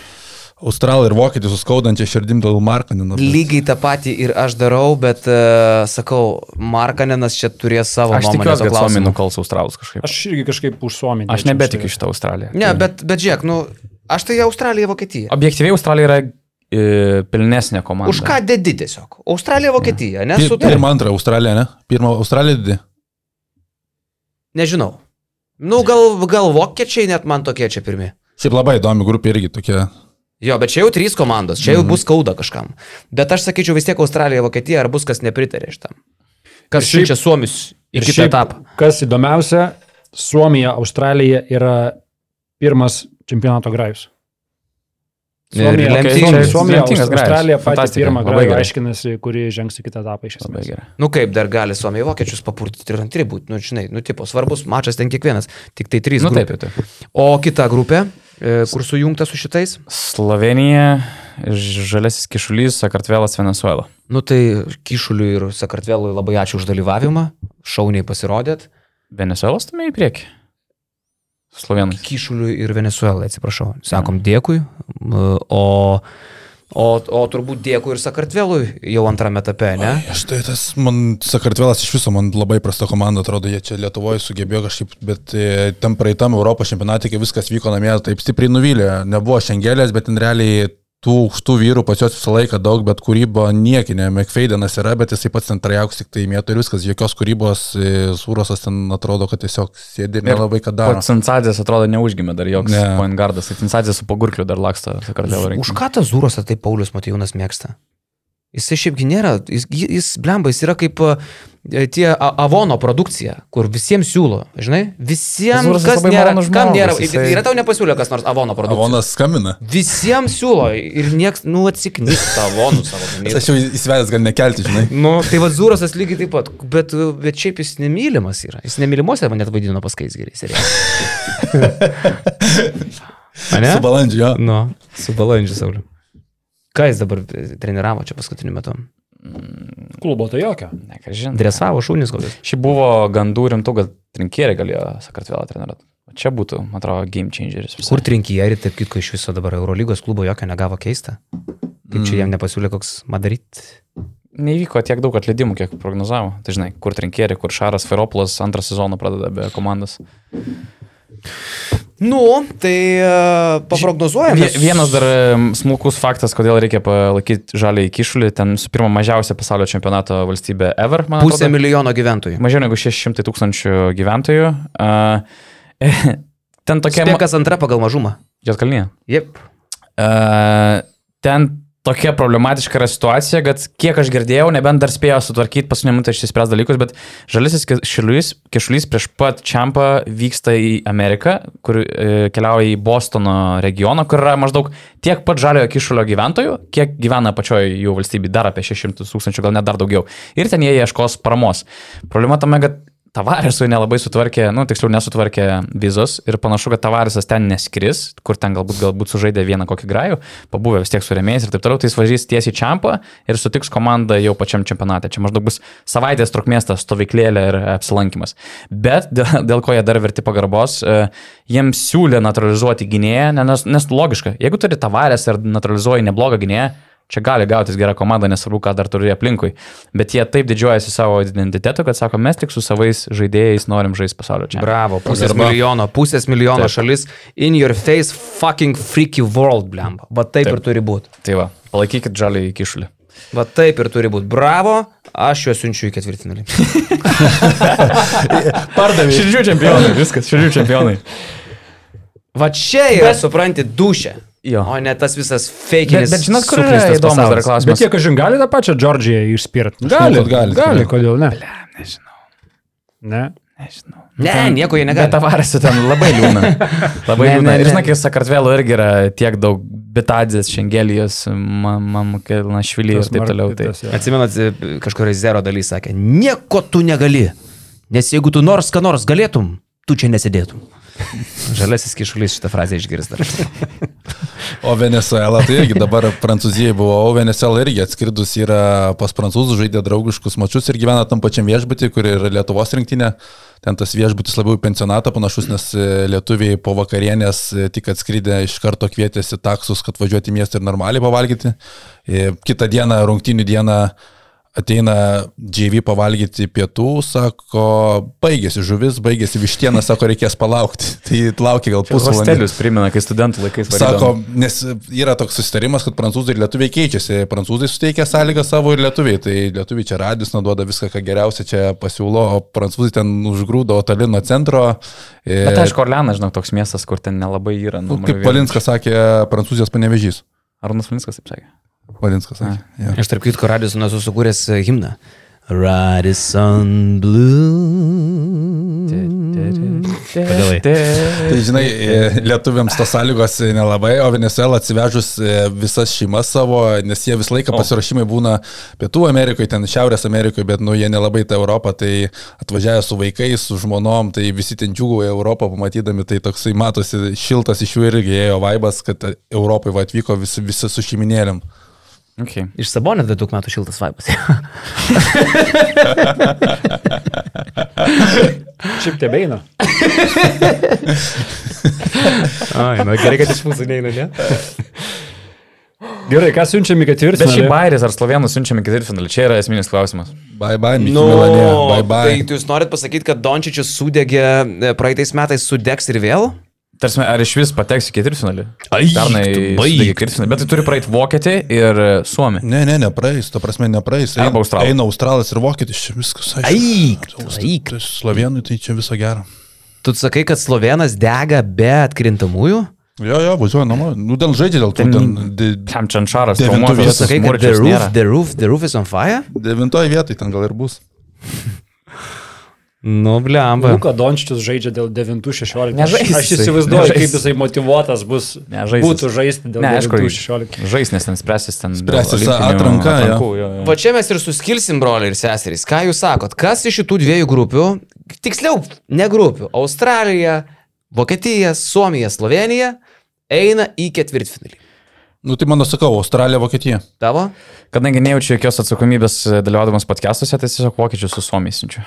Australai ir vokietis suskaudančia širdim dėl Markanino.
Lygiai tą patį ir aš darau, bet uh, sakau, Markanenas čia turės savo
Aš
nuomonę.
tikiuosi, kad
tuo
Suomija
klausimu.
nukols Australus kažkaip.
Aš irgi kažkaip už Suomiją.
Aš nebetikiu šitą Australiją.
Ne, bet, bet žiūrėk, nu, aš tai Australija, Vokietija.
Objektyviai Australija yra e, pilnesnė komanda.
Už ką dedi tiesiog? Australija, Vokietija,
Pi-
nesutarė.
Pirmą, antrą Australiją, ne? Pirmą Australiją didį.
Nežinau. Nu, gal, gal vokiečiai net man tokie čia pirmie.
Šiaip labai įdomi grupė irgi tokia.
Jo, bet čia jau trys komandos, čia jau
Mhm.
bus skauda kažkam. Bet aš sakyčiau vis tiek Australija, Vokietija, ar bus kas nepritarė šitam. Kas
Ir šiaip-
šičia Suomius į kitą etapą.
Kas įdomiausia, Suomija, Australija yra pirmas čempionato grajus. Suomija,
lemtingas-
Suomija, Suomija
lemtingas grajus.
Australija patį
Fantastika,
pirmą
labai
grajų
gerai.
aiškinasi, kuri žengs į kitą etapą iš
Labai
esmės.
gerai.
Nu kaip dar gali Suomiai vokiečius papurtyti ir antri būti, nu žinai, nu tipo svarbus mačas ten kiekvienas, tik tai trys.
Nu taip,
grupė.
jau taip.
O kita grupė, e, kur sujungta su šitais,
Slovenija, Žalesis Kišulys, Sakartvelas, Venezuela.
nu tai Kišuliui ir Sakartvelui labai ačiū už dalyvavimą, šauniai pasirodėt,
Venezuelos stumia į priekį. Slovenai.
Kišuliui ir Venezuelai, atsiprašau,
Mhm.
sakom dėkui, m, o, o, o turbūt dėkui ir Sakartvelui jau antrame etape, ne?
Aš tai tas, man Sakartvelas iš viso, man labai prasta komanda, atrodo, jie čia Lietuvoje sugebėjo kažkaip, bet e, tam praeitam Europos čempionatė, kai viskas vyko namie, taip stipriai nuvylė. Nebuvo šengelės, bet ten realiai tų aukštų vyrų pas juos visą laiką daug, bet kūryba niekinė. McFadenas yra, bet jisai pats centrajauks tik tai mėtų ir viskas, jokios kūrybos, e, Sūrosas ten atrodo, kad tiesiog sėdi ir nelabai ką daro.
Pats Sensadės atrodo neužgimė dar joks ne.
Ne.
point guardas. Sensadės su pagurkliu dar laksto Sakartvelo
Už
rinkimuose.
ką tas Zūros tai Paulius Matijūnas mėgsta? Jisai šiaipgi nėra, jis, jis blemba, jis yra kaip e, tie A- Avono produkcija, kur visiems siūlo, žinai, visiems,
Zurosas
kas
labai
nėra,
malonus
kam
žmogus,
nėra,
jisai-
yra tau nepasiūlė kas nors Avono produkcija.
Avonas skamina.
Visiems siūlo ir nieks, nu, atsiknis tą
<laughs>
Avonų savo. gamybą.
Aš jau įsivedęs gal nekelti, žinai.
Nu, tai va Zūrasas lygiai taip pat, bet, bet šiaip jis nemylimas yra. Jis nemylimuose mane net vadino paskais geriai. <laughs> Ane?
Su balandžiu, jo.
Nu, su balandžiu Sauliu. Ką jis dabar e, treniravo čia paskutiniu metu?
Klubo tai jokio.
Nežinau.
Dresavo šūnis kokius.
Šiaip buvo gandų rimtų, kad trinkieriai galėjo Sakartvelą treniruoti. Čia būtų, man atrodo, game changeris. visai.
Kur trinkijeri, tarp kitko, iš viso dabar Eurolygos klubo jokio negavo keista. Kaip
Mm.
čia jam nepasiūlė koks Madarit?
Neįvyko tiek daug atleidimų, kiek prognozavo. Tai žinai, kur trinkieriai, kur Šaras Feropolas antrą sezoną pradeda be komandos.
Nu, tai uh, paprognozuojame.
Vie- Vienas dar em, smulkus faktas, kodėl reikia palaikyti žalį į kišulį. Ten su pirma mažiausia pasaulio čempionato valstybė ever, man
Pusę
atrodo.
milijono gyventojų.
Mažiau negu 600 tūkstančių gyventojų. A, <laughs> Ten tokia... ma-
Spėkas antra pagal mažumą.
Juodkalnija.
Jep.
E, ten tokia problematiška yra situacija, kad kiek aš girdėjau, nebent dar spėjo sutvarkyti paskutinį minutę tai išsispręs dalykus, bet žalisis kišulys, kišulys prieš pat čiampą vyksta į Ameriką, kur e, keliauja į Bostono regioną, kur yra maždaug tiek pat žaliojo kišulio gyventojų, kiek gyvena pačioje jų valstybėje, dar apie 600 tūkstančių, gal net dar daugiau. Ir ten jie ieškos paramos. Problema tame, kad Tavaresui nelabai sutvarkė, nu tiksliau nesutvarkė vizos ir panašu, kad Tavaresas ten neskris, kur ten galbūt, galbūt sužaidė vieną kokį grajų, pabuvę vis tiek su remėjais ir taip toliau, tai jis važiuos tiesiai į Čempą ir sutiks komandą jau pačiam čempionate. Čia maždaug bus savaitės trukmės ta stovyklėlė ir apsilankimas. Bet dėl, dėl ko jie dar verti pagarbos, e, jiems siūlė naturalizuoti gynėją, ne- nes, nes logiška, jeigu turi Tavares ir naturalizuoji neblogą gynėją, čia gali gautis gera komanda, nesvarbu, ką dar turi aplinkui. Bet jie taip didžiuojasi savo identitetu, kad sako, mes tik su savais žaidėjais norim žaisti pasaulio čia.
Bravo, pusės
Pagarba.
milijono, pusės milijono
Taip.
šalis. In your face fucking freaky world, blemba. Va taip, taip. ir turi būti.
Tai va, palaikykit žalį į kišulį.
Va taip ir turi būti. Bravo, aš juos siunčiu į ketvirtinį.
Pardavė.
Širdžių čempionai, viskas, širdžių
<laughs>
čempionai.
<laughs> Va čia yra, bet... supranti, dušė.
Jo.
O ne tas visas fake.
Bet, bet žinot, kur yra įdomus dar klausimas?
Bet jie, kažin, gali tą pačią Džordžiją išspirti?
kad gali,
Nu, gali,
tikrai.
kodėl ne? Ne, nežinau. Ne.
Nežinau.
Ne, nieko jie negali.
Bet avarasi ten labai
<laughs>
liūna. Labai
Ne,
liūna.
ne,
Ir
ne.
žinai, kai Sakartvelo irgi yra tiek daug bitadzės, šengelijos, mamukelna, švilį ir taip toliau. Tai.
Atsimenu, atsi- kažkur iš e, zero daly sakė, nieko tu negali, nes jeigu tu nors ką nors galėtum, tu čia
<laughs>
nesėdėtum. Žalesis kišulys šitą frazę išgirsta.
O Venezuela, tai irgi dabar Prancūzijai buvo, o Venezuela irgi atskridus yra pas prancūzų, žaidė draugiškus mačius ir gyvena tam pačiam viešbutį, kur yra Lietuvos rinktinė. Ten tas viešbutis labiau į pensionatą panašus, nes e, lietuviai po vakarienės e, tik atskridę iš karto kvietėsi taksus, kad važiuoti į miestą ir normaliai pavalgyti. E, Kitą dieną, rungtinių dieną, ateina džiavy pavalgyti pietų, sako, baigėsi žuvis, baigėsi vištiena, sako, reikės palaukti. <laughs> Tai laukia gal pusvalandį.
Hostelius primena, kai studentų laikais
Sako,
važiavo.
nes yra toks susitarimas, kad prancūzai ir lietuviai keičiasi. Prancūzai suteikia sąlygą savo ir lietuviai. Tai lietuviai čia radis naduoda viską, ką geriausia čia pasiūlo, o prancūzai ten užgrūdo Talino centro. Ir,
Bet aišku, Orleanas, žinau, toks miestas, kur ten nelabai yra.
e, nu,
numerio
kaip
vienas.
Valinskas sakė, prancūzijos panevežys.
Arnas Valinskas taip sakė.
Valinskas sakė. Jo.
Aš tarp kitko Radisonas susikūręs e, himną. Radison Blue. Pagalai.
Tai žinai, e, lietuviams tos sąlygos e, nelabai, o Venezuela atsivežus e, visas šeimas savo, nes jie visą laiką pasirašymai būna Pietų Amerikoje, ten Šiaurės Amerikoje, bet nu jie nelabai tą Europą, tai atvažiavę su vaikais, su žmonom, tai visi ten džiugauja Europą pamatydami, tai toksai matosi šiltas iš jų irgi ėjo vaibas, kad Europai va atvyko visi, visi su šeiminėlėm.
Okay.
Iš Sabonės dar daug metų šiltas <laughs> vaipas.
Šiaip <laughs> tebeina.
Ai, na gerai, kad iš mūsų neina, ne?
Gerai, ką siunčiam į ketvirtą?
Bet šį bairį ar slovėnų siunčiame ketvirtfinalį, čia yra esminis klausimas.
Bye bye, Miki no, Milanė, bye bye.
Nu, tai tu jūs norit pasakyti, kad Dončičius sudegė e, praeitais metais, sudegs ir vėl?
Tarsi, ar iš vis pateks į ketvirtfinalį?
Ai,
Pernai
tu baik.
baigė ketvirtfinalį, bet tai turi praeiti vokietį ir e, suomį.
Ne, ne, nepraeis, to prasme nepraeis.
Arba australai.
Eina australas ir vokietis, čia viskas
Eik tu, eik
Tai slovenui tai čia viso gero.
Tu sakai, kad slovenas dega be atkrintamųjų?
Jo, jo, važiuoju namo. Nu, ten žaidžia dėl to. Ten de,
Tam Čančaras,
Devintų
Tu
vietų.
Tomovičius,
sakai, kad the
Murčius
roof,
nėra.
the roof, the roof is on fire?
devintoje vietoje ten gal ir bus.
Nu, blemba.
Luka Dončičius žaidžia dėl 9-16.
Nežais
Aš
jisai,
įsivaizduoju,
nežais.
kaip jisai motivuotas bus
Nežais
būtų
jis.
žaisti dėl
Ne, aišku,
9-16.
žais, nes ten spręsis ten. dėl
Spręsis ta
olimpinių
atranka, jo.
atrankų, jo, jo.
Mm. Va čia mes ir suskilsim, broliai ir seserys. Ką jūs sakot? Kas iš šitų dviejų grupių, tiksliau, ne grupių, Australija, Vokietija, Suomija, Slovenija, eina į ketvirtfinalį.
Nu, tai mano sakau, Australija, Vokietija.
Tavo?
Kadangi nejaučiu jokios atsakomybės e, dalyvaudamas podcastuose, tai tiesiog vokiečių su suomiais siunčiu.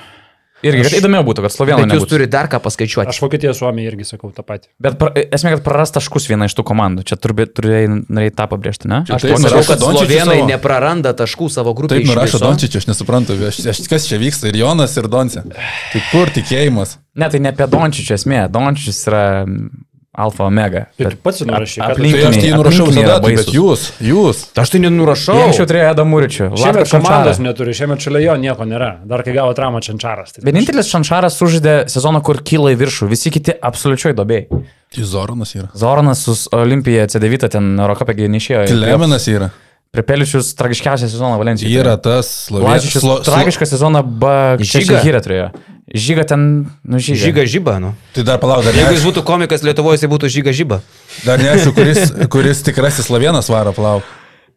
Irgi, kad įdomiau būtų, kad
Bet
slovėnų
jūs
nebūtų.
turite dar ką paskaičiuoti.
Aš Vokietija Suomija irgi sakau tą patį.
Bet pra, esmė, kad praras taškus viena iš tų komandų. Čia turbūt turėjai norėjai tą pabrėžti, ne?
Čia
Aš
taip
taip sakau,
nurašo
kad
Dončičius
slovenai
savo.
nepraranda taškų savo
Taip
grupėje. iš
nurašo
viso.
Dončičius, aš nesuprantu, aš, aš, kas čia vyksta, ir Jonas, ir Dončia. Tai kur tikėjimas?
Ne, tai ne apie Dončičių esmė. Dončičius yra mm, alfa omega.
Bet tu pats nurašai, kad
Tai aš tai jį nurašau visada, tai, bet jūs, jūs.
Aš tai nenurašau.
Anksčiau turėjo Adam Muričių.
Šiemet komandos neturi, šiemet šalia jo nieko nėra. Dar kai gavo traumą Čančaras. Tai
Vienintelis Šanšaras sužaidė sezoną, kur kyla į viršų, visi kiti absoliučiai dobėjai.
Tai Zoronas yra.
Zoranas su Olimpija C9 ten Eurocopė neišėjo.
Kleminas yra.
Pripeličius tragiškiausią sezoną Valencijoje.
Yra tas slovėnas.
Lažičius tragišką sezoną
Žyga.
Bakšyhyrė turėjo. Žyga ten, nu žyga.
Žyga žyba, nu.
Tai dar palauk, dar
Jeigu jis
neaišku,
būtų komikas Lietuvoje, jis būtų žyga žyba.
dar neaišku kuris, kuris tikrasis slovėnas varo, palauk.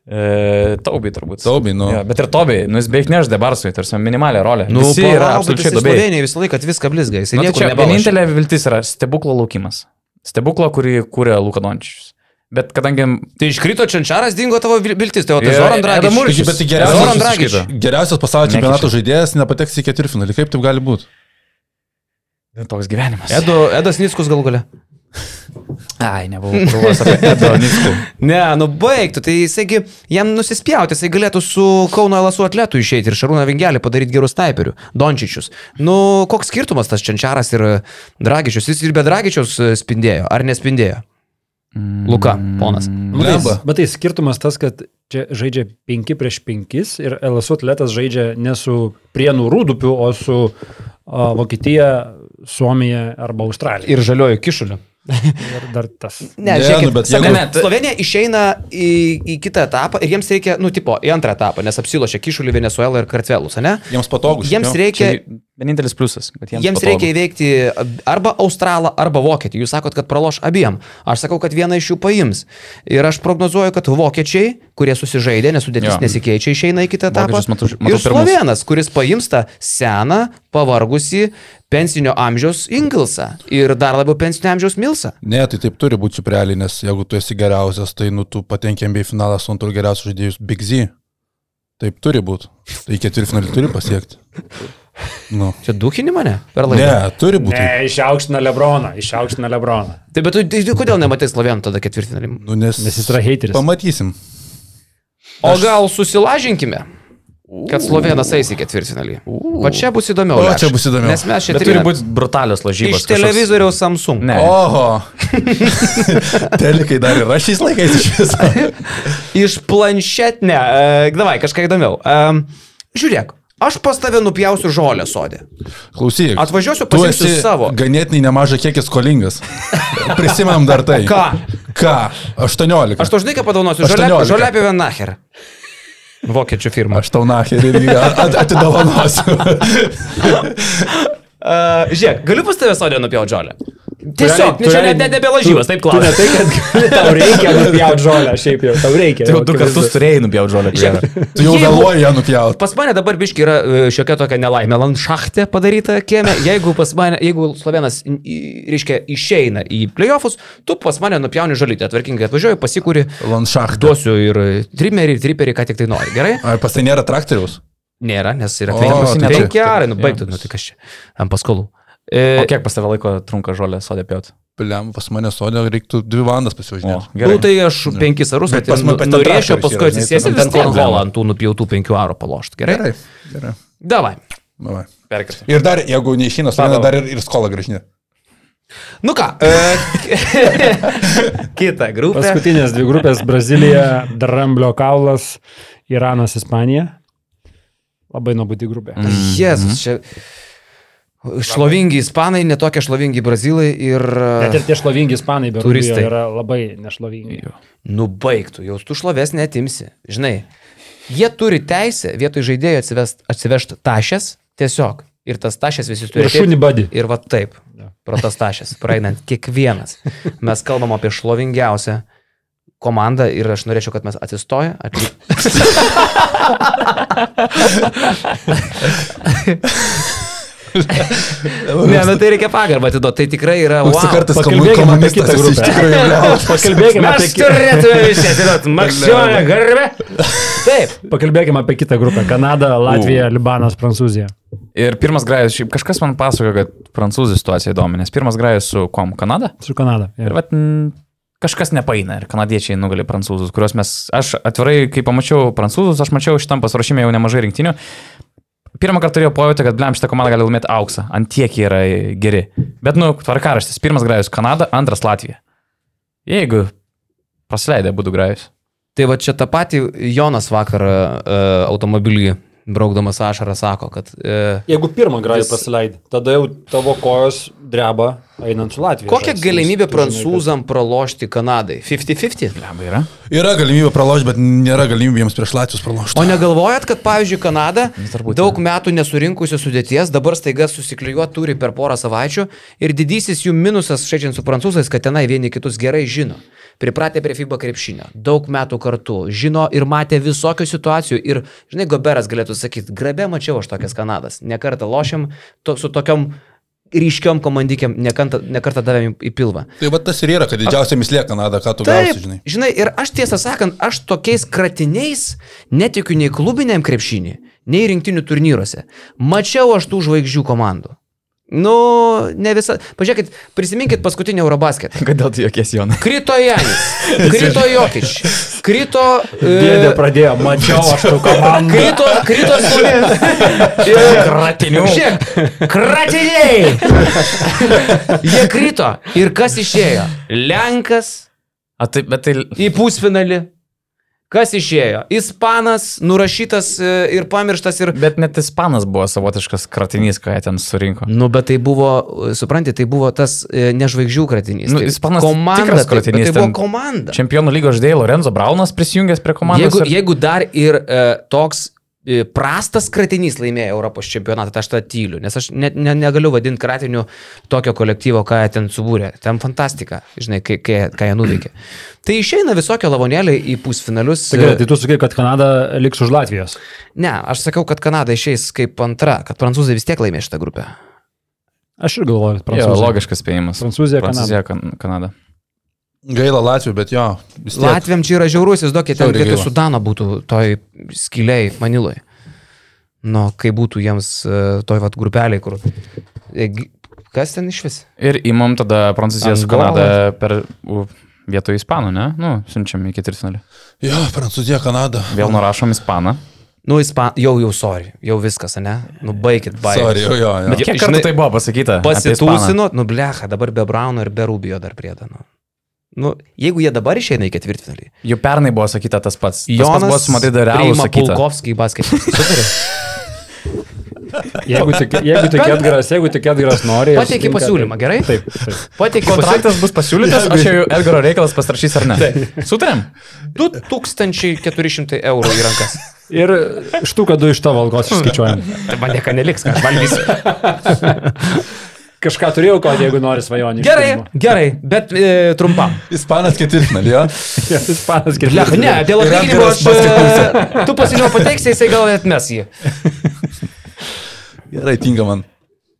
E, taubiai turbūt.
Taubiai, nu.
Jo, bet ir Tobiai, nu jis beveik neždė Barsui, tarsi minimalią rolę.
Nu,
Visi
palauk,
yra
bet
absoliučiai
jisai
dobėjai.
Slovenijai visą laiką viską blizga,
Nu,
jis
tai
nieko
čia
nebandė.
vienintelė viltis yra stebuklo laukimas. Stebuklo, kurį kūrė Lukadončius. Bet kadangi... nu,
Tai iškrito Čančaras, dingo tavo vil- viltis, tai o tai
Ir
Zoran
Eda
Dragič.
Muričius.
Taigi, bet tai
Zoran
geriausias,
Dragič.
geriausias pasaulio
Nekiša.
čempionato žaidėjas nepateks į ketvirtfinalį. Kaip taip gali būti?
Nu, Toks gyvenimas.
Edu, Edas Niskus galų gale.
Ai, nebuvau krūvas <laughs> apie Edo Niskų.
Ne, nu baigtų, tai jisaigi jam nusispjauti, jisai galėtų su Kauno Lasu atletu išeiti ir Šarūną Vingelį padaryti gerus taiperių, Dončičius. Nu, koks skirtumas tas Čančaras ir e, Dragičius, jis ir be Dragičiaus e, spindėjo, ar nespindėjo? Luka, ponas.
Blemba.
Bet tai skirtumas tas, kad čia žaidžia 5 prieš 5 ir LSU atletas žaidžia ne su Prienų Rūdupiu, o su o, Vokietija, Suomija arba Australija.
Ir žaliojo kišuliu.
Ir dar tas.
Ne,
Ne,
žiūrėkit,
nu, bet
sakau,
jeigu-
ne, ne, Slovenija išeina į, į kitą etapą ir jiems reikia, nu, tipo, į antrą etapą, nes apsilošia kišulį Venezuelą ir Kartvelus, ne?
Jiems patogu. šiaip
Jiems
jo.
reikia
Čia Vienintelis pliusas, kad jiems,
Jiems reikia įveikti arba australą, arba vokietį. Jūs sakot, kad praloš abiem. Aš sakau, kad vieną iš jų paims. Ir aš prognozuoju, kad vokiečiai, kurie susižaidė, nes sudėtis
Jo.
nesikeičia, išeina į kitą etapą.
Vokiečius matau- matau
ir
pirmus.
slovėnas, kuris paims tą seną, pavargusi pensinio amžiaus Ingilsą ir dar labiau pensinio amžiaus Milsą.
Ne, tai taip turi būti realiai, nes jeigu tu esi geriausias, tai nu tu patenkėm bei finalą su antru geriausiu žaidėjus Big Z. Taip turi būti. Tai ketvirtfinalį turi pasiekti. Nu.
Čia dukinį mane per
Ne,
laiką.
turi būti.
Ne, išaukština Lebroną, išaukština Lebroną.
Tai bet tu, tai kodėl nematai slovėnų tada ketvirtinalį?
Nu, nes,
Nes jis yra hateris.
Pamatysim.
O gal susilažinkime? Kad slovėnas eis į ketvirtinalį. O čia bus įdomiau.
O,
Lekš.
čia bus įdomiau.
Nes mes čia
Bet turi būti brutalios lažybos.
Iš televizoriaus Samsung.
Ne.
Oho. <laughs> Telikai dar yra šiais laikais iš viso.
<laughs> Iš planšetinė. Uh, davai, kažką įdomiau. Um, žiūrėk, aš pas tave nupjausiu žolę sodė.
Klausyk.
Atvažiuosiu,
tu
pasiimsiu
esi
savo.
Ganėtinai nemažą kiekį skolingas. Prisimam dar tai.
Ką?
Ką? 18.
Aš to žinai, ką padovanosiu. Žolė,
18.
žolė apie E, Venacher. Vokiečių firma.
Aš tau nacherį irgi at, atidovanosiu.
Uh, žiūrėk, galiu pas tave sodę nupjauti žolę. Tiesiog, ne,
realiai- tu
čia
realiai-
net ne apie lažybas, taip
Tu ne
klausiu.
tai, kad tau reikia nupjauti žolę, šiaip jau, tau reikia.
Tai
Jau du kartus turėjai nupjauti žolę. karjerą.
Tu jau
Jeigu-
vėluoji ją nupjauti.
Pas mane dabar biški yra e, šiokia tokia nelaimė. Landšachtė padaryta kieme. Jeigu pas mane, jeigu slovenas, n- į- reiškia, išeina į playoffus, tu pas mane nupjauni žolytę. Tvarkingai atvažiuoju, pasikūri,
Lanšachtu.
duosiu ir trimerį, ir triperį, ką tik tai nori. Gerai?
Ar pas tai nėra traktoriaus?
Nėra, nes yra
O,
tvenkiamas.
tai čia-
Penkiarai, nu baigtų, nu tai kas čia. Ant paskolų.
O
E,
kiek pas tave laiko trunka žolė sodė pjauti?
Piliam, pas mane sodė reiktų dvi valandas
O,
pasivažinėti.
Na,
gerai.
nu, tai aš penkis arus,
Bet
bet pas
pas mus
mane
ten
norėčiau,
traktorius
paskui
yra, žinai,
atsisėsti
ten-
ir
ten
ten
problema.
ant tų nupjautų penkių arų palošti. Gerai?
Gerai. Gerai.
Davai.
Davai.
Perkirti.
Ir dar, jeigu neišina, sodė
Padav.
dar ir, ir skolą grįžinė.
Nu ką, e, <laughs> kita grupė.
Paskutinės dvi grupės - Brazilija, Dramblio kaulas, Iranas, Ispanija. Labai nuobodi grupė.
Mm. Jėzus, čia. Šlovingi ispanai, netokie šlovingi brazilai ir... e,
Net ir tie šlovingi ispanai, bet
Turistai.
turistai yra labai nešlovingi.
Nubaigtų, jau tu šlovės netimsi. Žinai, jie turi teisę vietoj žaidėjo atsivest, atsivežti tašės tiesiog. Ir tas tašės visi turi.
Ir šunį badį.
Ir va taip. Pro tas tašės, praeinant kiekvienas. Mes kalbam apie šlovingiausią komandą ir aš norėčiau, kad mes atsistoję. Atlik... ne, nu tai reikia pagarbą atiduoti. Tai tikrai yra...
Koks wow,
Wow.
kartas
pakalbėkime apie
komunistas
kitą
esi iš
grupę.
tikrųjų liaudas.
Pakalbėkime apie,
Mes turėtume visi atiduoti maksimalią garbę. Taip.
ki- pakalbėkime apie kitą grupę - Kanada, Latvija, Libanas, Prancūzija.
Ir pirmas grajus, šiaip kažkas man pasakojo, kad prancūzų situacija įdomi, nes pirmas grajus su kom Kanada.
Su Kanada. jo.
Ir vat, n, kažkas nepaina ir kanadiečiai nugali prancūzus, kuriuos mes, aš atvirai, kai pamačiau prancūzus, aš mačiau šitam pasiruošimė jau nemažai rinktinių. Pirmą kartą turėjau pojūtį, kad blem šitą komandą gali laimėti auksą, ant tiek jie yra geri. Bet, nu, tvarkaraštis, pirmas grajus Kanada, antras Latvija. Jeigu pasileidė būtų grajus.
Tai va čia tą patį Jonas vakar e, automobilį braukdamas ašarą sako, kad... E,
Jeigu pirmą grajų pasileid, tada jau tavo kojos dreba einant su Latvija.
kokia
žaisti,
galimybė
nes tu žinai, kad-
prancūzam pralošti Kanadai? 50-50.
Blem, yra.
Yra galimybė pralošti, bet nėra galimybė jiems prieš Latvijos pralošti.
O negalvojat, kad pavyzdžiui Kanada
turbūt
daug metų nesurinkusi sudėties, dabar staiga susiklijuot turi per porą savaičių ir didysis jų minusas, šeidžiant su prancūzais, kad tenai vieni kitus gerai žino. Pripratę prie FIBA krepšinio, daug metų kartu, žino ir matė visokių situacijų ir, žinai, Goberas galėtų sakyti, grabe mačiau aš tokias Kanadas, nekartą lošiam to, su tokiom ryškiom komandikiam, nekartą davėm į pilvą.
Tai va tas ir yra, kad didžiausia mislė Kanada, ką tu
Taip,
gausi, žinai.
žinai, ir aš tiesą sakant, aš tokiais kratiniais netikiu nei klubiniam krepšinį, nei rinktinių turnyruose. Mačiau aš tų žvaigždžių komandų. Nu, ne visą. Pažiūrėkit, prisiminkit paskutinį Eurobasket.
Kodėl tu jokies Jonai?
Krito Janis, krito Jokič, krito... e,
Dėdė pradėjo, mačiau aš tų
<laughs>
komandų.
Krito, krito Kratinių. Žiūrėk, kratiniai. Jie krito. Ir kas išėjo? Lenkas,
A, tai, bet tai...
į pusfinalį. Kas išėjo? Ispanas, nurašytas e, ir pamirštas ir...
Bet net ispanas buvo savotiškas kratinys, ką jie ten surinko.
Nu, bet tai buvo, e, supranti, tai buvo tas e, nežvaigždžių kratinys.
Nu,
Tai
ispanas
komanda.
tikras
tai- bet
kratinys,
Tai buvo
ten
komanda.
Čempionų lygos žaidėjai Lorenzo Braunas prisijungęs prie komandos.
Jeigu,
ir-
jeigu dar ir e, toks i, prastas kratinys laimėjo Europos čempionatą, tai aš tą tyliu, nes aš ne, ne, negaliu vadinti kratiniu tokio kolektyvo, ką jie ten subūrė. Ten fantastika, žinai, kai, kai, ką jie nuveikė. Tai išeina visokio lavonėlį į pusfinalius. e,
Tai, gerai, tai tu sakai, kad Kanada liks už Latvijos.
Ne, aš sakiau, kad Kanada išeis kaip antra, kad prancūzai vis tiek laimė šitą grupę.
Aš ir galvoju, kad
Jo,
prancūzai.
logiškas spėjimas.
Prancūzija, Kanada.
Prancūzija, Kan- Kanada.
Gaila Latvijų, bet jo. vis tiek.
Latviam čia yra žiaurus, įsivaizduokit, ten
Žiauriai
vietoj
gaila.
Sudano būtų toj skiliai Maniloje. Nu, kai būtų jiems e, toj vat grupeliai, kur... E, gi- Kas ten iš vis?
Ir įmam tada Prancūziją su
Angola.
Kanada per u, vietoj Ispanų, ne? Nu, siunčiam į ketvirtfinalį.
Jo, Prancūzija, Kanada.
Vėl nurašom Ispaną.
Nu, ispa... jau, jau, sorry, jau viskas, ne? Nu, baikit, baikit.
Sorry, jo, jo. jo.
Bet kiek
Žinai,
kartų tai buvo pasakyta? apie Ispaną?
Pasitūsino, nu, blecha, dabar be Brauno ir be Rubio dar priedą. Nu. nu, jeigu jie dabar išeina į ketvirtfinalį.
Jau pernai buvo sakyta tas pats. Jonas tas pats buvo su Madrido Realu sakyta.
Pulkovskį į basketą.
<laughs>
Jeigu tik, jeigu tik Edgaras, jeigu tik Edgaras nori. ir
Pateikė
sutinka,
pasiūlymą, gerai?
Taip, taip.
Pateikė
Kontraktas bus pasiūlytas, aš jau Edgaro reikalas pasirašys ar ne. Sutarėm?
2400 eurų į rankas.
Ir štuka du iš tavo algos išskaičiuojam.
<laughs> Tai man nieko neliks, ką aš valgysiu.
Kažką turėjau, ko jeigu nori svajonį.
Gerai,
<laughs>
gerai, bet e, trumpam.
Ispanas ketvirtfinalį, jo.
Ispanas
Blech,
girdėjo.
ne, dėl
Ir
atlyginimo
Edgaras
aš... e, Tu pasižiūrėjau, pateiksi, jisai gal atmes jį.
Gerai, tinka man.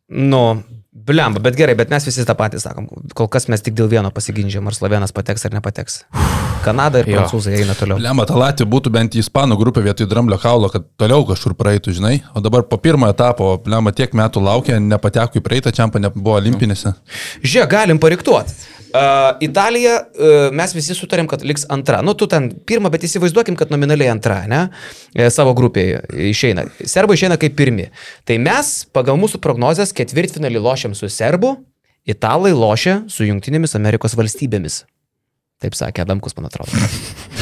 Nu, blemba, bet gerai, bet mes visi tą patį sakom. Kol kas mes tik dėl vieno pasiginčiam, ar slovenas pateks ar nepateks. Kanada ir prancūzai eina toliau.
Lemą tą Latviją būtų bent į Ispanų grupę vietoj Dramblio kaulo, kad toliau kažkur praeitų, žinai. O dabar po pirmo etapo, lemą tiek metų laukia, nepateko į praeitą čempą, nebuvo olimpinėse.
Žiūrėk, galim pariktuoti. Uh, Italija, uh, mes visi sutarėm, kad liks antra. Nu, tu ten pirmą, bet įsivaizduokim, kad nominaliai antra, ne? E, Savo grupėje išeina. Serbai išeina kaip pirmi. Tai mes, pagal mūsų prognozes, ketvirtfinalį lošiam su serbu, italai lošia su Junktinėmis Amerikos valstybėmis. Taip sakė Adamkus, man atrodo.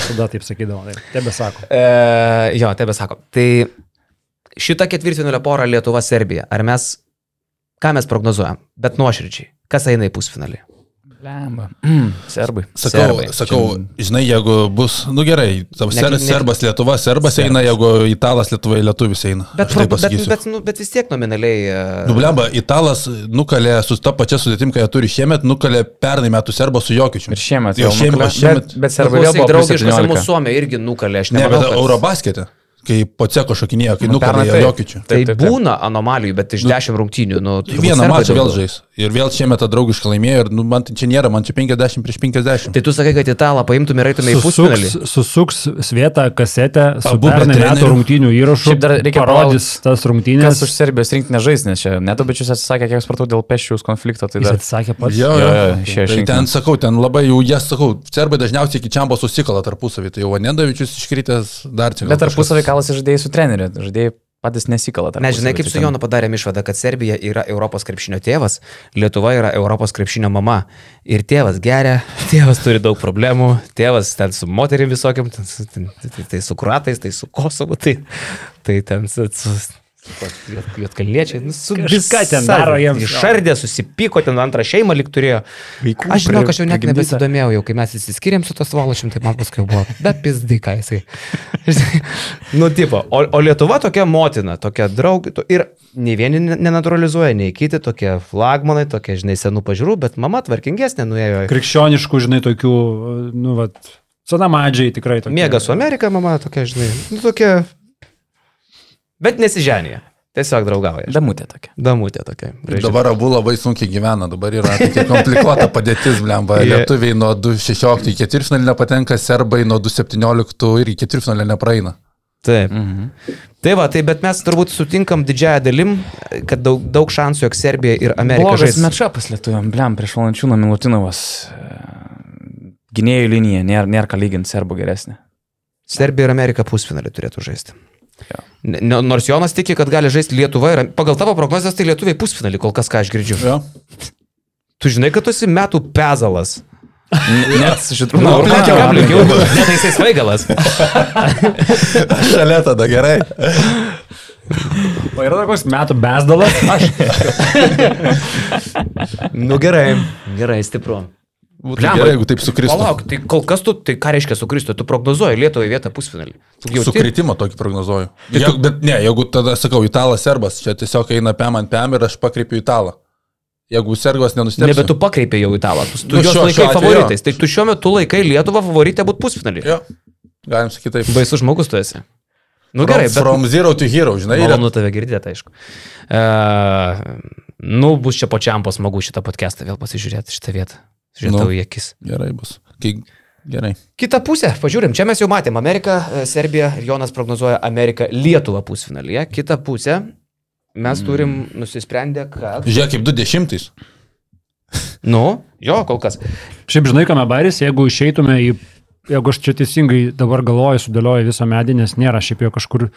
Tada taip sakydavo, taip. Tebe sako.
E, jo, tebe sako. Tai šita ketvirtfinalio pora Lietuva-Serbija. Ar mes, ką mes prognozuojam? Bet nuoširdžiai. Kas eina į pusfinalį?
Lemba. Mm, serbai.
Sakau,
Serbai.
sakau žinai, jeigu bus, nu gerai, tavo ser,
ne-
serbas Lietuva, serbas eina, jeigu italas Lietuva, lietuvis eina.
Bet,
Aš taip
pro- bet,
pasakysiu. Nu,
bet, nu, bet vis tiek nominaliai. e,
Nublemba, italas nukalė su ta pačia sudėtim, kai jie turi šiemet, nukalė pernai metų serbą su jokiučiu.
Ir šiemet.
Jau
jau
šiemet,
nukalė.
šiemet.
Bet, bet
nu,
serbai vėl
klausyk,
buvo
draugiškas ir
17.
mūsų Suomija irgi nukalė, aš
Ne,
nemanau.
bet
kad-
Eurobasketė, kai po ceko šokinėjo, kai
Nu,
nukalė
pernai taip.
jokiučiu.
Tai
Taip, taip, taip.
būna anomalijų, bet iš dešimt rungtynių. Nu, turbūt
Vieną
serbai
mačą vėl
daugiau.
žais. Ir vėl šiemet tą draugišką laimėjo. Ir nu, man tai čia nėra, man čia 50 prieš 50.
Tai tu sakai, kad italą paimtum ir eitum į pusfinalį.
Susuks, susuks svietą kasetę su
Abu be
pernai metų
trenerių.
rungtynių įrašu.
Šiaip dar reikia
parodys tas
Kas
rungtynės.
už Serbijos rinktinę žais, nes čia netobičius atsisakė, kiek supratau, dėl pešiaus konflikto. Tai
Jis
dar...
atsakė pats.
Jo,
Jo,
jo,
jo, išėjo
Tai
žingsnis.
ten sakau, ten labai jau jas sakau, serbai dažniausiai iki čiambo susikala tarpusavį, tai jau Vanendavičius iškritęs dar čia. gal
Bet tarpusavį
kažkas.
kalasi žaidėjai su treneriu. Žaidėjai patys nesikala.
Mes žinai,
tarpusavy,
kaip
tai
su
ten-
Jonu padarėm išvadą, kad Serbija yra Europos krepšinio tėvas, Lietuva yra Europos krepšinio mama. Ir tėvas geria, <laughs> tėvas turi daug problemų, tėvas ten su moterim visokiam, ten, su- ten, tai, tai su kuratais, tai su Kosovu, tai, tai ten su... su Lietkalniečiai,
Kažką ten daro jiems.
Išardė, susipyko, ten antrą šeimą lik turėjo. Vaikų aš žinau, aš jau net nebesidomėjau, jau kai mes įsiskyrėm su tos valošim, tai man paskui buvo, be pizdai, ką jisai. <laughs> nu, tipo, o, o Lietuva tokia motina, tokia draugė, to, ir nei vieni ne- nenaturalizuoja, nei kiti tokie flagmanai, tokie, žinai, senų pažiūrų, bet mama tvarkingesnė nuėjo. į-
Krikščioniškų, žinai, tokių, nu, vat, senamadžiai tikrai tokie.
Miega su Amerika, mama tokia, žinai, nu, tokia. Bet nesiženė, tiesiog draugauja.
Damutė tokia.
Damutė tokia. graži.
Dabar abu labai sunkiai gyvena, dabar yra tokia komplikuota padėtis, blemba.
Jie-
Lietuviai nuo 2.16 į ketvirtfinalį nepatenka, serbai nuo 2.17 irgi ketvirtfinalį nepraeina.
Taip. Mhm. Tai va, tai bet mes turbūt sutinkam didžiąją dalim, kad daug, daug šansų, jog Serbija ir Amerika
Blogas
žais.
mečapas lietuviam, bliam, prieš valančiūną Milutinovas. Gynėjų linija, nėra, nėra ką lyginti, serbų geresnė.
Serbija ir Amerika pusfinalį turėtų žaisti. Ne, ne- nors Jonas tiki, kad gali žaisti Lietuva ir pagal tavo prognozes tai Lietuvai pusfinalį kol kas ką aš girdžiu.
Jo.
Tu žinai, kad tu esi metų pezalas. <laughs>
N- Net su šitų
Na,
nu,
ką čia aplikiau? Ne, tai jisai svaigalas.
Šalia tada gerai.
O yra toks metų besdalas. Aš.
nu gerai. Gerai, stipru.
Būtų gerai, jeigu taip sukristų.
Palauk, tai kol kas tu, tai ką reiškia sukristo, tu prognozuoji Lietuvai vietą pusfinalį. Tu jauti- Tai
Sukritimą tokį prognozuoju. Jeigu, bet ne, jeigu tada sakau, italas serbas, čia tiesiog eina pem ant pem ir aš pakreipiu italą. Jeigu serbas nenustebės.
Ne, bet tu pakreipė jau italą. Tu, tu
Nu,
nu, juos
šiuo- šiuo
laikai
atveju
favoritais. Tai tu šiuo metu laikai Lietuvą favoritę būti pusfinalį.
Jo, galim sakyti taip.
Baisus žmogus tu esi. Nu gerai, bet...
From zero to hero, žinai, Tai yra
Malonu tave girdėti, aišku. Uh, nu, bus čia pačiam pasmagu šitą podcastą vėl pasižiūrėti šitą vietą. Žiūrėtau
Nu.
nu. į akis.
Gerai bus. Kai... Gerai.
Kita pusė, pažiūrim, čia mes jau matėm Ameriką, e, Serbiją ir Jonas prognozuoja Ameriką Lietuvą pusfinalyje. Kita pusė,
Hmm.
mes turim nusisprendę, kad...
Žiūrėk, kaip 20-ais.
Nu, jo, kol kas.
Šiaip žinai, kame baris, jeigu išeitume į, jeigu aš čia teisingai dabar galvoju, sudėlioju visą medį, nes nėra šiaip jau kažkur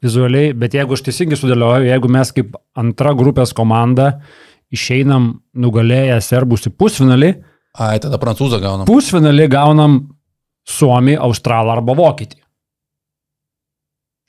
vizualiai, bet jeigu aš teisingai sudėlioju, jeigu mes kaip antra grupės komanda išeinam nugalėję serbus į pusfinalį,
Ai, tada prancūzą gaunam.
pusfinalį gaunam suomį, australą arba vokietį.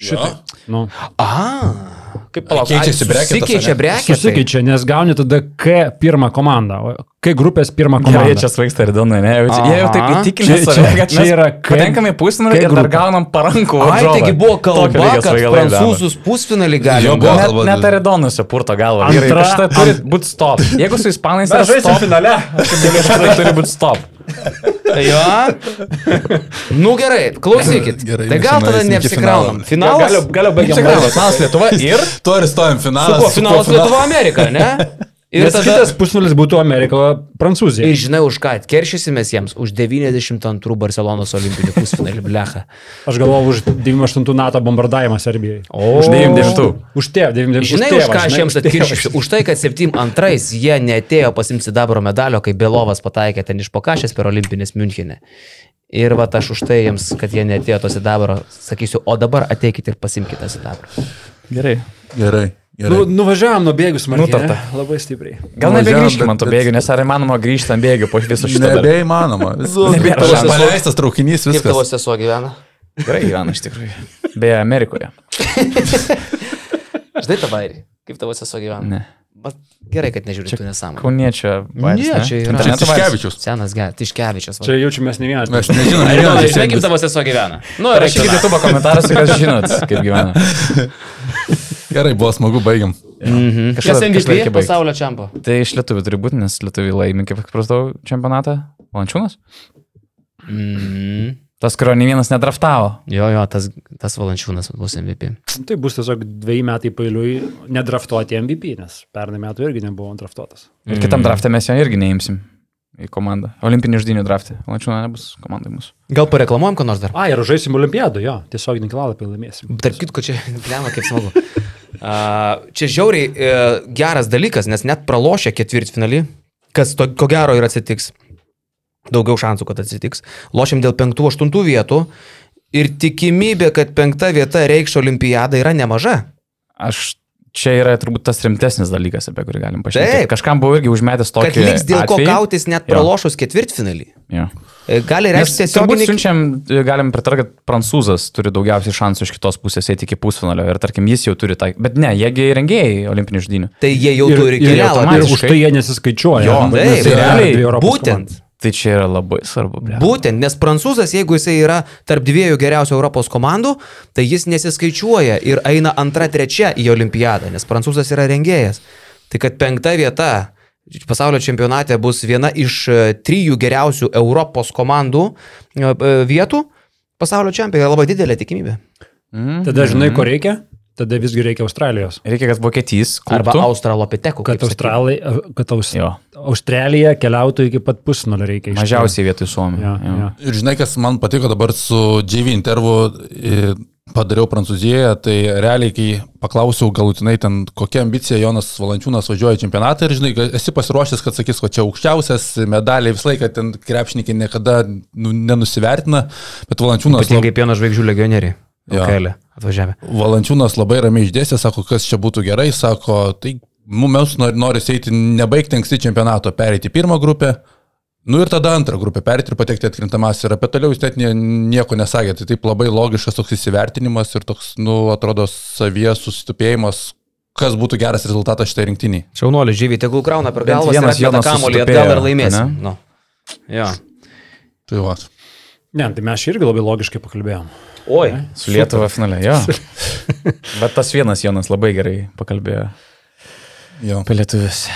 Šitai. Nu,
A, kaip palauk,
Keičiasi breketas,
Keičia
ane?
tai-
breketas.
susikeičia, nes gauni tada K pirmą komandą, o K grupės pirmą
Gerai, čia
komandą.
svaigsta ir Donai, ne? Jau čia- Jie jau taip
Aha.
įtikinę
Čia-
save,
čia-
kad
čia
mes
yra K-
Patenkame į pusnulį
K
ir dar
grupė.
gaunam parankų.
Ai,
varžovą.
taigi buvo
Tokio
kalba,
lygio
kad
svaigalai daro.
prancūzus pusfinalį
Jo,
galima.
buvo.
bet-
Net,
kalba-
net Aridonose purto galvą.
Antra-
Gerai, šitą turi būti stop. Jeigu su ispanais yra stop,
finale.
tai turi būti stop.
Jo. Tai Nu gerai, klausykit.
Gerai,
tai gal tada
nesinaisim iki
neapsikraunam.
finalo.
Finalas.
Galiu baigti.
Neapsikraunam. Finalas Lietuva
Ir
Tuo ir stojam
Su
finalas.
kuo?
su
Finalas
kuo
Lietuva Amerika, ne? Ir
Nes
tada...
kitas pusnulis būtų Amerika, Prancūzija.
Ir žinai, už ką atkeršysimės jiems? Už 92 Barcelonos olimpinių pusfinalį, blecha.
Aš galvoju už 98 NATO bombardavimą Serbijai.
O,
už 90.
Už tėvą, 90.
Žinai, už ką aš jiems atkeršysiu? Už tai, kad 72-ais jie netėjo pasimti dabro medalio, kai Belovas pataikė ten iš pokašės per olimpinės Münchenę. Ir va, aš už tai jiems, kad jie netėjo to sidabro, sakysiu, o dabar ateikit ir pasimkite sidabrą.
Gerai.
Gerai. gerai.
Nu, nuvažiavam nuo bėgių smarkiai.
Nutarta.
ne? Labai stipriai.
Gal
Nuvažiavom,
nebegrįžkime ant to
bet-
bėgių, nes ar įmanoma grįžti ant bėgių po viso šito? dar?
Nebeįmanoma.
Nebėra
Tavo
šansų.
Paleistas traukinys
Kaip tavo
viskas.
sesuo gyvena?
Gerai gyvena iš tikrųjų. Beje, Amerikoje.
Žinai tą bairį. Kaip tavo sesuo gyvena?
Ne.
Bet gerai, kad nežiūri tų nesąmonę.
Kauniečio.
Ne, čia yra-
Čia
interneto vaidas.
Tiškevičius.
Senas geras, Tiškevičius.
Čia jaučiamės ne vienas.
Mes nežinom, ne
Žinai,
vienas
žinai, kaip
iš
tavo sesuo gyvena? Nu, ir aš
Rašykite YouTube komentaruose, kas žinot, kaip
<laughs>
gyvena.
tai-
Gerai, buvo smagu, baigiam.
Kas
Kažkada- kažkada
MVP
reikia baigt.
pasaulio čempo?
Tai iš lietuvių turi būti, nes lietuvių laimi, kaip supratau, čempionatą. Lančiūnas?
Mm.
Tas, kurio nei vienas nedraftavo.
Jo, jo, tas, tas valančiūnas bus MVP.
Tai bus tiesiog dviejai metai pailiui nedraftuoti MVP, nes pernai metų irgi nebuvo draftuotas.
Ir
Mm.
kitam draftą mes jo irgi neimsim į komandą. Olimpinių ždinių draftą. Lančiūno nebus komandai mūsų.
Gal pareklamuojam, ką nors dar?
A, ir žaisim olimpiadą, jo, tiesiog Nikilalapį laimėsim.
Tarp kitko, čia, <laughs> blema, kaip smagu. Uh, čia žiauriai uh, geras dalykas, nes net pralošę ketvirtfinalį, kas to, ko gero ir atsitiks, daugiau šansų, kad atsitiks, lošiam dėl penktų, aštuntų vietų ir tikimybė, kad penkta vieta reikš olimpiadą yra nemaža.
Aš čia yra turbūt tas rimtesnis dalykas, apie kurį galim pašnekėti.
Taip.
Kažkam buvo irgi užmetęs tokį.
Kad liks dėl ko
atvejį.
kautis net
Jo.
pralošus ketvirtfinalį.
Jo.
E, Gali
Nes
reikšti
turbūt
tiesioginį
siunčiam, galim pritarti, kad prancūzas turi daugiausiai šansų iš kitos pusės eiti iki pusfinalio ir tarkim jis jau turi tą, bet ne, jiegi rengėjai olimpinių ždinių.
Tai jie jau turi
ir,
kelialapį.
ir už tai jie nesiskaičiuoja.
Jo,
Nes
taip,
yra
realiai,
dvi Europos
Būtent.
Tai čia yra labai svarbu. blet.
Būtent, nes prancūzas, jeigu jisai yra tarp dviejų geriausių Europos komandų, tai jis nesiskaičiuoja ir eina antra, trečia į olimpiadą, nes prancūzas yra rengėjas. Tai kad penkta vieta pasaulio čempionate bus viena iš e, trijų geriausių Europos komandų e, e, vietų pasaulio čempionate, yra labai didelė tikimybė.
komanda. Tada žinai, ko reikia? Tada visgi reikia Australijos.
Reikia, kad vokietys.
Arba
kluptų.
australopitekų.
Kad,
kaip sakiau.
Australai, kad Aus,
Jo.
Australija keliautų iki pat pusnulio reikia. iš tikrųjų.
Mažiausiai vietoj Suomijos.
Jo, jo.
Ir žinai, kas man patiko dabar su JV intervu i, padariau Prancūzijoje, tai realiai, kai paklausiau galutinai ten, kokia ambicija Jonas Valančiūnas važiuoja į čempionatą ir žinai, esi pasiruošęs, kad sakys, kad čia aukščiausias medaliai visą laiką ten krepšininkai niekada nu, nenusivertina, bet Valančiūnas... lab-
Ypatingai pieno žvaigždžių legionieriai.
Jo.
Kelė atvažiavę.
Valančiūnas labai ramiai išdėstė, sako, kas čia būtų gerai, sako, tai mums nori, nori eiti nebaigti anksti čempionato, pereiti į pirmą grupę, nu ir tada antrą grupę, pereiti ir patekti atkrintamas ir apie toliau jis net nie- nieko nesakė, tai taip labai logiškas toks įsivertinimas ir toks, nu, atrodo, savies susitupėjimas, kas būtų geras rezultatas šitai rinktiniai.
Šaunuolis žyviai, tegul krauna per
Bent
galvą,
vienas
vienas jau
Jonas
kamuolį
susitupėjo,
atgal ir laimės.
ane?
Nu. Jo.
Tai va.
Ne, tai mes čia irgi labai logiškai pakalbėjom.
Oi.
Su Lietuva finale, jo.
<laughs>
Bet tas vienas Jonas labai gerai pakalbėjo
Jo.
apie lietuvius.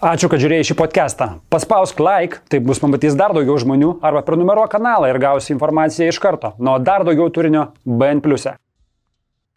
Ačiū, kad žiūrėjai šį podcastą. Paspausk like, taip bus pamatys dar daugiau žmonių, arba prenumeruok kanalą ir gausi informaciją iš karto. Nuo dar daugiau turinio BN.